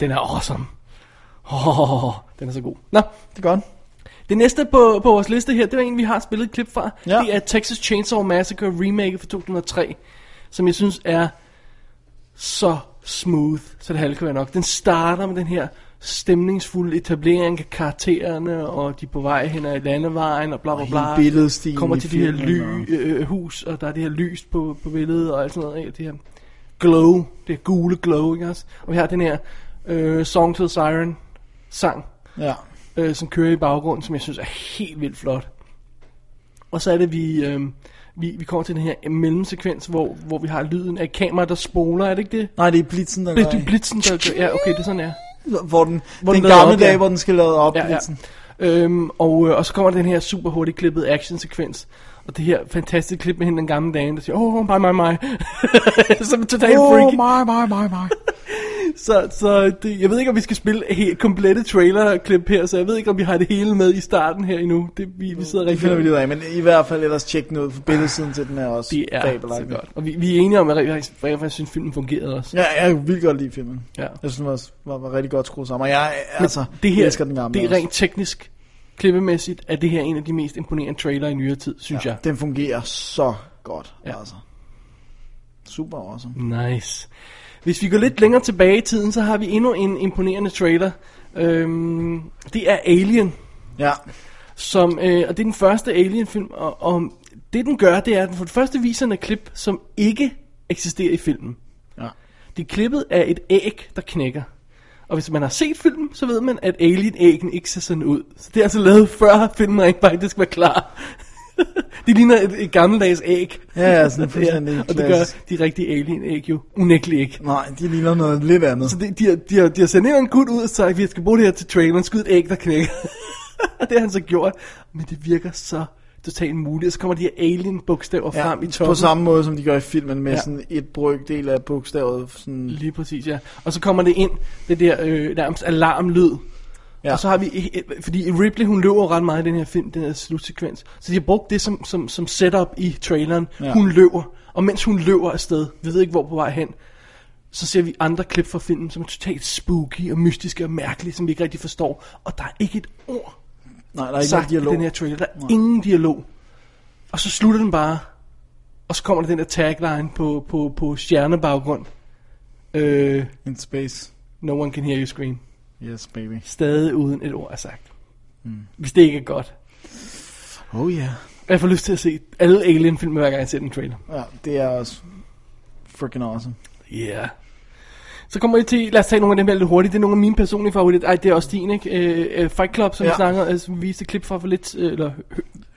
Speaker 3: Den er awesome. Oh, den er så god. Nå,
Speaker 2: det er godt.
Speaker 3: Det næste på, på vores liste her, det er en, vi har spillet et klip fra. Ja. Det er Texas Chainsaw Massacre remake fra 2003, som jeg synes er så smooth, så det halve kan være nok. Den starter med den her stemningsfulde etablering af karaktererne, og de er på vej hen ad landevejen, og bla bla
Speaker 2: hele
Speaker 3: bla.
Speaker 2: billedstilen
Speaker 3: Kommer
Speaker 2: i
Speaker 3: til det her ly,
Speaker 2: filmen,
Speaker 3: øh, hus, og der er det her lys på, på billedet, og alt sådan noget. af, Det her glow, det her gule glow, ikke også? Og vi har den her øh, Song to the Siren sang,
Speaker 2: Ja.
Speaker 3: øh, som kører i baggrunden, som jeg synes er helt vildt flot. Og så er det, vi, øh, vi, vi kommer til den her mellemsekvens, hvor, hvor vi har lyden af et kamera, der spoler, er det ikke det?
Speaker 2: Nej, det er blitzen, der
Speaker 3: Det
Speaker 2: gør
Speaker 3: er
Speaker 2: det.
Speaker 3: blitzen, der gør Ja, okay, det er sådan, er.
Speaker 2: Hvor den,
Speaker 3: Hvor
Speaker 2: den,
Speaker 3: den
Speaker 2: den
Speaker 3: lader
Speaker 2: gamle
Speaker 3: op,
Speaker 2: dag,
Speaker 3: ja.
Speaker 2: hvor den skal lade op.
Speaker 3: Ja, ja.
Speaker 2: blitzen.
Speaker 3: Øhm, og, øh, og så kommer den her super hurtigt klippede actionsekvens. Og det her fantastiske klip med hende den gamle dame, der siger, åh, oh, my, my, my. Som er totalt
Speaker 2: Åh,
Speaker 3: freaky.
Speaker 2: my, my, my, my.
Speaker 3: Så, så det, jeg ved ikke, om vi skal spille helt komplette trailer-klip her, så jeg ved ikke, om vi har det hele med i starten her endnu. Det, vi, vi sidder
Speaker 2: Det
Speaker 3: rigtig
Speaker 2: finder vi lige ud af, men i hvert fald ellers tjek den ud, for billedsiden til den er også
Speaker 3: Det er så
Speaker 2: fabelagtig.
Speaker 3: godt. Og vi, vi er enige om, at jeg rent faktisk synes, filmen fungerede også.
Speaker 2: Ja, jeg kan vildt godt lide filmen.
Speaker 3: Ja.
Speaker 2: Jeg synes, den var, var, var rigtig godt skruet sammen. Og jeg,
Speaker 3: Men
Speaker 2: altså, det her, elsker den gamle
Speaker 3: det er
Speaker 2: også.
Speaker 3: rent teknisk, klippemæssigt, at det her er en af de mest imponerende trailer i nyere tid, synes
Speaker 2: Ja,
Speaker 3: jeg.
Speaker 2: Den fungerer så godt,
Speaker 3: Ja.
Speaker 2: ja. altså. Super awesome.
Speaker 3: Nice. Hvis vi går lidt længere tilbage i tiden, så har vi endnu en imponerende trailer. Øhm, det er Alien.
Speaker 2: Ja.
Speaker 3: Som, øh, og det er den første Alien-film, og, og det den gør, det er, at den for det første viser en klip, som ikke eksisterer i filmen.
Speaker 2: Ja.
Speaker 3: Det er klippet af et æg, der knækker. Og hvis man har set filmen, så ved man, at alien-æggen ikke ser sådan ud. Så det er altså lavet før filmen rent faktisk var klar. det ligner et, et gammeldags æg.
Speaker 2: Ja, ja, sådan fuldstændig
Speaker 3: Og det gør
Speaker 2: klassisk.
Speaker 3: de rigtige alien-æg jo unægteligt ikke.
Speaker 2: Nej, de ligner noget lidt andet.
Speaker 3: Så de, de, har, de, har, de har sendt en eller anden gut ud og sagt, at vi skal bruge det her til traileren, skyd et æg, der knækker. og det har han så gjort. Men det virker så totalt muligt. Og så kommer de her alien-bogstaver
Speaker 2: Ja,
Speaker 3: frem i toppen.
Speaker 2: på samme måde, som de gør i filmen, med ja.
Speaker 3: Ja.
Speaker 2: sådan et brøkdel af bogstavet. Sådan...
Speaker 3: Lige præcis, ja. Og så kommer det ind, det der øh, nærmest alarmlyd. Ja. Og så har vi, fordi Ripley hun løber ret meget i den her film, den her slutsekvens. Så de har brugt det som, som, som setup i traileren.
Speaker 2: Ja.
Speaker 3: Ja. Hun løber, og mens hun løber afsted, vi ved ikke hvor på vej hen, så ser vi andre klip fra filmen, som er totalt spooky og mystiske og mærkelige, som vi ikke rigtig forstår. Og der er ikke et ord
Speaker 2: Nej, der er ikke
Speaker 3: sagt
Speaker 2: noget dialog.
Speaker 3: i den her trailer. Der er ingen dialog. Og så slutter den bare, og så kommer der den der tagline på, på, på stjernebaggrund. Øh,
Speaker 2: In space.
Speaker 3: No one can hear you scream.
Speaker 2: Yes, baby.
Speaker 3: Stadig uden et ord er sagt.
Speaker 2: Mm.
Speaker 3: Hvis det ikke er godt.
Speaker 2: Oh yeah.
Speaker 3: Jeg får lyst til at se alle Alien-film, hver gang jeg ser den trailer.
Speaker 2: Ja, det er også freaking awesome.
Speaker 3: Yeah. Så kommer vi til, lad os tage nogle af dem her lidt hurtigt. Det er nogle af mine personlige favoritter. Ej, det er også din, ikke? Øh, øh, Fight Club, som ja.
Speaker 2: Ja.
Speaker 3: vi snakker, øh, som vi viste et klip fra for lidt, øh, eller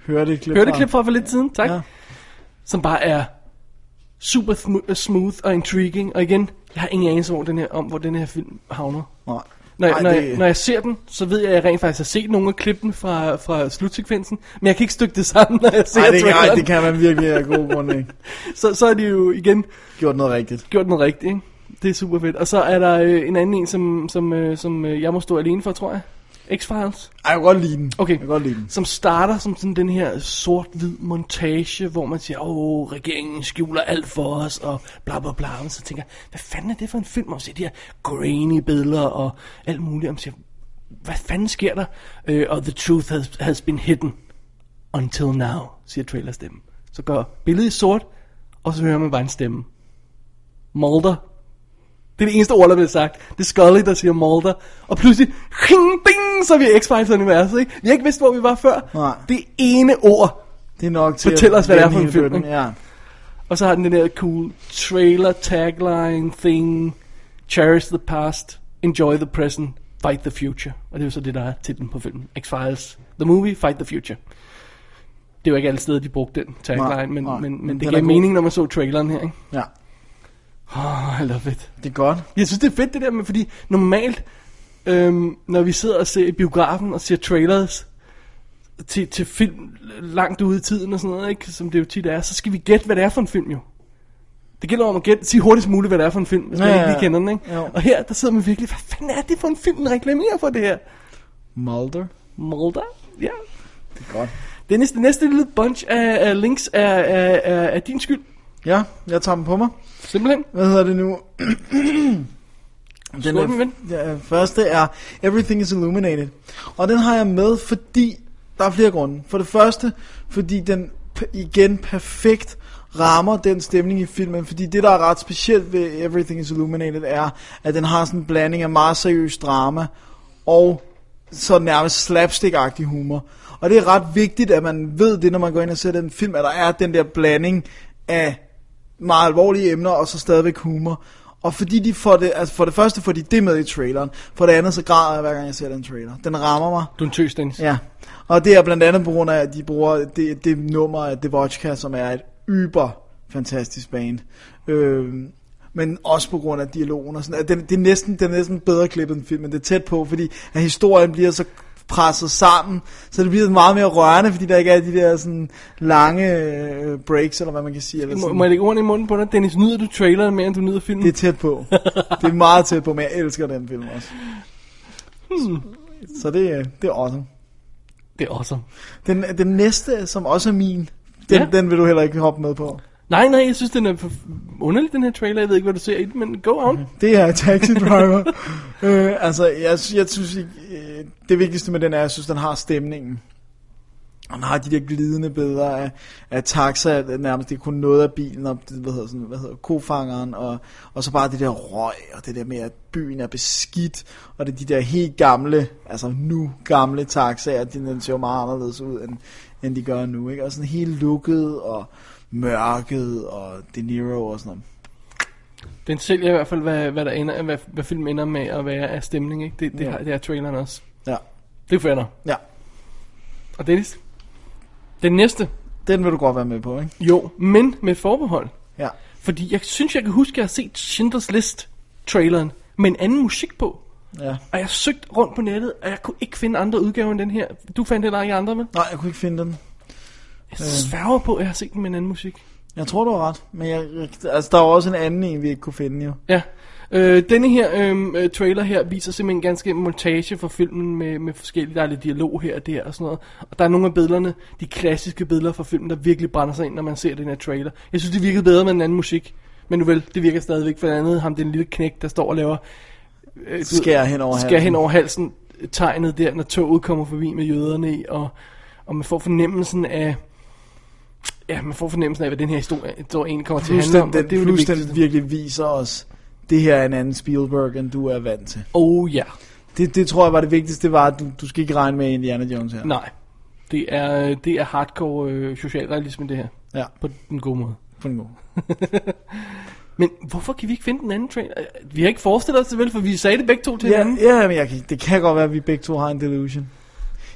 Speaker 2: Hørte et klip
Speaker 3: hørte et
Speaker 2: fra.
Speaker 3: klip fra for lidt siden, tak. Ja. Som bare er super sm- smooth og intriguing. Og igen, jeg har ingen anelse hvor den her, om, hvor den her film havner.
Speaker 2: Nej.
Speaker 3: Når, jeg,
Speaker 2: Ej,
Speaker 3: når,
Speaker 2: det-
Speaker 3: jeg, når jeg ser den, så ved jeg, at jeg rent faktisk har set nogle af klippene fra, fra slutsekvensen, men jeg kan ikke stykke det sammen, når jeg ser
Speaker 2: Ej, det, kan, ej,
Speaker 3: traileren.
Speaker 2: det kan man virkelig af gode grunde, ikke?
Speaker 3: så, så er de jo igen...
Speaker 2: Gjort noget rigtigt.
Speaker 3: Gjort noget rigtigt, ikke? Det er super fedt. Og så er der øh, en anden en, som, som, øh, som øh, jeg må stå alene for, tror jeg. X-Files.
Speaker 2: Ej, jeg kan godt lide den.
Speaker 3: Okay. Jeg
Speaker 2: kan godt lide den.
Speaker 3: Som starter som sådan den her sort-hvid montage, hvor man siger, åh, regeringen skjuler alt for os, og bla bla bla. Og så tænker jeg, hvad fanden er det for en film? Og man ser de her grainy billeder og alt muligt. Og man siger, hvad fanden sker der? Øh, og the truth has, has been hidden. Until now, siger trailerstemmen. Så gør billedet sort, og så hører man bare en stemme. Mulder. Det er det eneste ord, der bliver sagt. Det er Scully, der siger Mulder. Og pludselig, hing, ding, så er vi i X-Files-universet, ikke? Vi har ikke vidst, hvor vi var før.
Speaker 2: Nej.
Speaker 3: Det ene ord
Speaker 2: det er nok til
Speaker 3: fortæller
Speaker 2: at
Speaker 3: os, hvad det er for
Speaker 2: vende
Speaker 3: en film.
Speaker 2: hele
Speaker 3: ikke?
Speaker 2: bøtten, Ja.
Speaker 3: Og så har den den der cool trailer, tagline, thing. Cherish the past, enjoy the present, fight the future. Og det er jo så det, der er titlen på filmen. X-Files, the movie, fight the future. Det var ikke alle steder, de brugte den tagline,
Speaker 2: Nej,
Speaker 3: men,
Speaker 2: nej,
Speaker 3: men,
Speaker 2: men
Speaker 3: men
Speaker 2: den
Speaker 3: det
Speaker 2: er
Speaker 3: gav
Speaker 2: god.
Speaker 3: mening, når man så traileren her, ikke?
Speaker 2: Ja.
Speaker 3: Åh, oh, I love it.
Speaker 2: Det er godt.
Speaker 3: Jeg synes, det er fedt det der med, fordi normalt, øhm, når vi sidder og ser i biografen og ser trailers til, til film langt ude i tiden og sådan noget, ikke? som det jo tit er, så skal vi gætte, hvad det er for en film jo. Det gælder om at gætte, sige hurtigst muligt, hvad det er for en film, hvis man
Speaker 2: Ja,
Speaker 3: ikke
Speaker 2: ja,
Speaker 3: lige
Speaker 2: ja.
Speaker 3: kender den. Ikke?
Speaker 2: Jo.
Speaker 3: Og her, der sidder man virkelig, hvad fanden er det for en film, den reklamerer for det her?
Speaker 2: Mulder.
Speaker 3: Mulder? Ja.
Speaker 2: Det er godt.
Speaker 3: Dennis, det næste lille bunch af, af links er, er, er, er din skyld.
Speaker 2: Ja, jeg tager dem på mig.
Speaker 3: Simpelthen.
Speaker 2: Hvad hedder det nu?
Speaker 3: Skål, min ven.
Speaker 2: ja, første er Everything is Illuminated. Og den har jeg med, fordi der er flere grunde. For det første, fordi den p- igen perfekt rammer den stemning i filmen, fordi det, der er ret specielt ved Everything is Illuminated, er, at den har sådan en blanding af meget seriøs drama og så nærmest slapstick-agtig humor. Og det er ret vigtigt, at man ved det, når man går ind og ser den film, at der er den der blanding af meget alvorlige emner, og så stadigvæk humor. Og fordi de får det, altså for det første får de det med i traileren, for det andet så græder jeg hver gang jeg ser den trailer. Den rammer mig.
Speaker 3: Du er en tøs, Dennis.
Speaker 2: Ja, og det er blandt andet på grund af, at de bruger det, det nummer af The Vodka, som er et yber fantastisk band. Øh, men også på grund af dialogen og sådan. at Den, det, er næsten, det er næsten bedre klippet end filmen, det er tæt på, fordi at historien bliver så presset sammen, så det bliver meget mere rørende, fordi der ikke er de der sådan lange øh, breaks, eller hvad man kan sige. Eller
Speaker 3: Må,
Speaker 2: sådan.
Speaker 3: må jeg lægge ordene i munden på dig? Dennis, nyder du traileren mere, end du nyder filmen?
Speaker 2: Det er tæt på. det er meget tæt på, men jeg elsker den film også.
Speaker 3: Hmm.
Speaker 2: Så det, er- det er awesome.
Speaker 3: Det er awesome.
Speaker 2: Den, den næste, som også er min, den,
Speaker 3: Ja.
Speaker 2: ja. den vil du heller ikke hoppe med på.
Speaker 3: Nej, nej, jeg synes, den er for underlig, den her trailer. Jeg ved ikke, hvad du ser i den, men go on.
Speaker 2: Det er Taxi Driver. øh, altså, jeg, sy- jeg synes, ikke, øh, det vigtigste med den er, at jeg synes, den har stemningen. Og den har de der glidende billeder af, af taxa, at nærmest det er kun noget af bilen, og det, hvad hedder, sådan, hvad hedder, kofangeren, og, og så bare det der røg, og det der med, at byen er beskidt, og det er de der helt gamle, altså nu gamle taxaer, de den ser jo meget anderledes ud, end, end de gør nu, ikke? Og sådan helt lukket, og mørket, og De Niro og sådan noget.
Speaker 3: Den sælger i hvert fald, hvad, hvad, der ender, hvad, hvad filmen ender med at være af stemning, ikke? Det, det,
Speaker 2: Ja.
Speaker 3: har, det har traileren også.
Speaker 2: Ja.
Speaker 3: Det er fair nok.
Speaker 2: Ja.
Speaker 3: Og Dennis? Den næste?
Speaker 2: Den vil du godt være med på, ikke?
Speaker 3: Jo, men med forbehold.
Speaker 2: Ja.
Speaker 3: Fordi jeg synes, jeg kan huske, at jeg har set Schindlers List-traileren med en anden musik på.
Speaker 2: Ja.
Speaker 3: Og jeg søgte rundt på nettet, og jeg kunne ikke finde andre udgaver end den her. Du fandt heller ikke andre, med?
Speaker 2: Nej, jeg kunne ikke finde den.
Speaker 3: Jeg sværger på, at jeg har set den med en anden musik.
Speaker 2: Jeg tror, du har ret. Men jeg, altså, der var også en anden en, vi ikke kunne finde, jo.
Speaker 3: Ja, Øh, denne her øhm, øh, trailer her viser simpelthen ganske en montage fra filmen med, med forskellige, der er lidt dialog her og der og sådan noget. Og der er nogle af billederne, de klassiske billeder fra filmen, der virkelig brænder sig ind, når man ser den her trailer. Jeg synes, det virkede bedre med en anden musik. Men nu vel, det virker stadigvæk for det andet. Ham, den lille knæk, der står og laver... Øh, du
Speaker 2: Skær
Speaker 3: ved,
Speaker 2: hen over
Speaker 3: skær
Speaker 2: halsen.
Speaker 3: hen over halsen. Tegnet der, når toget kommer forbi med jøderne i, og, og man får fornemmelsen af... Ja, man får fornemmelsen af, hvad den her historie, historie egentlig kommer til at
Speaker 2: Plus
Speaker 3: handle om.
Speaker 2: den,
Speaker 3: og
Speaker 2: den,
Speaker 3: det er jo det
Speaker 2: plus
Speaker 3: vigtigste.
Speaker 2: den virkelig viser os, det her er en anden Spielberg, end du er vant til.
Speaker 3: Oh ja.
Speaker 2: Det, det tror jeg var det vigtigste, det var, at du, du skal ikke regne med Indiana Jones her.
Speaker 3: Nej. Det er, det er hardcore øh, socialrealisme, det her.
Speaker 2: Ja.
Speaker 3: På den gode måde.
Speaker 2: På den gode.
Speaker 3: Men hvorfor kan vi ikke finde den anden trailer? Øh, Vi har ikke forestillet os det vel, for vi sagde det begge to til
Speaker 2: Ja,
Speaker 3: hinanden.
Speaker 2: ja men jeg kan, det kan godt være, at vi begge to har en delusion.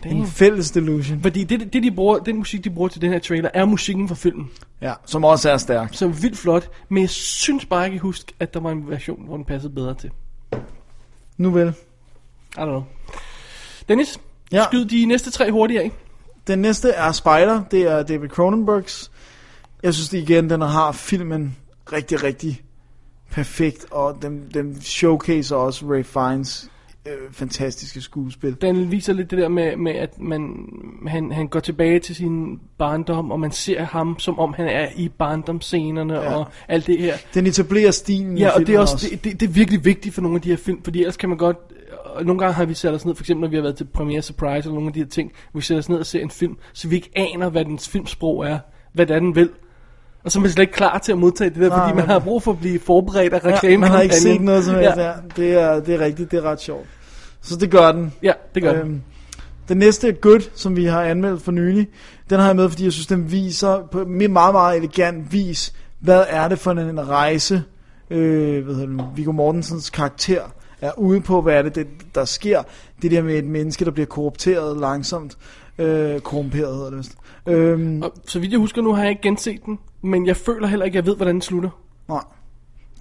Speaker 3: Damn.
Speaker 2: En fælles delusion.
Speaker 3: Fordi det, det de bruger, den musik, de bruger til den her trailer, er musikken fra filmen.
Speaker 2: Ja, som også er stærk.
Speaker 3: Så vildt flot. Men jeg synes bare, jeg kan huske, at der var en version, hvor den passede bedre til.
Speaker 2: Nu vel.
Speaker 3: I don't know. Dennis,
Speaker 2: ja.
Speaker 3: skyd de næste tre hurtigt af.
Speaker 2: Den næste er Spider, det er David Cronenbergs. Jeg synes det igen, den har filmen rigtig, rigtig perfekt, og den, den showcaser også Ray Fiennes øh, fantastiske skuespil.
Speaker 3: Den viser lidt det der med, med at man, han, han går tilbage til sin barndom, og man ser ham, som om han er i barndomscenerne ja.
Speaker 2: Ja.
Speaker 3: og alt det her.
Speaker 2: Den etablerer stilen i
Speaker 3: Ja, og det er
Speaker 2: filmen
Speaker 3: også,
Speaker 2: også.
Speaker 3: Det, det, det er virkelig vigtigt for nogle af de her film, fordi ellers kan man godt... Og nogle gange har vi sat os ned, for eksempel når vi har været til premiere surprise eller nogle af de her ting, vi sætter os ned og ser en film, så vi ikke aner, hvad dens filmsprog er, hvad det er, den vil. Og så er man slet ikke klar til at modtage det der,
Speaker 2: Nej,
Speaker 3: fordi man
Speaker 2: men-
Speaker 3: har brug for at blive forberedt af
Speaker 2: Ja,
Speaker 3: reklamekampagnen.
Speaker 2: man har ikke set noget som helst. Ja. Det, er, det er rigtigt, det er ret sjovt. Så det gør den.
Speaker 3: Ja, det gør den.
Speaker 2: Øhm. Den næste er Good, som vi har anmeldt for nylig. Den har jeg med, fordi jeg synes, den viser på en meget, meget elegant vis, hvad er det for en rejse, øh, hvad hedder det nu, Viggo Mortensens karakter er ude på, hvad er det, det, der sker. Det der med et menneske, der bliver korrupteret langsomt. Øh, korrumperet hedder det vist. Øhm,
Speaker 3: og, så vidt jeg husker nu, har jeg ikke genset den, men jeg føler heller ikke, at jeg ved, hvordan den slutter.
Speaker 2: Nej.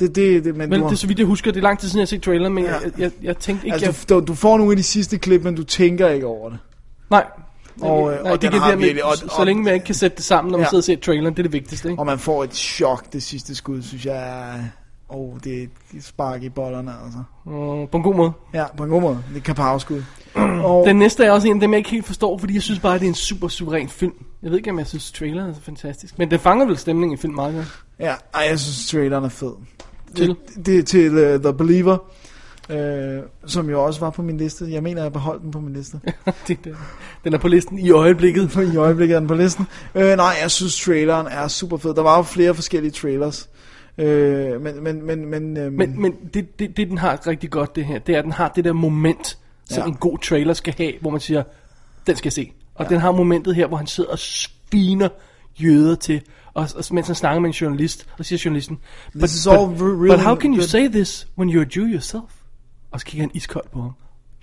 Speaker 2: Det, det, det, men
Speaker 3: Men
Speaker 2: du har-
Speaker 3: det er så vidt jeg husker, det er lang tid siden, jeg har set traileren, men ja. jeg, jeg, jeg tænkte ikke...
Speaker 2: Altså,
Speaker 3: jeg...
Speaker 2: du, du får nogle af de sidste klip, men du tænker ikke over det.
Speaker 3: Nej.
Speaker 2: Og, øh,
Speaker 3: Nej,
Speaker 2: og
Speaker 3: det er
Speaker 2: den
Speaker 3: det
Speaker 2: har
Speaker 3: der med,
Speaker 2: virkelig- og-
Speaker 3: og, så
Speaker 2: og-
Speaker 3: længe man ikke kan sætte det sammen, når man
Speaker 2: Ja.
Speaker 3: sidder og ser traileren, det er det vigtigste, ikke?
Speaker 2: Og man får et chok det sidste skud, synes jeg. er- Åh, oh, det er et spark i bollerne, altså.
Speaker 3: Mm, på en god måde.
Speaker 2: Ja, på en god måde. Det er kapavskud.
Speaker 3: Og... Den næste er også en af dem, jeg ikke helt forstår, fordi jeg synes bare, at det er en super suveræn film. Jeg ved ikke, om jeg synes, traileren er så fantastisk. Men det fanger vel stemningen i filmen meget godt.
Speaker 2: Ja, ej, jeg synes, traileren er fed.
Speaker 3: Til?
Speaker 2: Det, det er til uh, The Believer, øh, som jo også var på min liste. Jeg mener, jeg beholdt den på min liste.
Speaker 3: det, det. Den er på listen i øjeblikket.
Speaker 2: I øjeblikket er den på listen. Øh, nej, jeg synes, traileren er super fed. Der var jo flere forskellige trailers. Øh, men, men, men, men, øh,
Speaker 3: Men, men det, det, det, den har rigtig godt, det her, det er, at den har det der moment, som
Speaker 2: Ja.
Speaker 3: en god trailer skal have, hvor man siger, den skal jeg se. Og ja. den har momentet her, hvor han sidder og sviner jøder til, og, og mens han snakker med en journalist, og siger journalisten, but,
Speaker 2: is all
Speaker 3: but,
Speaker 2: really
Speaker 3: but how can you
Speaker 2: good."
Speaker 3: say this when you're a Jew yourself? Og så kigger han iskoldt på ham.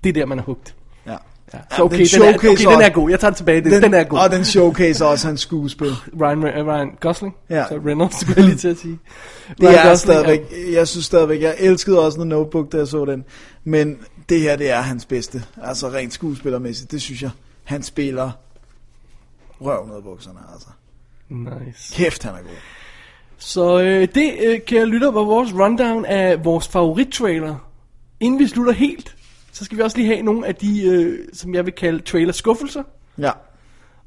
Speaker 3: Det er der, man er hugt.
Speaker 2: Ja.
Speaker 3: ja. Så okay, den, er, okay,
Speaker 2: showcaser
Speaker 3: den er
Speaker 2: også-
Speaker 3: god. Jeg tager den tilbage. Den, den, den er god.
Speaker 2: Og den showcaser også hans skuespil.
Speaker 3: Ryan, øh, Ryan Gosling?
Speaker 2: Ja.
Speaker 3: Så Reynolds, skulle jeg lige til at sige.
Speaker 2: Det
Speaker 3: Ryan
Speaker 2: er
Speaker 3: Gosling
Speaker 2: stadigvæk, jeg synes stadigvæk, jeg elskede også The Notebook, da jeg så den. Men det her, det er hans bedste. Altså rent skuespillermæssigt, det synes jeg. Han spiller røven ud af bukserne, altså.
Speaker 3: Nice.
Speaker 2: Kæft, han er god.
Speaker 3: Så øh, det, øh, kære lytter, var vores rundown af vores favorittrailer. Inden vi slutter helt, så skal vi også lige have nogle af de, øh, som jeg vil kalde trailer-skuffelser.
Speaker 2: Ja.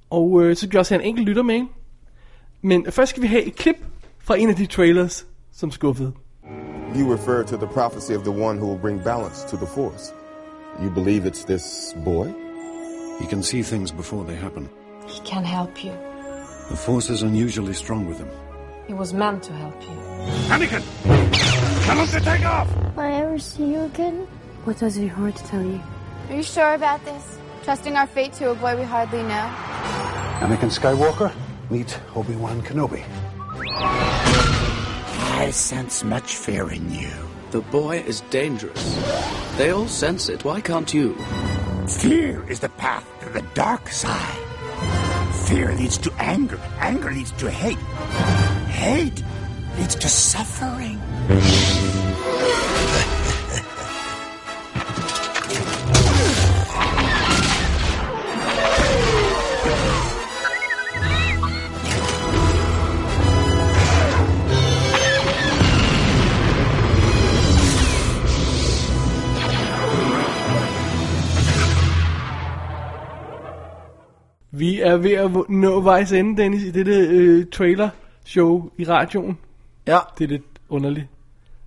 Speaker 3: Og øh, så skal vi også have en enkelt lytter med. Men først skal vi have et klip fra en af de trailers, som skuffede.
Speaker 21: You refer to the prophecy of the one who will bring balance to the force. You believe it's this boy?
Speaker 8: He can see things before they happen.
Speaker 6: He can help you.
Speaker 8: The force is unusually strong with him.
Speaker 6: He was meant to help you.
Speaker 12: Anakin! Tell us to take off!
Speaker 6: Will I ever see you again? What does your heart tell you? Are you sure about this? Trusting our fate to a boy we hardly know?
Speaker 22: Anakin Skywalker, meet Obi-Wan Kenobi.
Speaker 5: I sense much fear in you.
Speaker 17: The boy is dangerous. They all sense it. Why can't you?
Speaker 5: Fear is the path to the dark side. Fear leads to anger. Anger leads to hate. Hate leads to suffering.
Speaker 3: Vi er ved at vo- nå vejs ende, Dennis, i dette øh, trailer-show i radioen.
Speaker 2: Ja.
Speaker 3: Det er lidt underligt.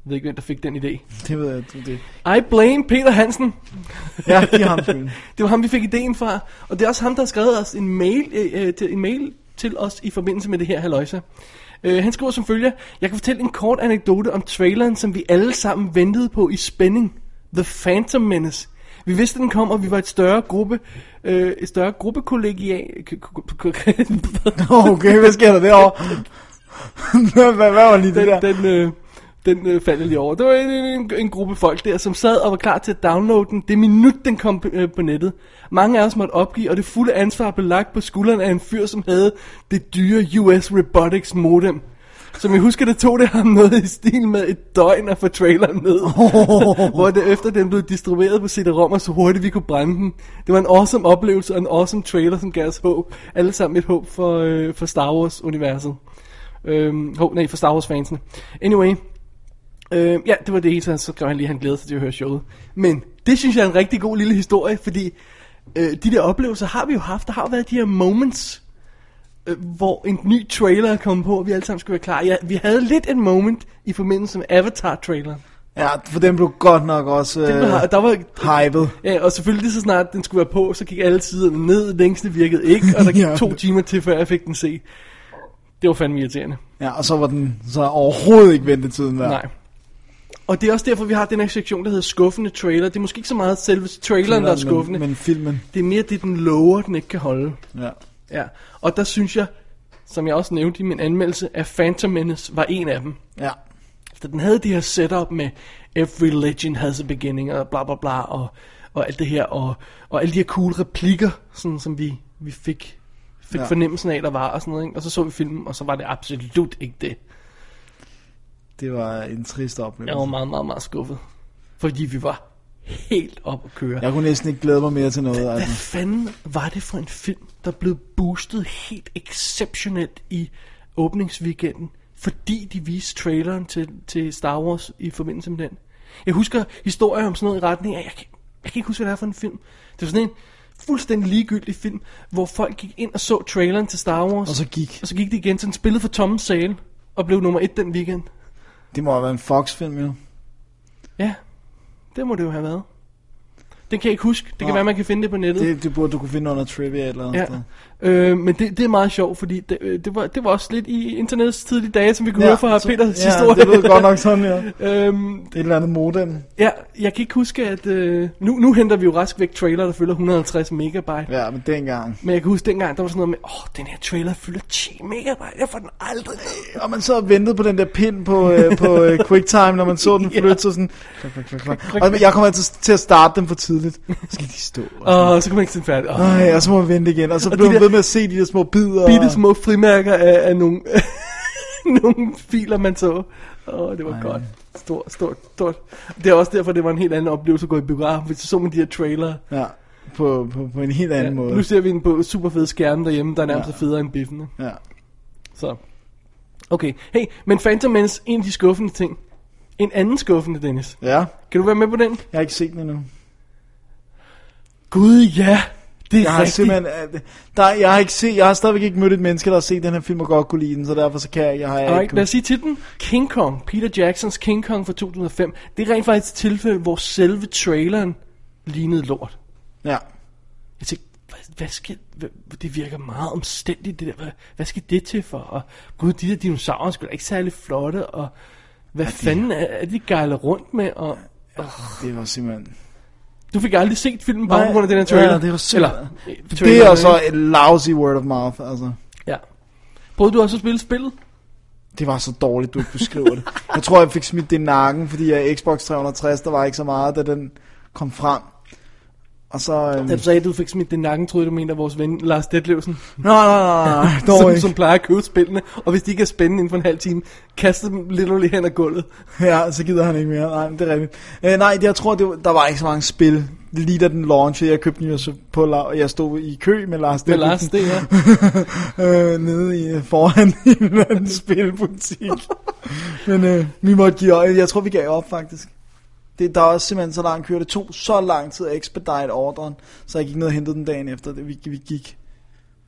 Speaker 3: Jeg ved ikke, hvem der fik den idé.
Speaker 2: Det ved jeg, det, det.
Speaker 3: I blame Peter Hansen.
Speaker 2: Ja, det er ham, skylden.
Speaker 3: det var ham, vi fik ideen fra. Og det er også ham, der har skrevet os en mail, øh, øh, til, en mail til os i forbindelse med det her haløjse. Øh, han skriver som følger, Jeg kan fortælle en kort anekdote om traileren, som vi alle sammen ventede på i spænding. The Phantom Menace. Vi vidste, den kom, og vi var et større gruppe, øh, et større gruppekollegial...
Speaker 2: Okay, hvad sker der derovre? hvad, hvad var lige
Speaker 3: den, det der? Den, øh, den øh, faldt jeg lige over. Det var en, en, en gruppe folk der, som sad og var klar til at downloade den det minut, den kom på, øh, på nettet. Mange af os måtte opgive, og det fulde ansvar blev lagt på skulderen af en fyr, som havde det dyre US Robotics modem. Som jeg husker, det tog det ham noget i stil med et døgn at få traileren ned. hvor det efter den blev distribueret på CD-ROM, og så hurtigt vi kunne brænde den. Det var en awesome oplevelse og en awesome trailer, som gav os håb. Alle sammen et håb for, øh, for Star Wars-universet. Øhm, hov, nej, for Star Wars-fansene. Anyway, Øh, ja, det var det hele, så så skrev han lige, at han glæder sig til at høre showet. Men det synes jeg er en rigtig god lille historie, fordi øh, de der oplevelser har vi jo haft. Der har jo været de her moments, øh, hvor en ny trailer kom på, og vi alle sammen skulle være klar. Ja, vi havde lidt en moment i forbindelse med Avatar-traileren.
Speaker 2: Ja, for den blev godt nok også øh,
Speaker 3: Den blev, der var,
Speaker 2: hypet.
Speaker 3: Ja, og selvfølgelig lige så snart den skulle være på, så gik alle siderne ned, længsene virkede ikke, og der gik
Speaker 2: Ja.
Speaker 3: to timer til, før jeg fik den se. Det var fandme irriterende.
Speaker 2: Ja, og så var den så overhovedet ikke ventetiden værd.
Speaker 3: Nej. Og det er også derfor, vi har den her sektion, der hedder skuffende trailer. Det er måske ikke så meget selve traileren, der er
Speaker 2: Men-
Speaker 3: skuffende.
Speaker 2: men filmen.
Speaker 3: Det er mere det, den lover, den ikke kan holde.
Speaker 2: Ja.
Speaker 3: ja. Og der synes jeg, som jeg også nævnte i min anmeldelse, at Phantom Menace var en af dem.
Speaker 2: Ja.
Speaker 3: Så den havde det her setup med Every legend has a beginning og bla bla bla og, og alt det her og, og alle de her cool replikker, sådan, som vi, vi fik, fik
Speaker 2: Ja.
Speaker 3: ja. fornemmelsen af, der var og sådan noget. Ikke? Og så så vi filmen, og så var det absolut ikke det.
Speaker 2: Det var en trist oplevelse.
Speaker 3: Jeg var meget, meget, meget skuffet. Fordi vi var helt op at køre.
Speaker 2: Jeg kunne næsten ikke glæde mig mere til noget.
Speaker 3: Hvad
Speaker 2: Altså.
Speaker 3: fanden var det for en film, der blev boostet helt exceptionelt i åbningsweekenden, fordi de viste traileren til, til Star Wars i forbindelse med den? Jeg husker historier om sådan noget i retning af, jeg kan, jeg kan ikke huske, hvad det er for en film. Det var sådan en fuldstændig ligegyldig film, hvor folk gik ind og så traileren til Star Wars.
Speaker 2: Og så gik.
Speaker 3: Og så gik de igen, så den spillede for tomme sale, og blev nummer et den weekend.
Speaker 2: Det må have været en Fox-film, jo.
Speaker 3: Ja, det må det jo have været. Den kan jeg ikke huske. Det kan
Speaker 2: Nå.
Speaker 3: være, man kan finde det på nettet.
Speaker 2: Det, det burde du kunne finde under trivia eller noget.
Speaker 3: Ja.
Speaker 2: sted.
Speaker 3: Øh, men det, det er meget sjovt, fordi det, øh, det, var, det var også lidt i internettets tidlige dage, som vi kunne ja, høre fra
Speaker 2: så- ja,
Speaker 3: Peters historie.
Speaker 2: det lød godt nok sådan, ja.
Speaker 3: øhm,
Speaker 2: Det er et eller andet modem.
Speaker 3: ja, jeg kan ikke huske, at... Øh, nu, nu henter vi jo rask væk trailer, der fylder 150 megabyte.
Speaker 2: Ja, men dengang.
Speaker 3: Men jeg kan huske dengang, der var sådan noget med, åh, oh, den her trailer fylder 10 megabyte, jeg får den aldrig ned."
Speaker 2: Og man så og ventede på den der pind på, øh, på øh, QuickTime, når man så den flytte, så sådan... Klak, klak, klak, klak. Og jeg kommer altid til at starte dem for tidligt. Så skal de stå.
Speaker 3: Og så kan man ikke se den færdig. Åh.
Speaker 2: Ej, og så må man vente igen. Og så
Speaker 3: Og
Speaker 2: blev
Speaker 3: de
Speaker 2: man
Speaker 3: der-
Speaker 2: ved med at se de der små bidder.
Speaker 3: bitte små frimærker af, af nogle, nogle filer, man så. Åh, det var Ej. godt. Stort, stort, stort. Det er også derfor, det var en helt anden oplevelse at gå i biografen, hvis så så man de her trailere.
Speaker 2: Ja, på, på, på en helt anden måde.
Speaker 3: Nu ser vi den på super fede skærme derhjemme, der er nærmest
Speaker 2: Ja.
Speaker 3: ja. federe end biffen.
Speaker 2: Ja.
Speaker 3: Så. Okay, hey, men Phantom Menace, en af de skuffende ting. En anden skuffende, Dennis.
Speaker 2: Ja.
Speaker 3: Kan du være med på den?
Speaker 2: Jeg har ikke set den endnu.
Speaker 3: Gud ja, det er
Speaker 2: jeg har
Speaker 3: rigtigt.
Speaker 2: simpelthen, øh, der, jeg har ikke set, jeg har stadigvæk ikke mødt et menneske, der har set den her film og godt kunne lide den, så derfor så kan jeg, jeg har jeg
Speaker 3: Alright,
Speaker 2: ikke
Speaker 3: lad os sige titlen. King Kong, Peter Jacksons King Kong fra 2005. Det er rent faktisk et tilfælde, hvor selve traileren lignede lort.
Speaker 2: Ja.
Speaker 3: Jeg tænkte, hvad, hvad skal, hvad, det virker meget omstændigt, det der. Hvad, hvad skal det til for? Og gud, de der dinosaurer skulle da ikke særlig flotte, og hvad fanden er, er de gejler rundt med? Og, ja,
Speaker 2: det var simpelthen...
Speaker 3: Du fik aldrig set filmen bare
Speaker 2: Nej,
Speaker 3: på grund af den her trailer?
Speaker 2: Ja, det var simpelthen...
Speaker 3: Eller,
Speaker 2: Eller,
Speaker 3: traileren,
Speaker 2: det er så
Speaker 3: ikke?
Speaker 2: et lousy word of mouth, altså.
Speaker 3: Ja. Prøvede du også at spille spillet?
Speaker 2: Det var så dårligt, du ikke beskriver det. Jeg tror, jeg fik smidt det i nakken, fordi jeg Xbox 360, der var ikke så meget, da den kom frem. Og så... Øhm,
Speaker 3: Da du sagde, at du fik smidt den i nakken, troede jeg, du mente af vores ven Lars Detlevsen.
Speaker 2: Nej, nej, nej, nej, dog
Speaker 3: som,
Speaker 2: ikke.
Speaker 3: som plejer at købe spillene, og hvis de ikke er spændende inden for en halv time, kaster dem literally hen ad gulvet.
Speaker 2: Ja, så gider han ikke mere. Nej, men det er rigtigt. Øh, nej, jeg tror, det var, der var ikke så mange spil. Lige da den launchede, jeg købte den jo så på, la- og jeg stod i kø med Lars
Speaker 3: Med Lars,
Speaker 2: Danielsen. øh, nede i, foran i en eller anden spilbutik. men øh, vi måtte give øje. Jeg tror, vi gav op, faktisk. Det, der er også simpelthen så langt kørt. Det tog så lang tid at expedite ordren, så jeg gik ned og hentede den dagen efter, det, vi, vi gik.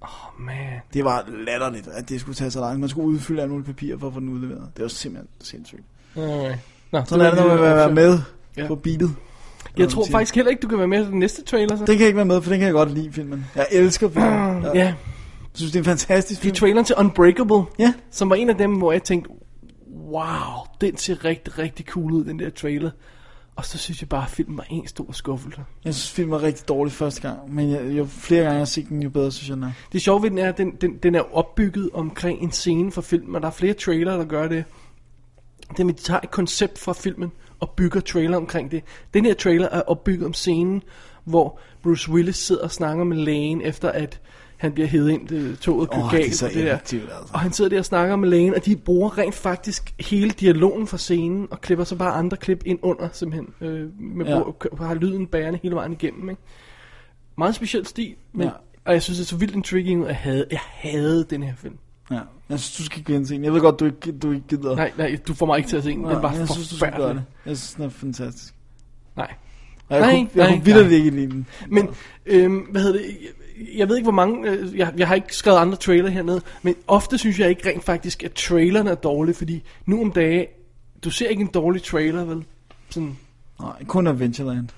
Speaker 3: Oh, man.
Speaker 2: Det var latterligt, at det skulle tage så langt. Man skulle udfylde alle mulige papirer for at få den udleveret. Det var simpelthen sindssygt.
Speaker 3: Alright. Nå,
Speaker 2: Sådan er det, når man vil være med ja. på beatet.
Speaker 3: Jeg tror faktisk heller ikke, du kan være med til den næste trailer. Så.
Speaker 2: Den kan jeg ikke være med, for den kan jeg godt lide, filmen. Jeg elsker filmen.
Speaker 3: Ja. Jeg
Speaker 2: synes, det er en fantastisk
Speaker 3: film. Det er traileren til Unbreakable,
Speaker 2: ja.
Speaker 3: som var en af dem, hvor jeg tænkte, wow, den ser rigtig, rigtig cool ud, den der trailer. Og så synes jeg bare, at filmen var en stor skuffelse.
Speaker 2: Jeg synes, filmen var rigtig dårlig første gang, men jeg, jo flere gange jeg har set den, jo bedre synes jeg den er.
Speaker 3: Det sjove ved den er, at den, den, den er opbygget omkring en scene fra filmen, og der er flere trailer, der gør det. Det er, at de tager et koncept fra filmen og bygger trailer omkring det. Den her trailer er opbygget om scenen, hvor Bruce Willis sidder og snakker med lægen, efter at han bliver hævet ind, det- toget kører
Speaker 2: Åh, det er
Speaker 3: galt
Speaker 2: så
Speaker 3: og det der.
Speaker 2: effektivt, altså.
Speaker 3: Og han sidder der og snakker med lægen, og de bruger rent faktisk hele dialogen fra scenen, og klipper så bare andre klip ind under, simpelthen. Øh, med
Speaker 2: Ja.
Speaker 3: ja. hvor, har lyden bærende hele vejen igennem, ikke? Meget speciel stil, men,
Speaker 2: Ja.
Speaker 3: ja. og jeg synes, det er så vildt intriguing, ud, at jeg havde, jeg havde den her film.
Speaker 2: Ja. Jeg synes, du skal gense den. Jeg ved godt, du ikke, du ikke gider.
Speaker 3: Nej, nej, du får mig ikke til at se den. Den var
Speaker 2: jeg synes, du skal gøre
Speaker 3: forfærdelig.
Speaker 2: det. Jeg synes, den er fantastisk.
Speaker 3: Nej.
Speaker 2: Og jeg kunne- jeg kunne vitterligt ikke lide den.
Speaker 3: Men, øhm, hvad hedder det, jeg, jeg ved ikke hvor mange, øh, jeg, jeg har ikke skrevet andre trailer hernede, men ofte synes jeg ikke rent faktisk, at trailerne er dårlige, fordi nu om dage, du ser ikke en dårlig trailer, vel? Sådan,
Speaker 2: Nej, kun Adventureland.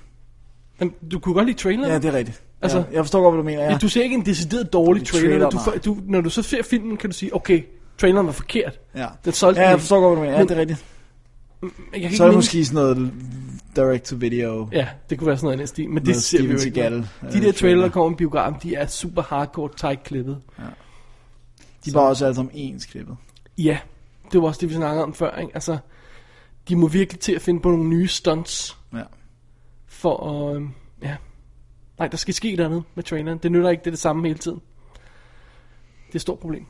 Speaker 3: jamen, du kunne godt lide trailerne.
Speaker 2: Ja, det er rigtigt.
Speaker 3: Altså,
Speaker 2: Altså, jeg forstår godt, hvad du mener.
Speaker 3: ja.
Speaker 2: Ja.
Speaker 3: Du ser ikke en decideret dårlig
Speaker 2: Dårlig
Speaker 3: trailer,
Speaker 2: trailer,
Speaker 3: trailer du,
Speaker 2: nej.
Speaker 3: får- du, når du så ser filmen, kan du sige, okay, traileren var forkert.
Speaker 2: Ja.
Speaker 3: Den solgte
Speaker 2: Ja,
Speaker 3: den
Speaker 2: jeg
Speaker 3: ikke.
Speaker 2: forstår godt, hvad du mener. Ja,
Speaker 3: Men-
Speaker 2: det er rigtigt.
Speaker 3: Jeg kan ikke
Speaker 2: Så er det
Speaker 3: mindes-
Speaker 2: måske sådan noget direct-to-video.
Speaker 3: Ja, det kunne være sådan noget i den stil, men
Speaker 2: Noget
Speaker 3: det ser vi jo
Speaker 2: Steven
Speaker 3: ikke.
Speaker 2: Seagal, øh,
Speaker 3: de der trailer,
Speaker 2: trailer.
Speaker 3: der kommer i biografen, de er super hardcore, tight klippet. Ja.
Speaker 2: De var også alle sammen ens klippet.
Speaker 3: Ja, det var også det, vi snakkede om før. Ikke? Altså, de må virkelig til at finde på nogle nye stunts.
Speaker 2: Ja.
Speaker 3: For at... øhm, ja. Nej, der skal ske noget med traileren. Det nytter ikke, det er det samme hele tiden. Det er et stort problem.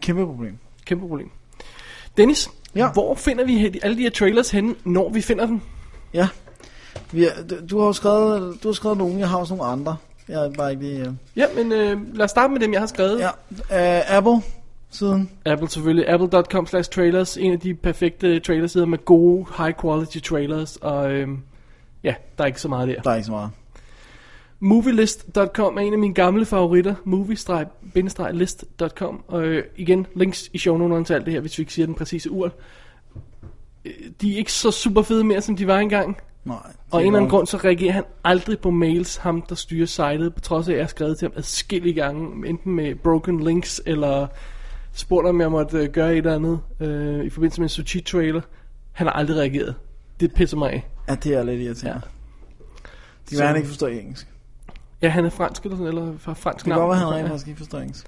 Speaker 2: Kæmpe problem.
Speaker 3: Kæmpe problem. Dennis, ja. hvor finder vi he- alle de her trailers henne, når vi finder dem?
Speaker 2: Ja. Vi er, du- du har jo skrevet, du har skrevet nogle, jeg har også nogle andre. Jeg er bare ikke lige... Øh.
Speaker 3: Ja, men øh, lad os starte med dem, jeg har skrevet.
Speaker 2: Ja, øh, Apple siden.
Speaker 3: Apple selvfølgelig. Apple.com slash trailers. En af de perfekte trailersider med gode, high quality trailers. Og øhm, ja, der er ikke så meget der.
Speaker 2: Der er ikke så meget.
Speaker 3: Movielist.com er en af mine gamle favoritter. Movie-list.com. Og øh, igen, links i shownoterne til alt det her, hvis vi ikke siger den præcise ur. Øh, De er ikke så super fede mere, som de var engang.
Speaker 2: Nej.
Speaker 3: Og
Speaker 2: er
Speaker 3: af en eller anden
Speaker 2: nok-
Speaker 3: grund, så reagerer han aldrig på mails, ham der styrer sitet, på trods af, at jeg har skrevet til ham adskillige gange, enten med broken links, eller spurgt om jeg måtte øh, gøre et eller andet, øh, i forbindelse med en Sochi-trailer. Han har aldrig reageret. Det pisser mig af.
Speaker 2: Ja, det er lidt irriterende. Ja. Det kan
Speaker 3: Så-
Speaker 2: være, han ikke forstår engelsk.
Speaker 3: Ja, han er fransk eller sådan, eller fra fransk
Speaker 2: Det kan godt være, han
Speaker 3: Ja.
Speaker 2: rent faktisk ikke forstår engelsk.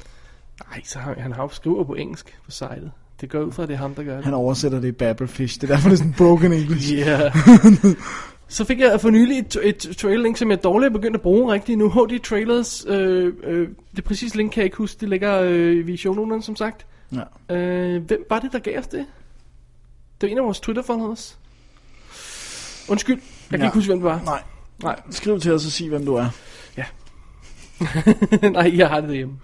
Speaker 3: Nej, så har, han har jo skriver på engelsk på sitet. Det går ud fra, at det er ham, der gør det.
Speaker 2: Han oversætter det i Babelfish. Det er derfor, det er sådan broken engelsh.
Speaker 3: Yeah. Så fik jeg for nylig et, et trailer link, som jeg dårligt er begyndt at bruge rigtigt nu. HD Trailers, øh, øh, det præcise link kan jeg ikke huske, det ligger øh, i shownoterne som sagt.
Speaker 2: Ja.
Speaker 3: Øh, hvem var det, der gav os det? Det var en af vores twitter followers Undskyld, jeg kan
Speaker 2: Ja.
Speaker 3: ikke huske, hvem det var.
Speaker 2: Nej.
Speaker 3: Nej.
Speaker 2: Skriv til os og sig, hvem du er.
Speaker 3: Nej, jeg har det derhjemme.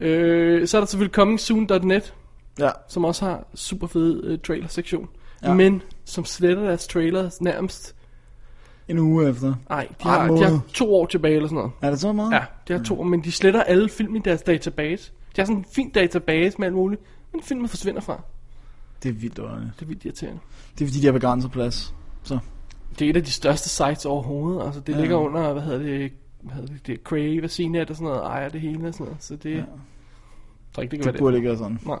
Speaker 3: Øh, så er der selvfølgelig comingsoon.net,
Speaker 2: ja.
Speaker 3: som også har super fed øh, trailer-sektion.
Speaker 2: Ja.
Speaker 3: Ja. Men som sletter deres trailers nærmest
Speaker 2: En uge efter.
Speaker 3: Nej, de
Speaker 2: Ej,
Speaker 3: har, de
Speaker 2: måned.
Speaker 3: har to år tilbage eller sådan noget.
Speaker 2: Er det så meget?
Speaker 3: Ja, de har
Speaker 2: Mm.
Speaker 3: to år, men de sletter alle film i deres database. De har sådan en fin database med alt muligt, men filmen forsvinder fra.
Speaker 2: Det er vildt underligt.
Speaker 3: Det er vildt irriterende.
Speaker 2: Det er fordi, de har begrænset plads. Så.
Speaker 3: Det er et af de største sites overhovedet. Altså, det
Speaker 2: Ja.
Speaker 3: ja. ligger under, hvad hedder det, hvad hedder det, det er Crave og CNET og sådan noget, ejer det hele og sådan noget. Så det, ja. jeg tror ikke, det kan
Speaker 2: Det
Speaker 3: være
Speaker 2: burde ikke være sådan.
Speaker 3: Nej.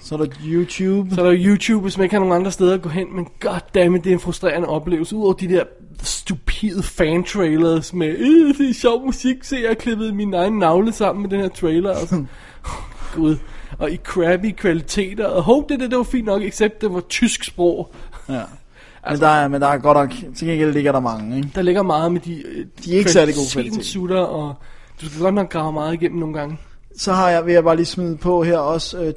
Speaker 2: Så er der YouTube.
Speaker 3: Så er der YouTube, hvis man ikke har nogen andre steder at gå hen, men goddammit, det er en frustrerende oplevelse. Udover de der stupide fan-trailers med, øh, det er sjov musik, se, jeg har klippet min egen navle sammen med den her trailer. Og sådan. Gud. Og i crappy kvaliteter. Og hope det, det, det var fint nok, except det var tysk sprog.
Speaker 2: Ja.
Speaker 3: Altså-
Speaker 2: Men, der er, men der er godt nok... Til gengæld ligger der mange, ikke?
Speaker 3: Der ligger meget med de... øh,
Speaker 2: De er ikke særlig gode
Speaker 3: kvaliteten
Speaker 2: kvalitet.
Speaker 3: sutter, og du skal godt nok grave meget igennem nogle gange.
Speaker 2: Så har jeg, vil jeg bare lige smide på her også øh,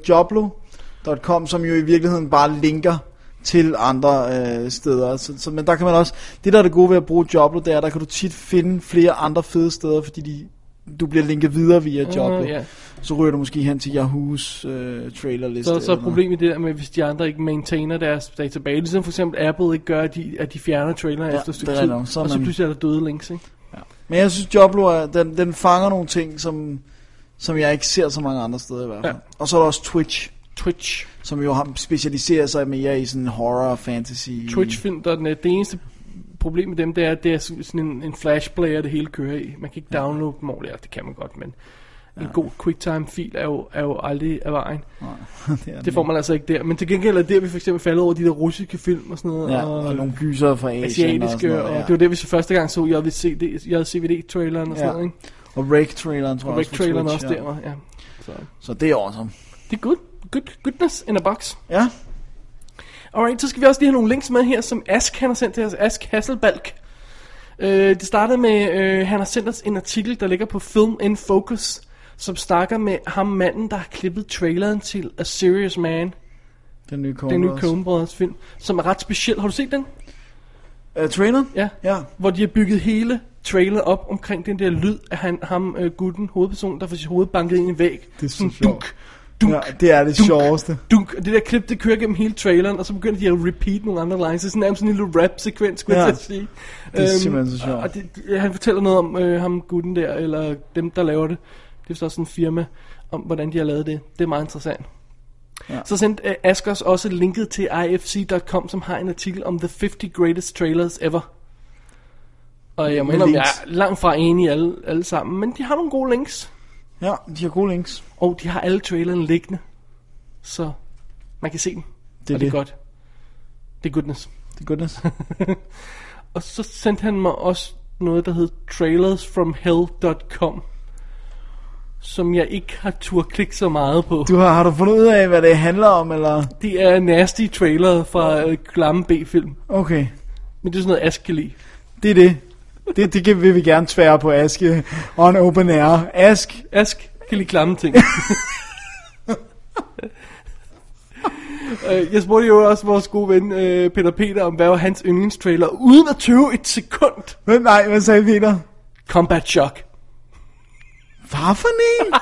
Speaker 2: joblo.com, som jo i virkeligheden bare linker til andre øh, steder. Så, så, men der kan man også... Det, der er det gode ved at bruge Joblo, det er, der kan du tit finde flere andre fede steder, fordi de, du bliver linket videre via
Speaker 3: Ah,
Speaker 2: Joblo.
Speaker 3: ja.
Speaker 2: Så ryger du måske hen til Yahoo's øh, trailerliste.
Speaker 3: Så, så er
Speaker 2: eller noget.
Speaker 3: problemet det der med, hvis de andre ikke maintainer deres database, ligesom for eksempel Apple ikke gør, at de, at de fjerner trailer
Speaker 2: Ja,
Speaker 3: efter et stykke
Speaker 2: det er
Speaker 3: tid,
Speaker 2: rigtigt nok. Så er
Speaker 3: og så
Speaker 2: man-
Speaker 3: pludselig er der døde links, ikke?
Speaker 2: Men jeg synes, Joblo, er, den, den fanger nogle ting, som, som jeg ikke ser så mange andre steder i hvert fald. Ja. Og så er der også Twitch.
Speaker 3: Twitch.
Speaker 2: Som jo har specialiserer sig mere i sådan horror, fantasy.
Speaker 3: Twitch-film, der er den, øh, det eneste problem med dem, det er, at det er sådan en, en flashplayer, det hele kører i. Man kan ikke downloade dem ordentligt, eller det kan man godt, men en god quicktime-fil er jo, er jo aldrig af vejen.
Speaker 2: det,
Speaker 3: det får man altså ikke der. Men til gengæld er der, vi for eksempel faldet over de der russiske film og sådan noget.
Speaker 2: Ja, og nogle gyser fra Asien og sådan
Speaker 3: Asiatiske,
Speaker 2: noget,
Speaker 3: og,
Speaker 2: ja.
Speaker 3: det var det, vi så første gang så. Jeg havde CVD-traileren og sådan noget, ikke?
Speaker 2: Og Rake-traileren, tror jeg
Speaker 3: Og
Speaker 2: også. på
Speaker 3: Rake-traileren
Speaker 2: Twitch,
Speaker 3: også der, var- ja. Så.
Speaker 2: Så det er awesome.
Speaker 3: Det er good. good. Goodness in a box.
Speaker 2: Ja.
Speaker 3: Alright, så skal vi også lige have nogle links med her, som Ask han har sendt til os. Ask Hasselbalk. Øh, det startede med, øh, han har sendt os en artikel, der ligger på Film in Focus, som snakker med ham manden, der har klippet traileren til A Serious Man.
Speaker 2: Den nye Coen
Speaker 3: Den nye
Speaker 2: Brothers.
Speaker 3: Coen Brothers film, som er ret speciel. Har du set den?
Speaker 2: Uh, traileren?
Speaker 3: Ja.
Speaker 2: ja.
Speaker 3: Hvor de har bygget hele trailer op omkring den der lyd af han, ham, øh, gutten, hovedpersonen, der får sit hoved banket ind i en væg.
Speaker 2: Det er så
Speaker 3: Sådan
Speaker 2: sjovt.
Speaker 3: dunk, dunk,
Speaker 2: ja, det er det
Speaker 3: dunk,
Speaker 2: sjoveste.
Speaker 3: dunk, og det der klip, det kører gennem hele traileren, og så begynder de at repeat nogle andre lines. Det er sådan nærmest sådan en lille rap-sekvens, skulle ja.
Speaker 2: Ja.
Speaker 3: jeg til at sige.
Speaker 2: Det er
Speaker 3: Øhm,
Speaker 2: simpelthen så sjovt.
Speaker 3: Og det, det- han fortæller noget om øh, ham gutten der, eller dem, der laver det. Det er så sådan en firma, om hvordan de har lavet det. Det er meget interessant. Ja.
Speaker 2: Ja.
Speaker 3: Så sendte øh, Askers også linket til ifc.com, som har en artikel om The 50 Greatest Trailers Ever. Og jeg
Speaker 2: Med
Speaker 3: mener, jeg
Speaker 2: links.
Speaker 3: er langt fra enig i alle, alle sammen, men de har nogle gode links.
Speaker 2: Ja, de har gode links.
Speaker 3: Og de har alle trailerne liggende, så man kan se dem.
Speaker 2: Det er
Speaker 3: og det er
Speaker 2: det.
Speaker 3: godt. Det er goodness.
Speaker 2: Det er goodness.
Speaker 3: og så sendte han mig også noget, der hed trailersfromhell.com, som jeg ikke har tur klikke så meget på.
Speaker 2: Du har, har du fundet ud af, hvad det handler om, eller?
Speaker 3: Det er nasty trailer fra øh, klamme B-film.
Speaker 2: Okay.
Speaker 3: Men det er sådan noget, Ask kan lide.
Speaker 2: Det er det. Det, det kan, vil vi gerne tvære på Ask øh, on open air. Ask.
Speaker 3: Ask kan lide klamme ting. Øh, jeg spurgte jo også vores gode ven øh, Peter Peter om, hvad var hans yndlingstrailer, uden at tøve et sekund.
Speaker 2: Men nej, hvad sagde Peter?
Speaker 3: Combat Shock.
Speaker 2: Hvad for en?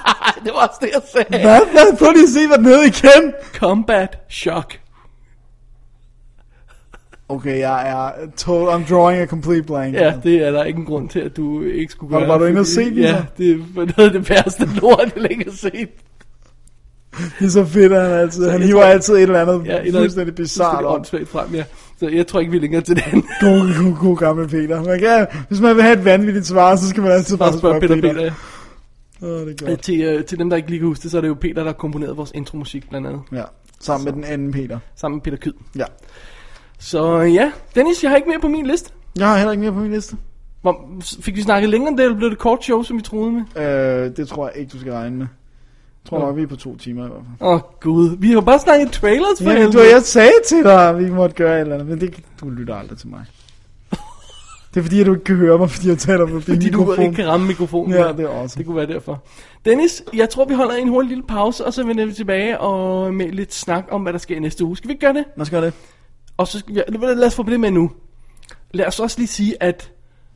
Speaker 3: det var også det, jeg sagde.
Speaker 2: Hvad? Hvad? Prøv lige at se, hvad den hed igen.
Speaker 3: Combat Shock.
Speaker 2: Okay, jeg er told, I'm drawing a complete blank.
Speaker 3: Ja, det er der ikke en grund til, at du ikke skulle
Speaker 2: Var-
Speaker 3: gøre.
Speaker 2: var du inde og
Speaker 3: fordi-
Speaker 2: se den
Speaker 3: Ja,
Speaker 2: så?
Speaker 3: det var noget af det værste lort, jeg længe har set.
Speaker 2: Det er så fedt, at han altid. Han
Speaker 3: jeg
Speaker 2: hiver
Speaker 3: tror-
Speaker 2: altid et eller andet
Speaker 3: Ja,
Speaker 2: ja,
Speaker 3: et eller
Speaker 2: fuldstændig bizarrt op.
Speaker 3: åndssvagt frem, ja. Så jeg tror ikke, vi er længere til den.
Speaker 2: God, god, god gammel Peter. Man kan, hvis man vil have et vanvittigt svar, så skal man altid bare spørge Peter. Peter.
Speaker 3: ja.
Speaker 2: Åh, det er
Speaker 3: Øh,
Speaker 2: godt.
Speaker 3: Til, øh, til dem, der ikke lige kan huske det, så er det jo Peter, der har komponeret vores intromusik blandt andet.
Speaker 2: Ja, sammen med den anden Peter.
Speaker 3: Sammen med Peter Kyd.
Speaker 2: Ja.
Speaker 3: Så øh, ja, Dennis, jeg har ikke mere på min liste.
Speaker 2: Jeg har heller ikke mere på min liste.
Speaker 3: Hvor, fik vi snakket længere om det, eller blev det kort show, som vi troede med?
Speaker 2: Øh, det tror jeg ikke, du skal regne med. Jeg tror
Speaker 3: Nå.
Speaker 2: nok, vi er på to timer i hvert fald.
Speaker 3: Åh oh, gud, vi har jo bare snakket trailers for
Speaker 2: Ja, men du,
Speaker 3: helvede.
Speaker 2: jeg sagde til dig, at vi måtte gøre et eller andet, men det, du lytter aldrig til mig. Det er fordi, at du ikke kan høre mig, fordi jeg taler på din
Speaker 3: Fordi du
Speaker 2: mikrofon.
Speaker 3: ikke kan ramme mikrofonen.
Speaker 2: Ja, det er awesome.
Speaker 3: Det kunne være derfor. Dennis, jeg tror, vi holder en hurtig lille pause, og så vender vi tilbage og med lidt snak om, hvad der sker i næste uge. Skal vi ikke gøre det?
Speaker 2: Lad os gøre det.
Speaker 3: Og så skal vi, eller lad os få det med nu. Lad os også lige sige, at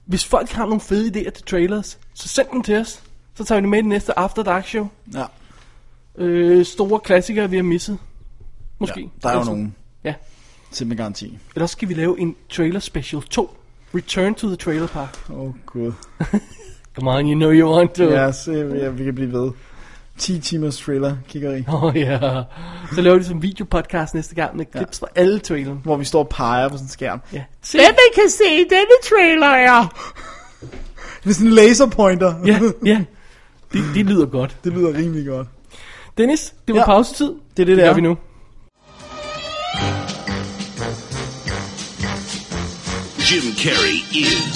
Speaker 3: hvis folk har nogle fede idéer til trailers, så send dem til os. Så tager vi det med i det næste After Dark Show.
Speaker 2: Ja.
Speaker 3: Øh, store klassikere, vi har misset. Måske. Altså,
Speaker 2: Ja, der er jo nogen.
Speaker 3: Ja.
Speaker 2: Til med garanti.
Speaker 3: Eller også skal vi lave en trailer special 2. Return to the Trailer Park.
Speaker 2: Åh, oh, gud.
Speaker 3: Come on, you know you want to.
Speaker 2: Ja, så, ja, vi kan blive ved. 10 timers thriller, kigger i.
Speaker 3: Åh oh, ja. Så laver vi som videopodcast næste gang med klips fra alle trailerne.
Speaker 2: Hvor vi står og peger på sådan en skærm.
Speaker 3: Ja.
Speaker 2: Hvem kan se denne trailer er? Med sådan en laserpointer.
Speaker 3: Ja, ja. Det, det lyder godt.
Speaker 2: Det lyder rimelig godt.
Speaker 3: Dennis, det var ja.
Speaker 2: Ja.
Speaker 3: pausetid. Det
Speaker 2: er det, det
Speaker 3: det gør
Speaker 2: er.
Speaker 3: vi nu.
Speaker 1: Jim Carrey is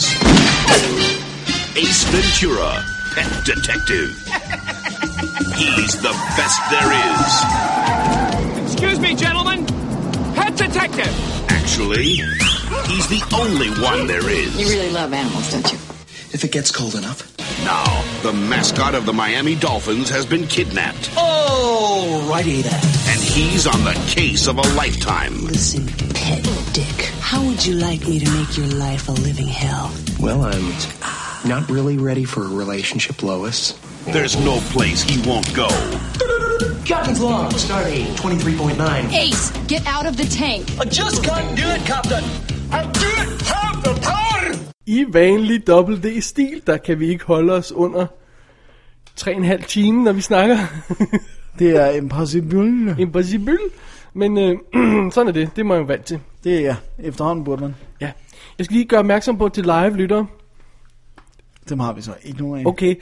Speaker 1: Ace Ventura, pet detective. He's the best there is.
Speaker 9: Excuse me, gentlemen. Pet detective.
Speaker 1: Actually, he's the only one there is.
Speaker 7: You really love animals, don't you?
Speaker 1: If it gets cold enough. Now, the mascot of the Miami Dolphins has been kidnapped.
Speaker 9: Oh, righty then.
Speaker 1: And he's on the case of a lifetime.
Speaker 4: Listen, pet dick, how would you like me to make your life a living hell?
Speaker 1: Well, I'm
Speaker 4: Not really ready for a relationship, Lois.
Speaker 1: There's no place he won't go.
Speaker 4: Captain's log, starting 23.9.
Speaker 23: Ace, get out of the tank.
Speaker 9: I just can't do it, Captain. I do it half the time.
Speaker 3: I vanlig WD-stil, der kan vi ikke holde os under 3,5 time, når vi snakker.
Speaker 2: det er impossible.
Speaker 3: Impossible. Men øh, sådan er det. Det må jeg jo vant til.
Speaker 2: Det er ja. Efterhånden burde man.
Speaker 3: Ja. Jeg skal lige gøre opmærksom på til live lyttere.
Speaker 2: Dem har vi så ikke nogen af.
Speaker 3: Okay.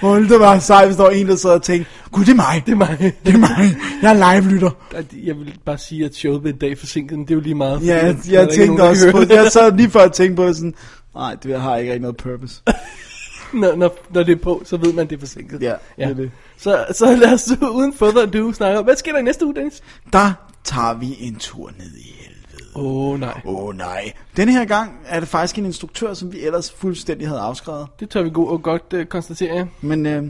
Speaker 2: Hold det var sejt, hvis der var en, der sad og tænkte, gud, det er mig.
Speaker 3: Det er mig.
Speaker 2: det er mig. Jeg er live-lytter.
Speaker 3: Jeg vil bare sige, at showet blev en dag forsinket, men det er jo lige meget. fordi
Speaker 2: Ja,
Speaker 3: der
Speaker 2: jeg,
Speaker 3: er
Speaker 2: jeg
Speaker 3: ikke nogen,
Speaker 2: tænkte
Speaker 3: der
Speaker 2: også
Speaker 3: hører
Speaker 2: på,
Speaker 3: det.
Speaker 2: jeg sad lige før og tænkte på sådan, nej, det har ikke rigtig noget purpose.
Speaker 3: når, når, når det er på, så ved man, at det er forsinket. Ja,
Speaker 2: det er det.
Speaker 3: Så, så lad os uden further ado snakke om, hvad sker der i næste uge, Dennis?
Speaker 2: Der tager vi en tur ned i helvede.
Speaker 3: Åh oh, nej.
Speaker 2: Åh oh, nej. Denne her gang er det faktisk en instruktør, som vi ellers fuldstændig havde afskrevet.
Speaker 3: Det tør vi go- og godt øh, konstatere, ja.
Speaker 2: Men øh,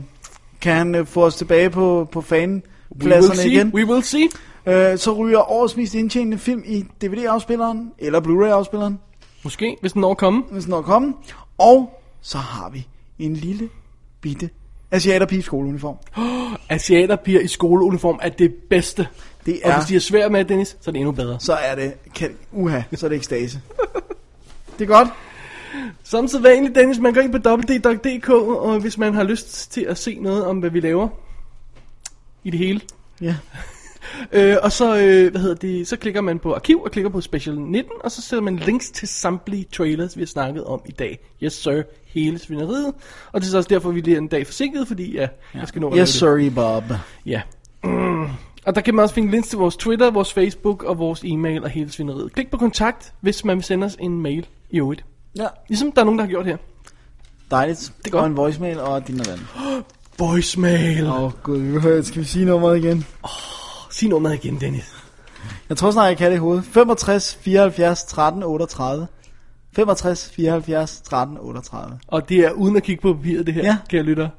Speaker 2: kan han øh, få os tilbage på, på
Speaker 3: We will
Speaker 2: fanpladserne
Speaker 3: see,
Speaker 2: igen?
Speaker 3: We will see.
Speaker 2: Øh, så ryger årets mest indtjenende film i DVD-afspilleren, eller Blu-ray-afspilleren.
Speaker 3: Måske, hvis den når at komme.
Speaker 2: Hvis den når at komme. Og så har vi en lille bitte asiaterpige i skoleuniform.
Speaker 3: Asiaterpiger i skoleuniform er det bedste.
Speaker 2: Det
Speaker 3: Og
Speaker 2: er-
Speaker 3: hvis de er svært med, Dennis, så er det endnu bedre.
Speaker 2: Så er det, kan, uha, så er det ekstase. Det er godt.
Speaker 3: Som så vanligt, Dennis, man går ind på www.dk, og hvis man har lyst til at se noget om, hvad vi laver i det hele.
Speaker 2: Ja.
Speaker 3: Øh, og så, øh, hvad hedder det, så klikker man på arkiv og klikker på special 19, og så sætter man links til samtlige trailers, vi har snakket om i dag. Yes sir, hele svineriet. Og det er så også derfor, vi lige er en dag forsinket, fordi ja, ja. jeg skal nå at
Speaker 2: Yes,
Speaker 3: lave det.
Speaker 2: sorry, Bob.
Speaker 3: Ja. Mm. Og der kan man også finde links til vores Twitter, vores Facebook og vores e-mail og hele svineriet. Klik på kontakt, hvis man vil sende os en mail i øvrigt.
Speaker 2: Ja.
Speaker 3: Ligesom der er nogen, der har gjort her.
Speaker 2: Dejligt.
Speaker 3: Det er godt.
Speaker 2: Og en voicemail og din og vand.
Speaker 3: Voicemail.
Speaker 2: Åh oh, gud, skal vi sige nummeret igen?
Speaker 3: Sig nummeret igen, Dennis.
Speaker 2: Jeg tror snart, jeg kan det i hovedet. 65 74 13 38. 65 74 13 38.
Speaker 3: Og det er uden at kigge på papiret, det her, ja. kære lytter.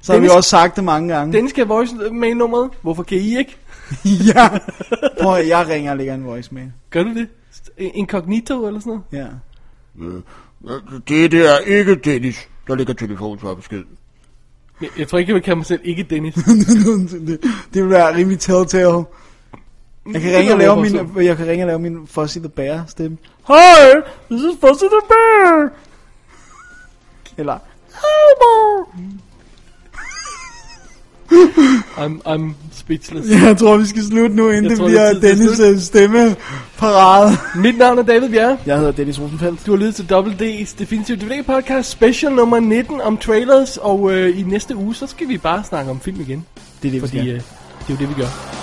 Speaker 2: Så har vi også sagt det mange gange.
Speaker 3: Dennis skal voicemail nummeret. Hvorfor kan I ikke?
Speaker 2: ja. Prøv at, jeg ringer og lægger en voicemail.
Speaker 3: Gør du det? Incognito eller sådan noget?
Speaker 2: Ja.
Speaker 10: Det der er ikke Dennis, der ligger telefonen besked.
Speaker 3: Jeg, jeg tror ikke, jeg vil kalde mig selv ikke Dennis.
Speaker 2: det, det vil være rimelig telltale. Jeg kan, ringe og lave min, jeg kan ringe og lave min Fuzzy the Bear stemme. Hej, this is Fuzzy the Bear. Eller, Hej, mor.
Speaker 3: I'm, I'm speechless.
Speaker 2: Ja, jeg tror, vi skal slutte nu, inden
Speaker 3: Jeg
Speaker 2: det
Speaker 3: tror,
Speaker 2: bliver
Speaker 3: det er tid til at
Speaker 2: Dennis'
Speaker 3: slutte.
Speaker 2: øh, stemmeparade.
Speaker 3: Mit navn er David Bjerre.
Speaker 2: Jeg hedder Dennis Rosenfeldt.
Speaker 3: Du har lyttet til Double D's Definitive DVD Podcast Special nummer 19 om trailers. Og øh, i næste uge, så skal vi bare snakke om film igen.
Speaker 2: Det er det, vi
Speaker 3: Fordi
Speaker 2: skal.
Speaker 3: øh, det er jo det, vi gør.